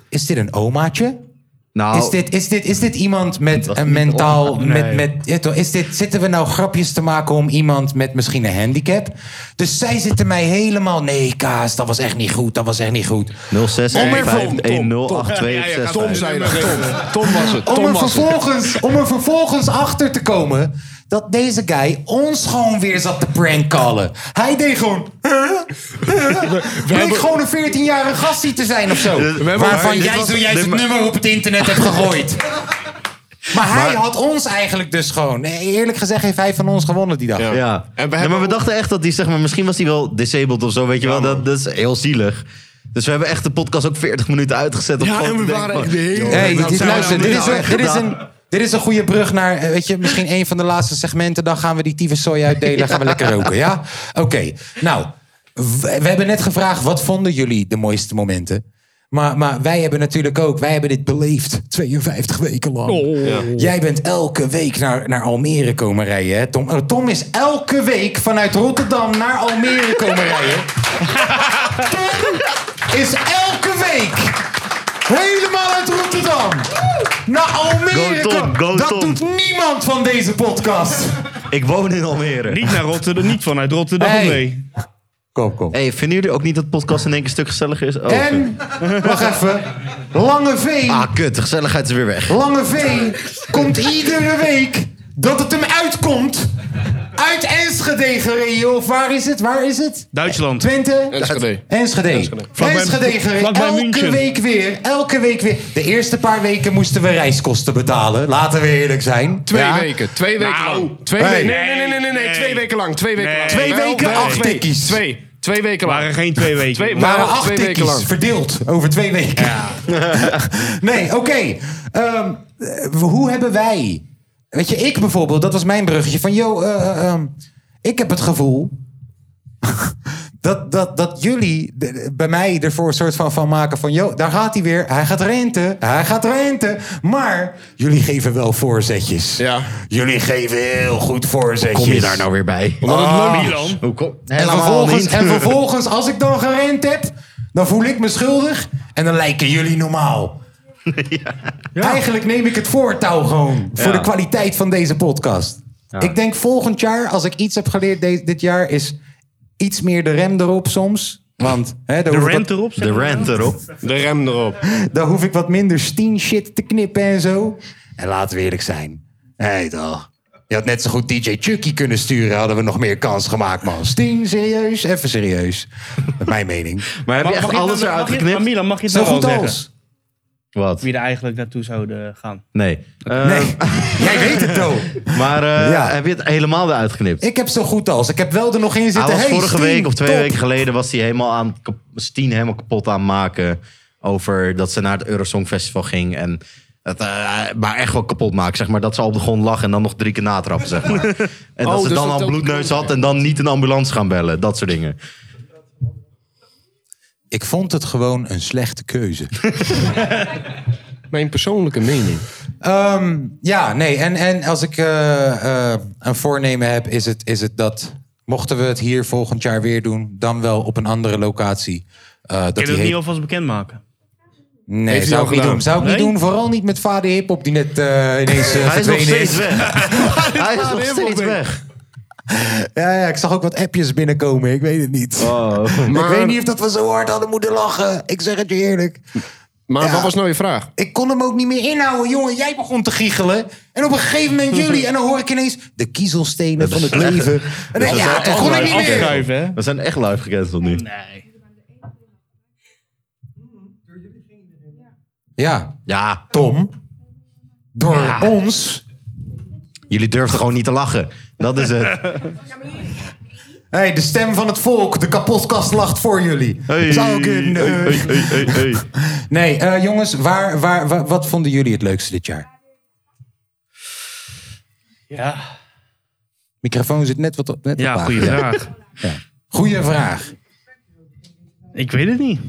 C: Is dit een omaatje?
E: Nou,
C: is, dit, is, dit, is dit iemand met een
E: niet
C: mentaal...
E: oma.
C: Met,
E: Nee.
C: met, ja, toch, is dit, zitten we nou grapjes te maken om iemand met misschien een handicap? Dus zij zitten mij helemaal... Nee, Kaas, dat was echt niet goed. Dat was echt niet goed.
E: 06
C: Om er
E: vijf-
C: voor-
E: één nul
C: Tom,
E: acht twee
C: Tom.
E: zes
C: Tom
E: vijf.
C: zei
F: dat, Tom. Tom was het.
C: Om
F: Tom
C: er,
F: was het.
C: vervolgens, om er vervolgens achter te komen dat deze guy ons gewoon weer zat te prankcallen. Hij deed gewoon... huh? Huh? Bleek
F: hebben-
C: gewoon een 14-jarige gastie te zijn of zo.
F: We hebben-
C: Waarvan
F: Dit
C: jij
F: was-
C: zojuist
F: dit
C: het
F: ma-
C: nummer op het internet hebt
F: *laughs*
C: gegooid. Maar hij had ons eigenlijk dus gewoon... nee, Eerlijk gezegd heeft hij van ons gewonnen die dag.
E: Ja. Nee, maar we dachten echt dat die, zeg maar, misschien was hij wel disabled of zo, weet je wel. Dat, dat is heel zielig. Dus we hebben echt de podcast ook 40 minuten uitgezet. om
F: Ja,
E: gewoon
F: en
E: te
F: we
E: denken
F: waren
E: van,
F: echt de hele
E: joh,
F: tijd
C: Hey,
E: wat
C: dit,
E: zijn we
C: luister,
E: nou
C: dit is,
E: nou
C: een,
E: echt
C: dit, is
E: gedaan?
C: een, dit is een goede brug naar, eh, weet je, misschien een van de laatste segmenten. Dan gaan we die tyfuszooi uitdelen en gaan
E: *laughs*
C: we lekker roken, ja? Oké, nou, w- we hebben net gevraagd, wat vonden jullie de mooiste momenten? Maar, maar wij hebben natuurlijk ook, wij hebben dit beleefd 52 weken lang.
S: Oh. Ja.
C: Jij bent elke week naar, naar Almere komen rijden, hè Tom? Eh, Tom is elke week vanuit Rotterdam naar Almere komen rijden.
E: *laughs*
C: Tom
E: Oh,
C: is *laughs* elke week helemaal uit Rotterdam naar Almere.
E: Go Tom,
C: komen.
E: go
C: Dat
E: Tom.
C: doet niemand van deze podcast.
E: Ik woon in Almere.
H: Niet naar Rotterdam, niet vanuit Rotterdam
E: Hey.
H: mee.
C: Kom, kom.
E: Hey, vinden jullie ook niet dat podcast in één keer een stuk gezelliger is? Oh,
C: En, wacht even, Lange V.
E: Ah, kut, de gezelligheid is weer weg.
C: Lange V komt iedere week dat het hem uitkomt. Uit Enschede gereden, of waar is het? Waar is het?
H: Duitsland.
C: Twente.
H: Enschede.
C: Enschede.
H: Enschede. Vlakbij-
C: Enschede gereden.
H: vlakbij
C: Elke
H: München.
C: week weer. Elke week weer. De eerste paar weken moesten we reiskosten betalen. Laten we eerlijk zijn.
F: Twee
C: Ja.
F: weken. Twee weken
C: Nou,
F: lang. Twee
C: hey.
F: weken. Nee, nee, nee, nee, nee, nee. Twee weken lang. Twee weken
C: Nee.
F: lang.
C: Twee weken, acht
F: twee.
C: tikkies.
F: Twee. Twee weken lang.
H: Waren geen twee weken.
F: Twee,
C: Het waren
F: wel
C: acht
F: twee weken
C: tikkies
F: lang.
C: verdeeld over twee weken. *laughs* nee, oké. Ehm, eh, hoe hebben wij... Weet je, ik bijvoorbeeld, dat was mijn bruggetje van... Yo, eh, eh, ehm, ik heb het gevoel... *laughs* dat, dat, dat jullie de- de- bij mij ervoor een soort van, van maken van... Yo, daar gaat hij weer. Hij gaat renten. Hij gaat renten. Maar jullie geven wel voorzetjes.
F: Ja.
C: Jullie geven heel goed voorzetjes.
E: Kom je daar nou weer bij?
C: Omdat het
E: Ah.
C: loopt hier
E: Hoe kom?
C: En
E: Helemaal
C: vervolgens,
E: niet. *laughs*
C: en vervolgens, als ik dan gerend heb, dan voel ik me schuldig en dan lijken jullie
E: *laughs*
C: normaal. Eigenlijk neem ik het voortouw gewoon
S: Ja.
C: voor de kwaliteit van deze podcast. Ik denk volgend jaar, als ik iets heb geleerd de- dit jaar, is iets meer de rem erop soms. Want, hè, daar hoef ik wat-
E: De rent erop.
F: De rem erop.
C: *laughs* Dan hoef ik wat minder steen shit te knippen en zo. En laten we eerlijk zijn. Hé toch. Je had net zo goed DJ Chucky kunnen sturen. Hadden we nog meer kans gemaakt, man. Steen, serieus? Even serieus. Met mijn mening.
E: Maar
H: Mag- mag het nou- mag je- Maar Milan, mag je het nou wel zeggen?
E: Wat?
H: Wie er eigenlijk naartoe zouden gaan.
E: Nee. Ehm, nee.
C: Jij weet het toch.
E: Maar eh,
C: Ja.
E: heb je het helemaal weer uitgeknipt?
C: Ik heb zo goed als. Ik heb wel er nog in zitten.
E: Hij was
C: Hey,
E: vorige
C: Steen,
E: week of twee
C: top.
E: weken geleden was hij helemaal aan kap- Steen helemaal kapot aan het maken over dat ze naar het Eurosong Festival ging en dat, eh, maar echt wel kapot maken, zeg maar. Dat ze op de grond lag en dan nog drie keer natrappen, zeg
S: *laughs*
E: maar. En
S: Oh,
E: dat ze
S: dus
E: dan
S: dat
E: al
S: ook-
E: bloedneus had en dan niet een ambulance gaan bellen. Eh, Dat soort dingen.
C: Ik vond het gewoon een slechte keuze.
F: *laughs* Mijn persoonlijke mening.
C: Ehm, ja, nee. En, en als ik eh, eh, een voornemen heb, is het, is het dat. Mochten we het hier volgend jaar weer doen, dan wel op een andere locatie. eh, dat
H: Kun je
C: die
H: dat
C: heet-
H: niet alvast bekendmaken?
C: Nee,
H: Heeft hij
C: zou
H: al
C: ik niet
H: gedaan?
C: doen. Zou ik
H: Nee?
C: niet doen. Vooral niet met vader Hiphop die net eh, ineens eh,
E: Hij is nog
C: verdwenen
E: steeds weg. Hij is
C: Vader
E: nog
C: Hiphop
E: steeds
C: weg.
E: weg.
C: *laughs* Ja, ja, ik zag ook wat appjes binnenkomen. Ik weet het niet. *laughs*
F: Maar-
C: Ik weet niet of dat we zo hard hadden moeten lachen. Ik zeg het je eerlijk.
F: Maar
C: Ja.
F: wat was nou je vraag?
C: Ik kon hem ook niet meer inhouden, jongen. Jij begon te giechelen. En op een gegeven moment jullie. En dan hoor ik ineens de kiezelstenen van het leven. En dan, ja, toen kon ik niet meer.
E: We zijn echt live gecanceld nu.
C: Ja.
E: Ja.
C: Tom. Door ons.
E: Jullie durfden gewoon niet te lachen. Dat is het.
C: *laughs* hey, de stem van het volk. De kapotkast lacht voor jullie. Zou kunnen. *laughs* Nee, eh, jongens, waar, waar, wa- wat vonden jullie het leukste dit jaar?
H: Ja.
C: Microfoon zit net wat op. Net
H: Ja,
C: op
H: goede
C: laag.
H: vraag.
C: Ja.
F: *laughs*
C: Goeie vraag.
H: Ik weet het niet.
C: We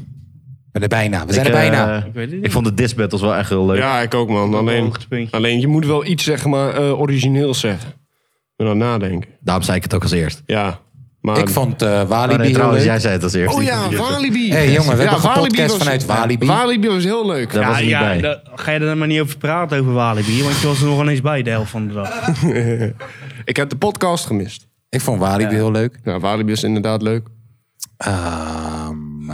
C: zijn er bijna. We zijn
E: Ik,
C: er
E: eh,
C: bijna.
H: Ik weet het
E: Ik vond de disc battles wel echt heel leuk.
F: Ja, ik ook, man. Alleen, alleen je moet wel iets zeg maar, eh, origineels zeggen. En dan nadenken.
E: Daarom zei ik het ook als eerst.
F: Ja. Maar...
E: Ik vond, eh, Walibi
F: Oh,
E: heel leuk. Oh
C: *laughs*
E: ja,
F: Walibi.
E: Hey, jongen, we hebben
F: Walibi
E: gepodcast
F: was-
E: vanuit Walibi.
F: Walibi was heel leuk.
E: Daar was ik niet bij.
H: da- ga je er dan maar niet over praten over Walibi, want je was er nog ineens bij de helft van de
F: *laughs*
H: dag.
F: ik heb de podcast gemist.
C: Ik vond Walibi heel leuk.
F: Ja, Walibi is inderdaad leuk.
C: Ehm,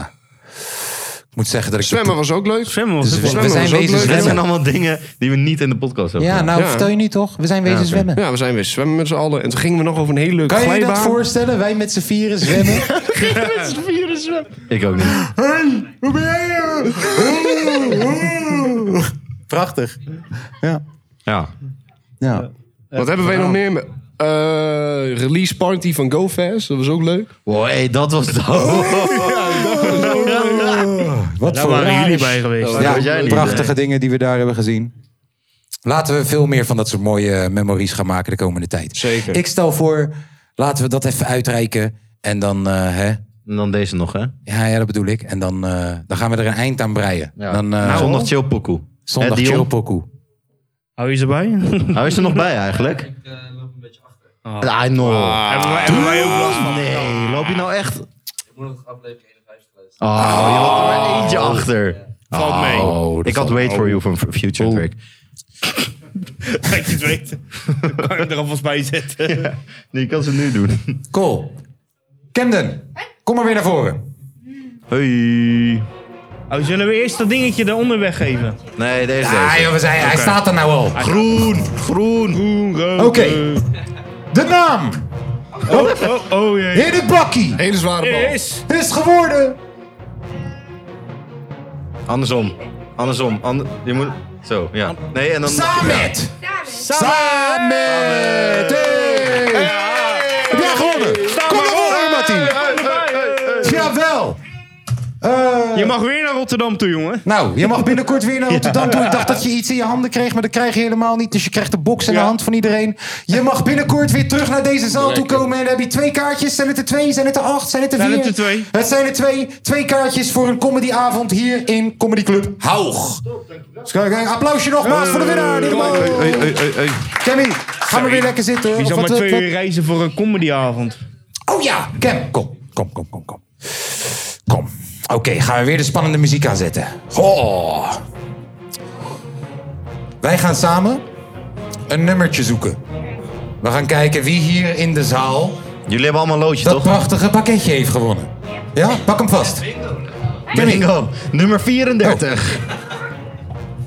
C: ik moet zeggen dat ik...
F: Zwemmen was ook leuk.
H: Zwemmen
C: was Dus ook we- leuk. we zijn wezen
E: Dit zijn
C: zwemmen.
E: allemaal dingen die we niet in de podcast hebben
C: Ja,
E: gedaan.
C: nou vertel je niet toch? We zijn wezen
F: Ja, oké.
C: zwemmen.
F: Ja, we zijn weer zwemmen met z'n allen. En toen gingen we nog over een hele leuke
C: Kan je je
F: glijbaan.
C: dat voorstellen? Wij met z'n vieren zwemmen.
E: Ik ook niet.
C: Hey, hoe ben jij
H: *laughs*
C: er? Prachtig. Ja.
E: Ja.
C: ja.
F: Wat hebben wij
C: Ja.
F: nog meer? Eh, release party van GoFast. Dat was ook leuk. Oh.
E: Wow, hey, dat was het.
C: Wat
H: Daar
C: voor
H: waren
C: rare
H: jullie
C: sh-
H: bij
K: Oh,
H: geweest.
C: Ja,
H: Daar was jij niet
C: prachtige
H: bij.
C: dingen die we daar hebben gezien. Laten we veel meer van dat soort mooie eh, memories gaan maken de komende tijd.
F: Zeker.
C: Ik stel voor, laten we dat even uitreiken. En dan eh, hè,
E: En dan deze nog, hè?
C: Ja, ja, dat bedoel ik. En dan, eh, dan gaan we er een eind aan breien. Dan,
H: Nou.
C: eh,
E: zondag chill pokoe.
C: Zondag
E: Hè, Dion?
C: chill pokoe.
H: Hou je erbij?
E: *laughs* Hou je er nog bij eigenlijk? Ah. Ik
C: eh,
E: loop een beetje achter. I know.
H: Hebben wij- hebben wij ook last van?
E: Nee, loop je nou echt... Ik moet nog aflevering 51 luisteren. Oh,
H: Ah.
E: je loopt er maar eentje achter.
H: Valt mee.
E: Oh,
H: dat
E: ik had
H: valt-
E: Wait For
H: oh.
E: You van Future Drake.
H: Dat je het weet. Dan kan je hem er alvast bij zetten.
E: Nee, ik kan ze nu doen.
C: Cool. Camden, kom maar weer naar voren.
E: Hey.
H: Oh, zullen we eerst dat dingetje daaronder weggeven?
E: Nee, deze.
C: Ah, joh, we zijn, hij
H: Oké.
C: staat er nou al.
E: Groen, groen.
H: Groen, rood.
C: Oké. De naam
H: Oh, oh, oh, jee.
C: in het bakkie
F: Hele zware bal.
H: Is.
C: is geworden.
E: Andersom. Andersom. Ander, je moet... Zo, ja. Nee, en dan...
C: Samet.
E: Samet!
C: Heb jij gewonnen? Kom naar voren, Martin. Jawel. Eh,
H: Je mag weer naar Rotterdam toe, jongen.
C: Nou, je mag binnenkort
H: *laughs*
C: weer naar Rotterdam toe. Ik dacht dat je iets in je handen kreeg, maar dat krijg je helemaal niet. Dus je krijgt de box in de hand van iedereen. Je mag binnenkort weer terug naar deze zaal toe komen. En dan heb je twee kaartjes. Zijn het er twee? Zijn het er acht? Zijn het er vier?
H: Zijn het er twee?
C: Het zijn er twee. Twee kaartjes voor een comedyavond hier in Comedy Club Haug. Dus kijk, een applausje nogmaals voor de
H: Eh,
C: winnaar. Helemaal. Cammy, ga maar weer lekker zitten.
H: Wie
C: Of
H: zal maar
C: wat-
H: twee
C: wat-
H: uur reizen voor een comedyavond?
C: Oh ja, Cam, kom. Kom, kom, kom, kom. Kom. Oké, gaan we weer de spannende muziek aanzetten. Oh. Wij gaan samen een nummertje zoeken. We gaan kijken wie hier in de zaal...
E: Jullie hebben allemaal een loodje,
C: dat toch? ...dat prachtige pakketje heeft gewonnen. Ja, pak hem vast.
E: Bingo. Nummer 34.
F: Oh.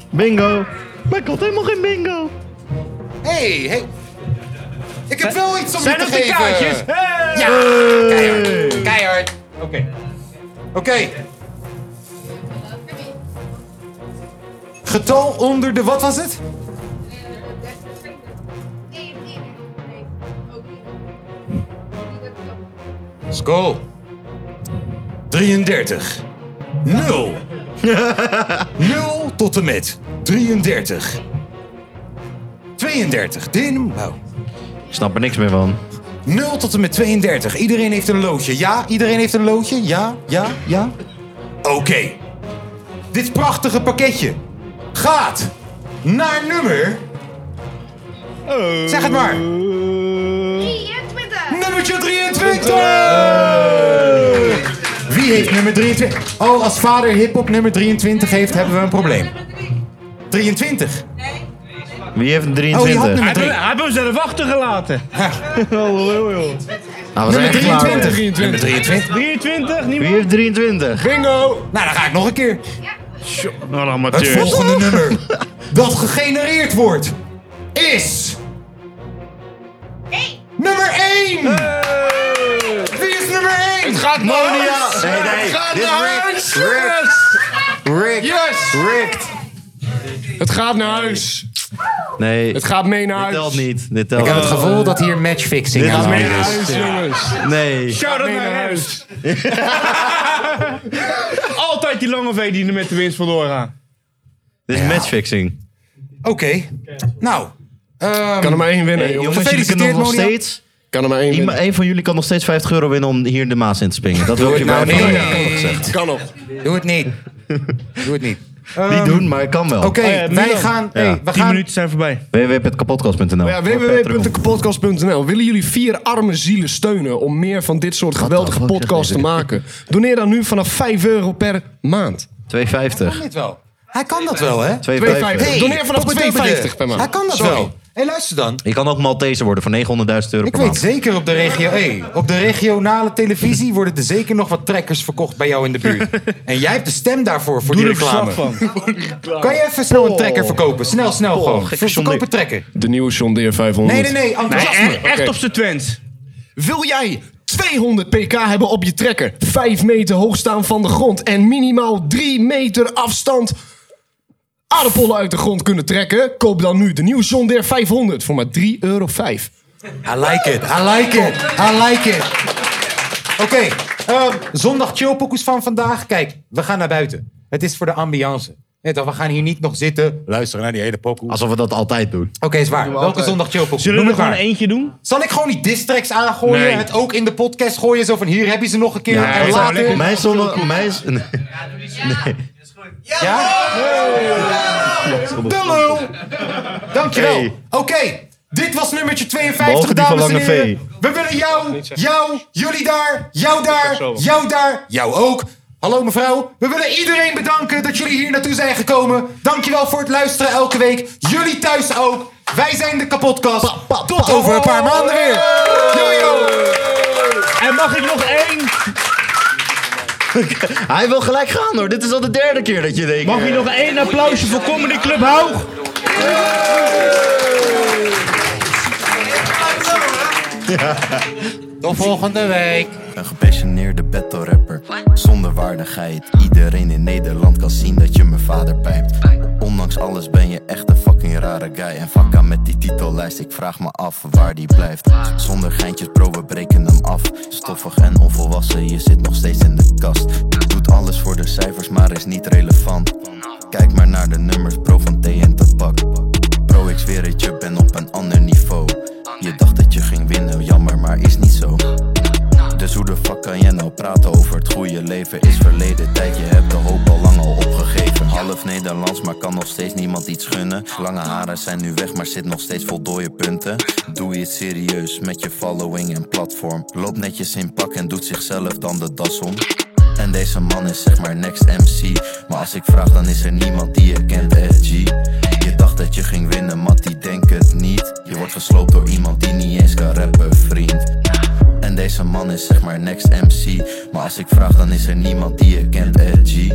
E: Bingo. Mijn god, helemaal geen bingo.
C: hey, hey. Ik heb wel iets om
E: Zijn
C: je te
E: dat de
C: geven.
E: kaartjes?
C: Ja, keihard. Keihard. Oké. Oké. Getal onder de, wat was het? Let's go. 33.
E: *laughs*
C: 0. 0 tot en met 33. 32. Din. Wow.
E: Ik snap er niks meer van.
C: 0 tot en met 32. Iedereen heeft een loodje. Ja, iedereen heeft een loodje. Ja, ja, ja. Oké. Dit prachtige pakketje gaat naar nummer. Zeg het maar. Nummertje 23! Wie heeft nummer 23? Oh, als vader hip-hop nummer 23 heeft, hebben we een probleem. 23.
E: Wie heeft een
C: Oh, je
E: 23?
C: had nummer
H: Hij
C: 3.
H: heeft hem zelf achtergelaten. *laughs* Oh, joh, joh.
E: Nou, we zijn echt klaar.
C: Nummer 23.
H: 23,
E: Wie
H: niemand?
E: heeft 23?
C: Bingo! Nou, dan ga ik nog een keer.
H: Wat
C: Het
H: amateur.
F: *laughs*
C: volgende nummer dat gegenereerd wordt is. Nummer 1! Wie is nummer 1? Het gaat
E: Monia! Nee, nee, dit is Rick. Rick.
F: Yes!
E: Rick.
F: Het gaat naar huis.
E: Nee.
F: Het gaat mee naar
E: Dit
F: huis.
E: telt niet. Dit telt
C: Ik heb het
E: niet.
C: gevoel dat hier matchfixing
E: Dit
C: aan
E: is
C: de
E: meer
C: hand is.
F: Huis, jongens.
E: Nee.
C: *laughs*
H: Shout-out
F: Mee
H: naar
F: naar
H: Rems. Altijd die lange V die er met de winst vandoor gaat.
E: Dit is matchfixing.
C: Oké, nou.
F: Kan er maar één winnen,
E: Hey,
F: jongens.
E: Eh, jongens, jullie kunnen nog steeds...
F: Kan er maar één
E: Eén
F: winnen.
E: één van jullie kan nog steeds 50 euro winnen om hier de Maas in te springen. Dat wil ik je wel
C: nou
E: even-
C: niet.
F: Kan nog.
C: Doe het niet. Doe het niet.
E: Niet doen, maar het kan wel.
C: Ehm, Oké, wij gaan.
E: Oh Ja.
C: Hey, we
H: 10
C: gaan
H: minuten zijn voorbij.
E: www.kapotkast.nl
F: Oh Ja, www.kapotkast.nl. Willen jullie vier arme zielen steunen om meer van dit soort geweldige podcasts te maken? Doneer dan nu vanaf 5 euro per maand.
E: 2,50.
C: dit wel. Hij kan dat wel, hè?
E: 2,50.
C: Hey,
F: Doneer vanaf
C: potverdomme.
F: 2,50 per maand.
C: Hij kan dat
F: Sorry.
C: wel. hey, luister dan.
E: Je kan ook Maltese worden voor 900.000 euro
C: Ik
E: per
C: weet
E: maand.
C: zeker op de, regio, hey, op de regionale televisie worden er zeker nog wat trekkers verkocht bij jou in de buurt. En jij hebt de stem daarvoor voor
H: Doe
C: die
H: er verslag
C: reclame.
H: van.
C: Kan je even
H: Oh.
C: snel een trekker verkopen? Snel, snel gewoon.
F: gekke
C: Ver- Verkoop
F: zonde-
C: een trekker.
F: De nieuwe John Deere 500.
C: Nee, nee, nee. Enthousiasme.
H: E- Echt op zijn twents.
F: Wil jij 200 pk hebben op je trekker, 5 meter hoog staan van de grond en minimaal 3 meter afstand aardappelen uit de grond kunnen trekken? Koop dan nu de nieuwe John Deere 500 voor maar 3,5 euro.
C: I like it. I like it. I like it. Oké, ehm, zondag chillpokoes van vandaag. Kijk, we gaan naar buiten. Het is voor de ambiance.
H: Nee, toch, we gaan hier niet nog zitten luisteren naar die hele pokoe.
E: Alsof we dat altijd doen.
H: Oké, is waar. Welke zondag chillpokoe?
E: Zullen we
H: Noem
E: er
H: het
E: gewoon
H: maar.
T: Eentje doen?
H: Zal ik gewoon die distracks aangooien?
E: Nee.
H: en Het ook in de podcast gooien? Zo van hier heb je ze nog een keer. en later.
E: Mijn zondag... Mijn... z- Nee. Nee.
H: De lul! Dankjewel.
E: Hey.
H: Oké, dit was nummertje 52,
E: Behalve die van
H: dames en
E: Lange
H: heren. We willen jou, jou, jullie daar, jou daar, jou daar, jou ook. Hallo mevrouw, we willen iedereen bedanken dat jullie hier naartoe zijn gekomen. Dankjewel voor het luisteren elke week. Jullie thuis ook. Wij zijn de kapotkast. Tot over een paar maanden weer. Yo, yo.
E: En mag ik nog één? Hij wil gelijk gaan hoor. Dit is al de derde keer dat je denkt. eh,
T: Mag je nog één applausje voor Comedy Club Hoog?
H: Tot volgende week.
S: Een gepassioneerde battle rapper. Zonder waardigheid. Iedereen in Nederland kan zien dat je mijn vader pijpt. Ondanks alles ben je echt een fucking rare guy. En fuck aan met die titellijst, ik vraag me af waar die blijft. Zonder geintjes, bro, we breken hem af. Stoffig en onvolwassen, je zit nog steeds in de kast. Doet alles voor de cijfers, maar is niet relevant. Kijk maar naar de nummers, bro, van thee en tabak. Bro, ik zweer het, je bent op een ander niveau. Je dacht dat je ging winnen, jammer, maar is niet zo. Dus hoe de fuck kan jij nou praten over het goede leven? Is verleden tijd, je hebt de hoop al lang al opgegeven. Half Nederlands, maar kan nog steeds niemand iets gunnen. Lange haren zijn nu weg, maar zit nog steeds vol dode punten. Doe je het serieus met je following en platform. Loop netjes in pak en doet zichzelf dan de das om. En deze man is zeg maar next MC. Maar als ik vraag, dan is er niemand die je kent, SG. Je dacht dat je ging winnen, Mattie, denk het niet. Je wordt gesloopt door iemand die niet eens kan rappen, vriend. En deze man is zeg maar next MC. Maar als ik vraag, dan is er niemand die je kent, edgy.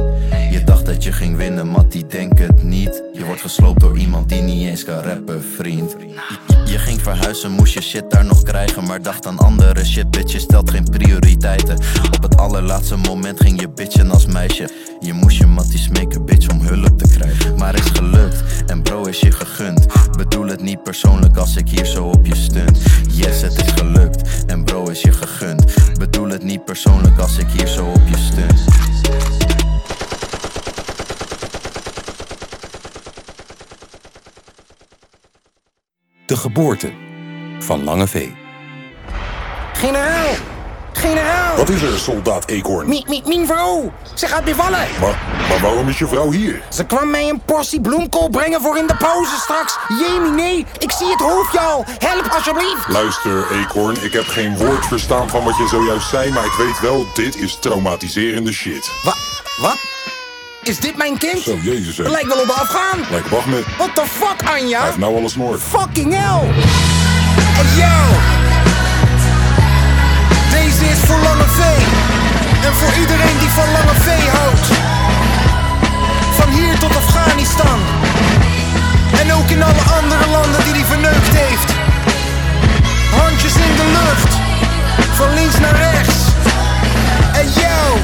S: Je dacht dat je ging winnen, Mattie, denk het niet. Je wordt gesloopt door iemand die niet eens kan rappen, vriend. Je- Je ging verhuizen, moest je shit daar nog krijgen. Maar dacht aan andere shit, bitch, je stelt geen prioriteiten. Op het allerlaatste moment ging je bitchen als meisje. Je moest je mattie smeken, bitch, om hulp te krijgen. Maar is gelukt, en bro is je gegund. Bedoel het niet persoonlijk als ik hier zo op je stunt. Yes, het is gelukt, en bro is je gegund. Bedoel het niet persoonlijk als ik hier zo op je stunt.
U: De geboorte van Lange V.
K: Generaal! Generaal!
V: Wat is er, soldaat Eekhoorn?
K: Mi- mi- Mijn vrouw! Ze gaat bevallen!
V: Maar, maar waarom is je vrouw hier?
K: Ze kwam mij een portie bloemkool brengen voor in de pauze straks. Jemie, nee, ik zie het hoofdje al. Help alsjeblieft!
V: Luister, Eekhoorn, ik heb geen woord verstaan van wat je zojuist zei, maar ik weet wel, dit is traumatiserende shit.
K: Wat? Wat? Is dit mijn kind?
V: Zo, jezus hè.
K: Het lijkt wel op afgaan.
V: Lijkt Wagner.
K: What the fuck, Anja?
V: Hij heeft nou alles snoor.
K: Fucking hell! Hey, Oh, yo! Deze is voor Lange V. En voor iedereen die van Lange V houdt. Van hier tot Afghanistan. En ook in alle andere landen die hij verneukt heeft. Handjes in de lucht. Van links naar rechts. Hey yo!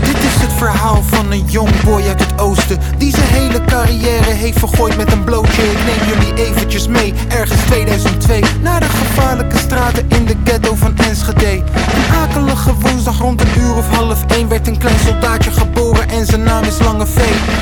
C: Dit is het verhaal van een jong boy uit het oosten Die zijn hele carrière heeft vergooid met een blootje Ik neem jullie eventjes mee, ergens 2002 Naar de gevaarlijke straten in de ghetto van Enschede Een akelige woensdag rond een uur of half één Werd een klein soldaatje geboren en zijn naam is Lange V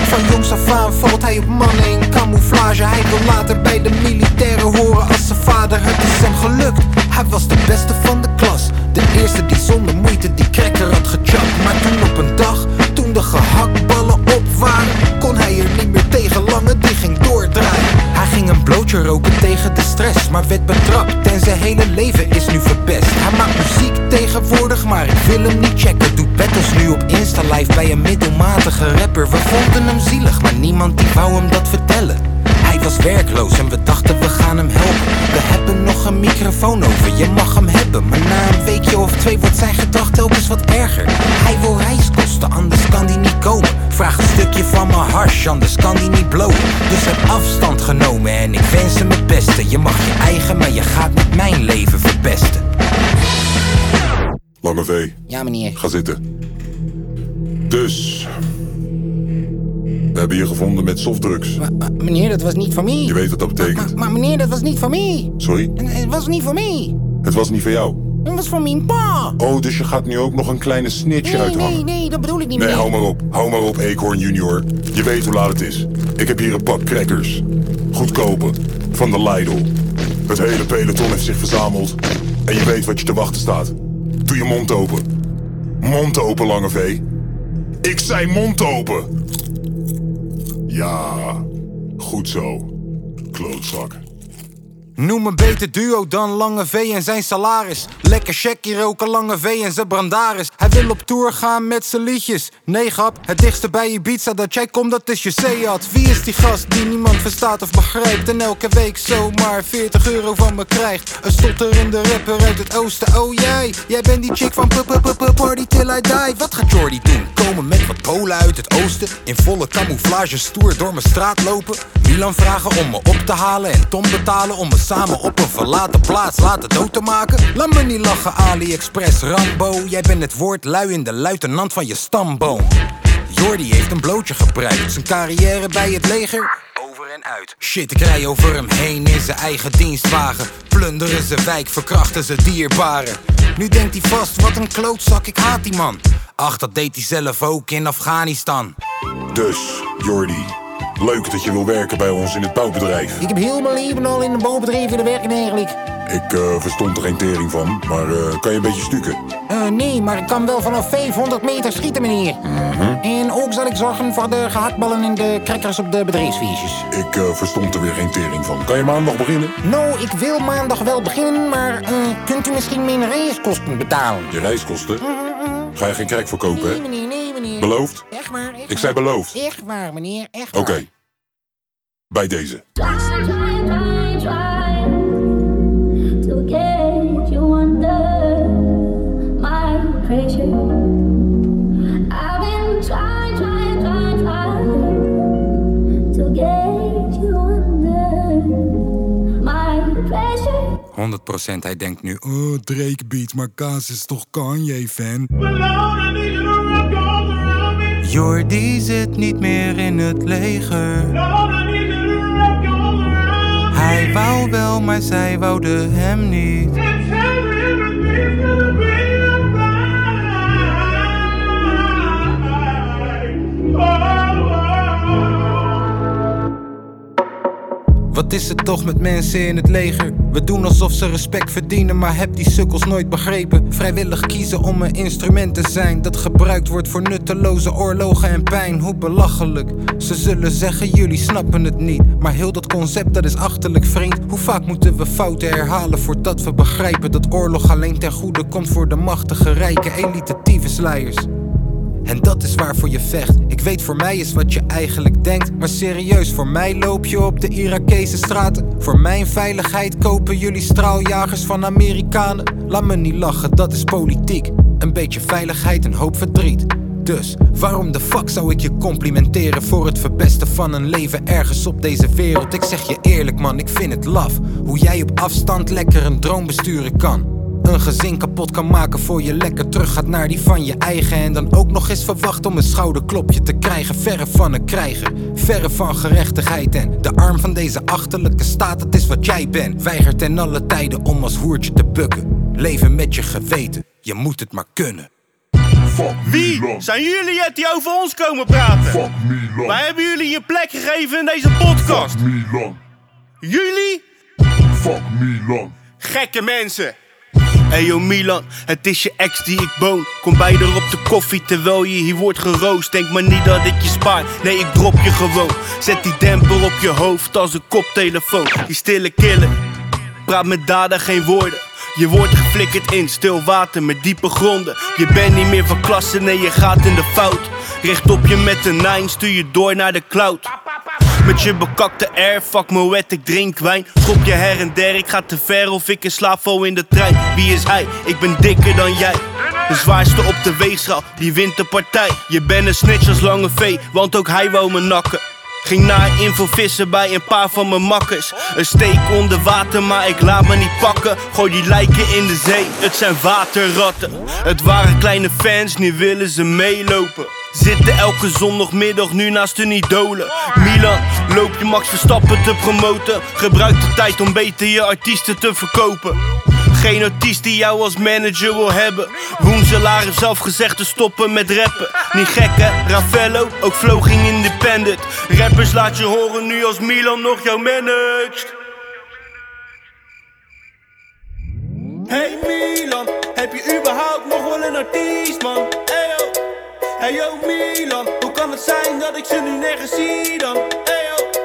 C: Van jongs af aan valt hij op mannen in camouflage Hij wil later bij de militairen horen als zijn vader Het is hem gelukt, hij was de beste van de klas De eerste die zonder moeite die cracker had gechapt Maar toen op een dag, toen de gehaktballen op waren Kon hij er niet meer tegen, lange die ging doordraaien Hij ging een blootje roken tegen de stress Maar werd betrapt en zijn hele leven is nu verpest Hij maakt muziek tegenwoordig, maar ik wil hem niet checken Doet battles nu op Insta live bij een middelmatige rapper We vonden hem zielig, maar niemand die wou hem dat vertellen hij was werkloos en we dachten we gaan hem helpen. We hebben nog een microfoon over, je mag hem hebben. Maar na een weekje of twee wordt zijn gedrag telkens wat erger. Hij wil reiskosten, anders kan die niet komen. Vraag een stukje van mijn hars, anders kan die niet blowen. Dus heb afstand genomen en ik wens hem het beste. Je mag je eigen, maar je gaat niet mijn leven verpesten.
V: Lange V,
K: Ja, meneer.
V: ga zitten. Dus, we hebben je gevonden met softdrugs.
K: Meneer, dat was niet van mij.
V: Je weet wat dat betekent.
K: Maar meneer, dat was niet van mij.
V: Sorry,
K: Het was niet van mij.
V: het was niet voor jou.
W: Dat was van mijn pa.
V: Oh, dus je gaat nu ook nog een kleine snitje
W: Nee,
V: uithangen.
W: nee, nee, dat bedoel ik niet
V: Nee,
W: meer.
V: hou maar op. Hou maar op, Eekhoorn Junior. Je weet hoe laat het is. Ik heb hier een pak crackers. Goedkope. Van de Lidl. Het hele peloton heeft zich verzameld. En je weet wat je te wachten staat. Doe je mond open. Mond open, lange V. Ik zei mond open. Ja, goed zo. Klootzak.
C: Noem een beter duo dan Lange V en zijn salaris. Lekker checkie roken Lange V en zijn brandaris. Hij wil op tour gaan met zijn liedjes. Nee grap, het dichtste bij Ibiza dat jij komt dat is je Seat. Wie is die gast die niemand verstaat of begrijpt en elke week zomaar 40 euro van me krijgt? Een stotterende rapper uit het oosten, oh jij. Jij bent die chick van p p p party till I die. Wat gaat Jordy doen? Komen met wat kolen uit het oosten. In volle camouflage stoer door mijn straat lopen. Milan vragen om me op te halen en Tom betalen om me samen op een verlaten plaats laten dood te maken. Laat me niet lachen, AliExpress, Rambo. Jij bent het woord lui in de luitenant van je stamboom. Jordi heeft een blootje gebruikt, zijn carrière bij het leger. Over en uit. Shit, ik rij over hem heen in zijn eigen dienstwagen. Plunderen zijn wijk, verkrachten zijn dierbaren. Nu denkt hij vast, wat een klootzak, ik haat die man. Ach, dat deed hij zelf ook in Afghanistan.
V: Dus, Jordi. Leuk dat je wil werken bij ons in het bouwbedrijf.
W: Ik heb heel mijn leven al in de bouwbedrijf willen werken eigenlijk.
V: Ik eh, verstond er geen tering van, maar eh, kan je een beetje stukken?
W: Eh, nee, maar ik kan wel vanaf 500 meter schieten, meneer. En ook zal ik zorgen voor de gehaktballen en de crackers op de bedrijfsfeestjes.
V: Ik eh, verstond er weer geen tering van. Kan je maandag beginnen?
W: Nou, ik wil maandag wel beginnen, maar eh, kunt u misschien mijn reiskosten betalen?
V: Je reiskosten? Ga je geen krek verkopen, hè?
W: Nee, nee, meneer.
V: Beloofd?
W: Echt waar, echt
V: Ik zei
W: waar.
V: beloofd.
W: Echt waar, meneer, echt
V: Oké. Bij deze.
K: to get you under my pressure. I've been trying, trying, trying, trying to get you under my pressure.
C: 100% hij denkt nu, oh Drake beat, maar Kaas is toch Kanye fan?
X: Jordi zit niet meer in het leger. Hij wou wel, maar zij wouden hem niet.
C: Wat is het toch met mensen in het leger? We doen alsof ze respect verdienen, maar heb die sukkels nooit begrepen. Vrijwillig kiezen om een instrument te zijn dat gebruikt wordt voor nutteloze oorlogen en pijn. Hoe belachelijk. Ze zullen zeggen, jullie snappen het niet. Maar heel dat concept, dat is achterlijk vreemd. Hoe vaak moeten we fouten herhalen voordat we begrijpen dat oorlog alleen ten goede komt voor de machtige, rijke, elitatieve slijers? En dat is waarvoor je vecht. Ik weet voor mij is wat je eigenlijk denkt. Maar serieus, voor mij loop je op de Irakese straten. Voor mijn veiligheid kopen jullie straaljagers van Amerikanen. Laat me niet lachen, dat is politiek. Een beetje veiligheid en hoop verdriet. Dus waarom de fuck zou ik je complimenteren voor het verpesten van een leven ergens op deze wereld? Ik zeg je eerlijk man, ik vind het laf hoe jij op afstand lekker een droom besturen kan. Een gezin kapot kan maken voor je lekker terug gaat naar die van je eigen. En dan ook nog eens verwacht om een schouderklopje te krijgen. Verre van een krijger, verre van gerechtigheid. En de arm van deze achterlijke staat, dat is wat jij bent. Weigert ten alle tijden om als hoertje te bukken. Leven met je geweten, je moet het maar kunnen.
D: Wie zijn jullie het die over ons komen praten? Wij hebben jullie een plek gegeven in deze podcast. Jullie? Fuck Milan. Gekke mensen. Hey yo Milan, het is je ex die ik boon. Kom bij er op de koffie terwijl je hier wordt geroost. Denk maar niet dat ik je spaar, nee ik drop je gewoon. Zet die demper op je hoofd als een koptelefoon. Die stille killer, praat met daden geen woorden. Je wordt geflikkerd in stil water met diepe gronden. Je bent niet meer van klasse, nee je gaat in de fout. Richt op je met een nine, stuur je door naar de cloud. Met je bekakte air, fuck me wet, ik drink wijn. Schop je her en der, ik ga te ver of ik in slaap val in de trein. Wie is hij? Ik ben dikker dan jij. De zwaarste op de weegschaal, die wint de partij. Je bent een snitch als lange vee, want ook hij wou me nakken. Ging naar info vissen bij een paar van mijn makkers. Een steek onder water, maar ik laat me niet pakken. Gooi die lijken in de zee, het zijn waterratten. Het waren kleine fans, nu willen ze meelopen. Zitten elke zondagmiddag nu naast hun idolen Milan, loop je Max Verstappen te promoten Gebruik de tijd om beter je artiesten te verkopen
A: geen artiest die jou als manager wil hebben. Woenselaar heeft zelf gezegd te stoppen met rappen. Niet gek hè, Ravello, ook Flo ging independent. Rappers laat je horen nu als Milan nog jou managt.
D: Hey Milan, heb je überhaupt nog wel een artiest, man? Hey yo, hey yo Milan, hoe kan het zijn dat ik ze nu nergens zie dan? Hey yo,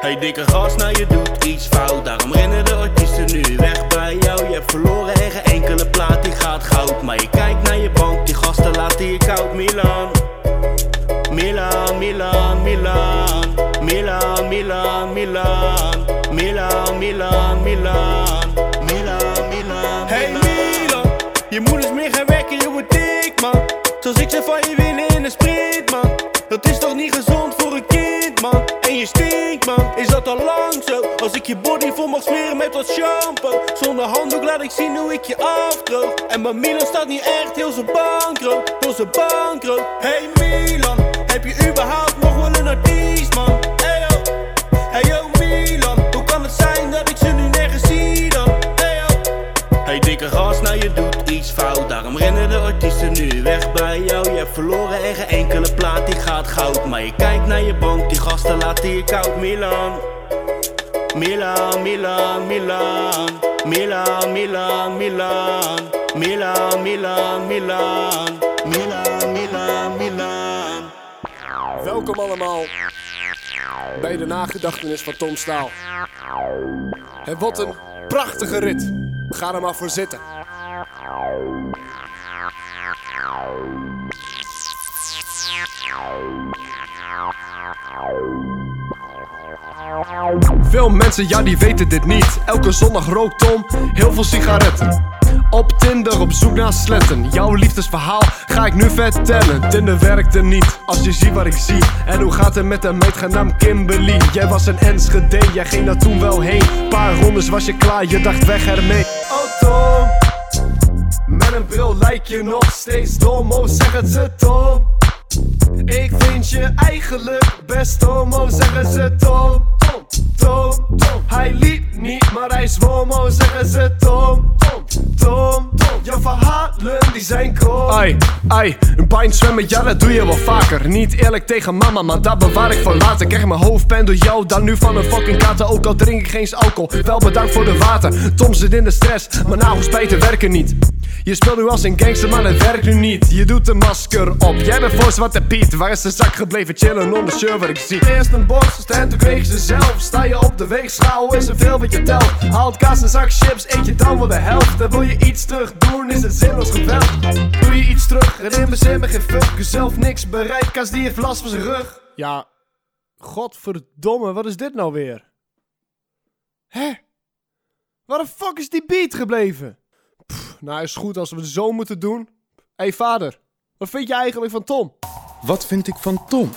A: Hey dikke gast, nou je doet iets fout Daarom rennen de artiesten nu weg bij jou Je hebt verloren en geen enkele plaat die gaat goud Maar je kijkt naar je bank, die gasten laten je koud Milan Milan, Milan, Milan Milan, Milan, Milan Milan, Milan, Milan Milan, Milan,
D: hey Milan, je moeders meer gaan werken, je wordt dik man. Zoals ik ze van je winnen in een sprint man. Dat is toch niet gezond voor een kind man. En je stinkt man, is dat al lang zo? Als ik je body vol mag smeren met wat shampoo. Zonder handdoek laat ik zien hoe ik je afdroog. En mijn Milan staat niet echt heel zijn bankroot, heel zijn bankroot. Hey Milan, heb je überhaupt nog wel een artiest man? Hey yo, hey yo Milan, hoe kan het zijn dat ik ze nu nergens zie dan? Hey yo.
A: Hey dikke gast, nou je doet iets fout Daarom rennen de artiesten nu weg bij jou Je hebt verloren en geen enkele plaat die gaat goud Maar je kijkt naar je bank, die gasten laten je koud Milan Milan, Milan, Milan Milan, Milan, Milan Milan, Milan, Milan Milan, Milan, Milan
F: Welkom allemaal bij de nagedachtenis van Tom Staal. En wat een prachtige rit. Ga er maar voor zitten. Veel mensen, ja, die weten dit niet. Elke zondag rookt Tom heel veel sigaretten. Op Tinder op zoek naar sletten. Jouw liefdesverhaal ga ik nu vertellen. Tinder werkte niet, als je ziet wat ik zie. En hoe gaat het met een meid genaamd Kimberly? Jij was een Enschede, jij ging daar toen wel heen. Paar rondes was je klaar, je dacht weg ermee. Oh Tom, met een bril lijk je nog steeds dom. Oh zeggen ze Tom. Ik vind je eigenlijk best homo, zeggen ze Tom. Tom, Tom, Tom. Hij liep niet, maar hij zwom, oh, zeggen ze Tom. Tom, Tom, Tom. Jouw verhalen, die zijn krom. Ai, ai, een pijn zwemmen, ja, dat doe je wel vaker. Niet eerlijk tegen mama, maar dat bewaar ik voor later. Krijg mijn hoofdpijn door jou, dan nu van een fucking kater. Ook al drink ik geen alcohol, wel bedankt voor de water. Tom zit in de stress, maar nagelspijten werken niet. Je speelt nu als een gangster, maar het werkt nu niet. Je doet een masker op, jij bent voor Zwarte Piet. Waar is de zak gebleven? Chillen onder shirt wat ik zie. Eerst een box, en toen kreeg je ze zelf. Sta je op de weegschaal, is er veel wat je telt. Haalt kaas en zak chips, eet je dan wel de helft. Dan wil je iets terug doen, is het zinloos geweld. Doe je iets terug, het in bezin me geen fuck. Jezelf niks bereikt, kaas die heeft last van zijn rug. Ja, godverdomme, wat is dit nou weer? Hè? Waar de fuck is die beat gebleven? Pff, nou is goed als we het zo moeten doen. Hé hey, vader, wat vind je eigenlijk van Tom?
G: Wat vind ik van Tom?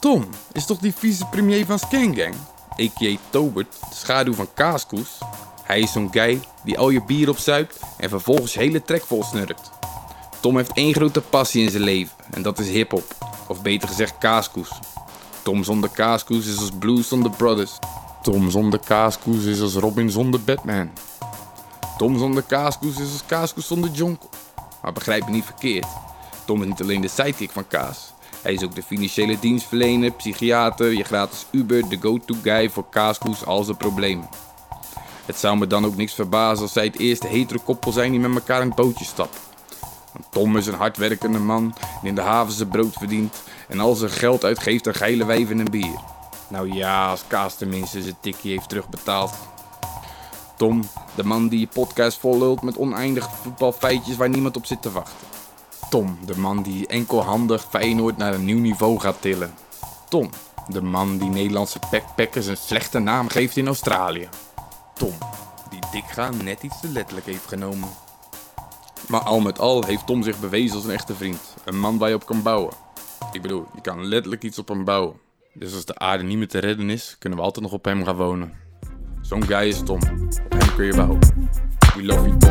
G: Tom is toch die vieze premier van Skangang? A.k.a. Tobert, de schaduw van Kaaskoes. Hij is zo'n guy die al je bier opzuipt en vervolgens je hele trek vol snurkt. Tom heeft één grote passie in zijn leven en dat is hiphop. Of beter gezegd kaaskoes. Tom zonder kaaskoes is als Blues zonder Brothers. Tom zonder kaaskoes is als Robin zonder Batman. Tom zonder kaaskoes is als kaaskoes zonder jonkel. Maar begrijp me niet verkeerd. Tom is niet alleen de sidekick van Kaas. Hij is ook de financiële dienstverlener, psychiater, je gratis Uber, de go-to guy voor kaaskoes al zijn problemen. Het zou me dan ook niks verbazen als zij het eerste hetero koppel zijn die met elkaar een bootje stappen. Want Tom is een hardwerkende man die in de haven zijn brood verdient en al zijn geld uitgeeft aan geile wijven en bier. Nou ja, als Kaas tenminste zijn tikkie heeft terugbetaald. Tom, de man die je podcast vollult met oneindige voetbalfeitjes waar niemand op zit te wachten. Tom, de man die enkelhandig Feyenoord naar een nieuw niveau gaat tillen. Tom, de man die Nederlandse backpackers een slechte naam geeft in Australië. Tom, die Dikga net iets te letterlijk heeft genomen. Maar al met al heeft Tom zich bewezen als een echte vriend. Een man waar je op kan bouwen. Ik bedoel, je kan letterlijk iets op hem bouwen. Dus als de aarde niet meer te redden is, kunnen we altijd nog op hem gaan wonen. Zo'n guy is Tom. Op hem kun je bouwen. We love you, Tom.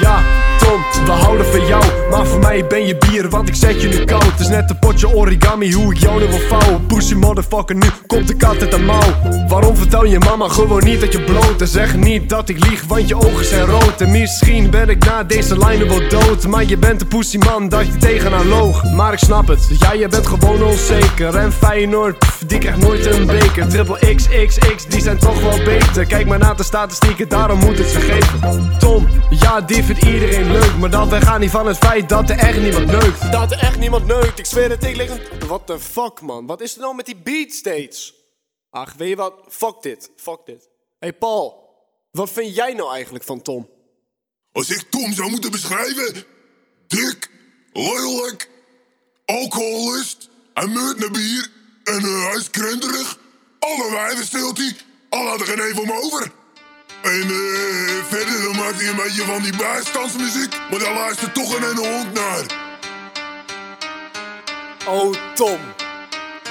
D: Ja, Tom.
F: Tom, we houden van jou. Maar voor mij ben je bier, want ik zet je nu koud. Het is net een potje origami, hoe ik jou nu wil vouwen. Pussy motherfucker, nu komt de kat uit de mouw. Waarom vertel je mama gewoon niet dat je bloot? En zeg niet dat ik lieg, want je ogen zijn rood. En misschien ben ik na deze lijnen wel dood. Maar je bent de pussyman dat je tegen haar loog. Maar ik snap het, ja, je bent gewoon onzeker. En Feyenoord, pff, die krijgt nooit een beker. Triple XXX, die zijn toch wel beter. Kijk maar naar de statistieken, daarom moet het ze geven. Tom, ja, die vindt iedereen leuk. Maar dat wij gaan niet van het feit dat er echt niemand neukt. Dat er echt niemand neukt, ik zweer het, ik lig een. What the fuck, man? Wat is er nou met die beat steeds? Ach, weet je wat? Fuck dit, fuck dit. Hey Paul, wat vind jij nou eigenlijk van Tom?
Y: Als ik Tom zou moeten beschrijven... Dik, lelijk, alcoholist, hij meurt naar bier en eh, hij is krenterig. Alle wijven steelt hij, al had er geen een van hem over. En eh, verder dan maakt hij een beetje van die bijstandsmuziek, maar daar luistert toch geen ene hond naar.
F: Oh Tom,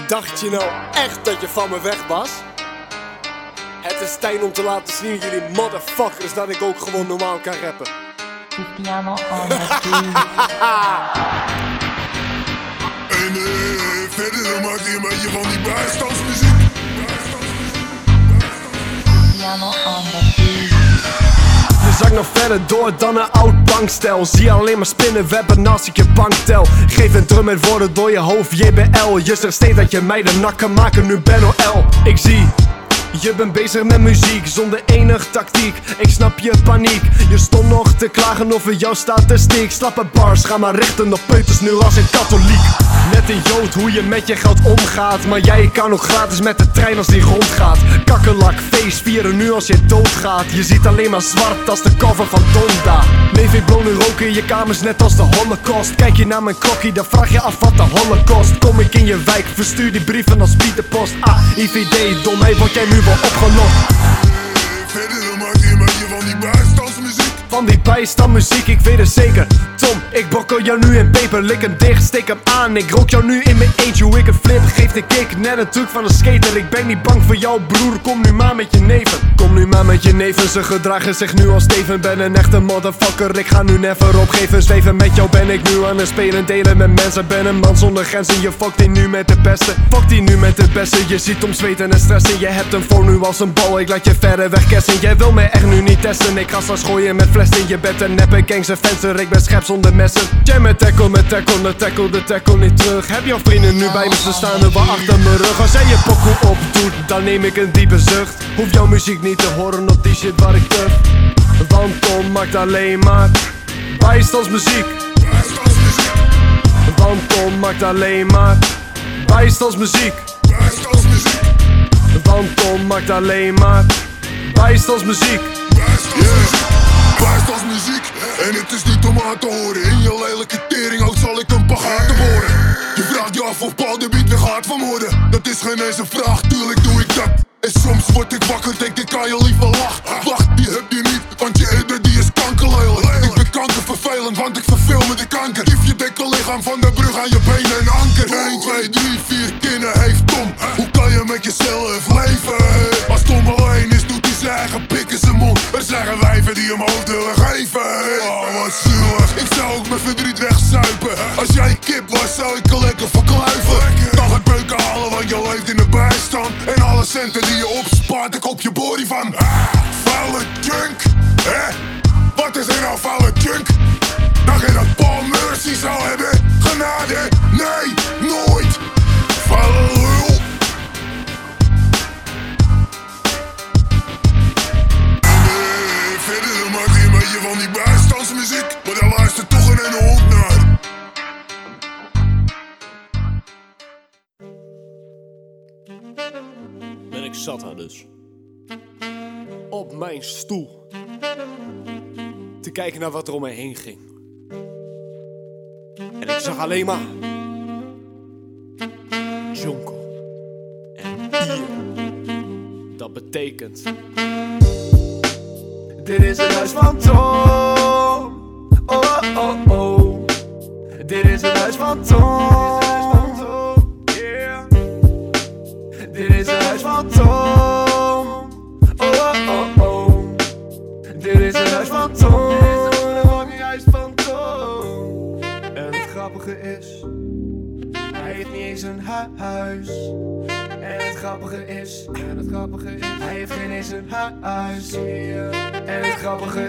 F: dacht je nou echt dat je van me weg was? Het is tijd om te laten zien jullie motherfuckers dat ik ook gewoon normaal kan rappen.
Y: *laughs* En eh, verder dan maakt hij een beetje van die bijstandsmuziek.
F: Je zak nog verder door dan een oud bankstel. Zie alleen maar spinnenwebben als ik je bank tel. Geef een drum met woorden door je hoofd, JBL. Je zegt steeds dat je mij de nak kan maken, nu ben OL. Ik zie. Je bent bezig met muziek zonder enig tactiek. Ik snap je paniek. Je stond nog te klagen over jouw statistiek. Slappe bars, ga maar richten op peuters nu als een katholiek. Net een jood hoe je met je geld omgaat. Maar jij kan ook gratis met de trein als die rondgaat. Kakkelak, feest vieren nu als je doodgaat. Je ziet alleen maar zwart als de cover van Donda. Neveeblonen roken in je kamers net als de holocaust. Kijk je naar mijn klokje, dan vraag je af wat de holocaust. Kom ik in je wijk, verstuur die brieven als Pieterpost. Ah, IVD, domheid, word jij nu wel opgelost. Van die bijstandmuziek, ik weet het zeker Tom, ik bokkel jou nu in peper Lik hem dicht, steek hem aan Ik rook jou nu in mijn eentje Hoe ik een flip geef de kick Net een truc van een skater Ik ben niet bang voor jou broer Kom nu maar met je neven Kom nu maar met je neven Ze gedragen zich nu als Steven Ben een echte motherfucker Ik ga nu never opgeven Zweven met jou ben ik nu aan het spelen Delen met mensen Ben een man zonder grenzen Je fuckt die nu met de beste Fuck die nu met de beste Je ziet om zweten en stressen Je hebt een voor nu als een bal Ik laat je verder wegkessen Jij wil mij echt nu niet testen Ik ga straks gooien met fles in je bed En neppe gangs en venster Ik ben schep zonder messen Jam met tackle met tackle De tackle de tackle niet terug Heb jouw vrienden nu bij me Ze staan er wel achter mijn rug Als jij je pokoe opdoet Dan neem ik een diepe zucht Hoef jouw muziek niet te horen Op die shit waar ik tuf Want Tom maakt alleen maar Bijstandsmuziek Want Tom maakt alleen maar Bijstandsmuziek Want Tom maakt alleen maar Bijstandsmuziek
Y: Bijstands muziek en het is niet om aan te horen. In je lelijke tering ook zal ik een pagaten boren. Je vraagt je af of Paul de beat weer gaat vermoorden. Dat is geen eens een vraag, tuurlijk doe ik dat. En soms word ik wakker, denk ik aan je lieve lach. Wacht, die heb je niet, want je eerder die is kankerlelijk. Ik ben kankervervelend, want ik verveel me de kanker. Geef je dikke lichaam van de brug aan je benen en anker. 1, 2, 3, 4 kinnen heeft Tom. Hoe kan je met jezelf leven? Als Tom alleen is, doet hij zijn eigen pik in zijn mond. Er zijn wijven die hem hoofd willen geven. Oh, wat zielig. Ik zou ook mijn verdriet wegzuipen. Als jij een kip was, zou ik je lekker verkluiven. Dan het beuken halen, want je leeft in de bijstand. En alle centen die je opspaart, ik op je body van. Ah, vuile junk. Hè? Wat is er nou vuile junk? Dan geen dat Paul Mercy zou hebben. Genade. Nee, nooit. Vuile lul. Eh, Verder dan maakt hij een beetje van die bijstandsmuziek, maar daar luistert toch geen ene hond naar.
F: Ben ik zat haar dus. Op mijn stoel. Te kijken naar wat er om me heen ging. En ik zag alleen maar... Jonko. En bier. Dat betekent... Dit is het huis van Tom. Oh, oh, oh. Dit is het huis van Tom. Dit is het huis van Tom. Oh, oh, oh, oh. Dit is het huis van Tom. Dit is het huis van
K: eens een hu- huis. En het grappige is, en het grappige is, hij heeft geen eens een hu- huis. En het grappige is,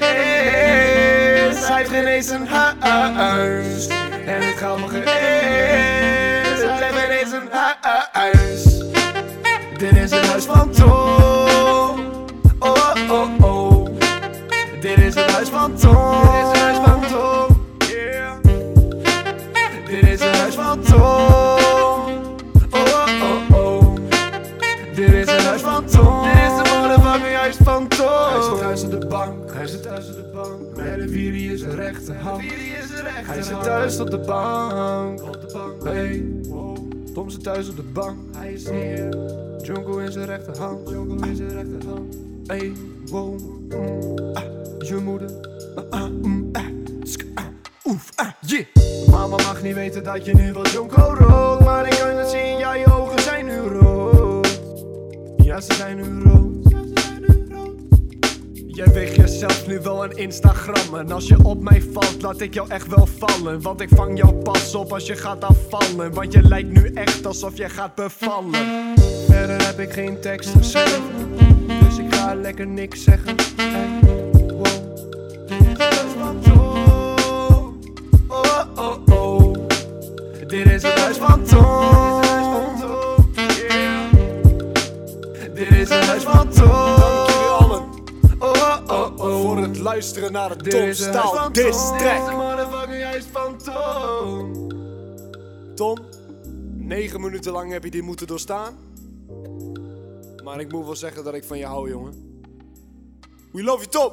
K: hij heeft geen eens een hu- huis. En het grappige is, hij heeft geen eens een hu- huis. Dit is het huis van Tom. Oh, oh, oh. Dit is het huis van Tom. Dit is het huis van Tom. Dit is het huis van Tom. Oh, oh, oh. Dit is het huis van Tom. Dit is de motherfucking huis van Tom. Hij zit thuis op de bank. Hij zit thuis op de bank. Bij de virie is de rechterhand. Hij zit thuis op de bank. Op de bank. Hey. Tom zit thuis op de bank. Hij is hier. Jungle in zijn rechterhand. Jungle in zijn rechterhand. Hey, wow. Mm, ah, je moeder. Ah, ah, mm, ah, sk, ah, oef, ah, yeah. Mama mag niet weten dat je nu wat Jonko rookt. Maar ik kan het zien, ja, je ogen zijn nu rood. Ja, ze zijn nu rood.
Z: Jij weegt jezelf nu wel een Instagram En als je op mij valt, laat ik jou echt wel vallen Want ik vang jou pas op als je gaat afvallen Want je lijkt nu echt alsof je gaat bevallen
K: Verder heb ik geen tekst geschreven, dus ik ga lekker niks zeggen. Hey, wow. Dit is het huis van Tom. Oh, oh, oh. Dit is het huis van Tom. Yeah. Dit is het huis van Tom.
Z: Oh, oh, oh. Voor het luisteren naar het
K: Dit
Z: Tom
K: is het huis
Z: Staal
K: van Tom. Dit
Z: diss
K: is
Z: track
K: het motherfucking huis van Tom.
Z: Tom, 9 minuten lang heb je die moeten doorstaan Maar ik moet wel zeggen dat ik van je hou, jongen We love you, Tom!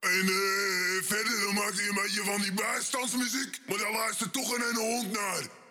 Y: En eh, verder dan maakte je een beetje van die bijstandsmuziek, maar daar luistert toch een ene hond naar.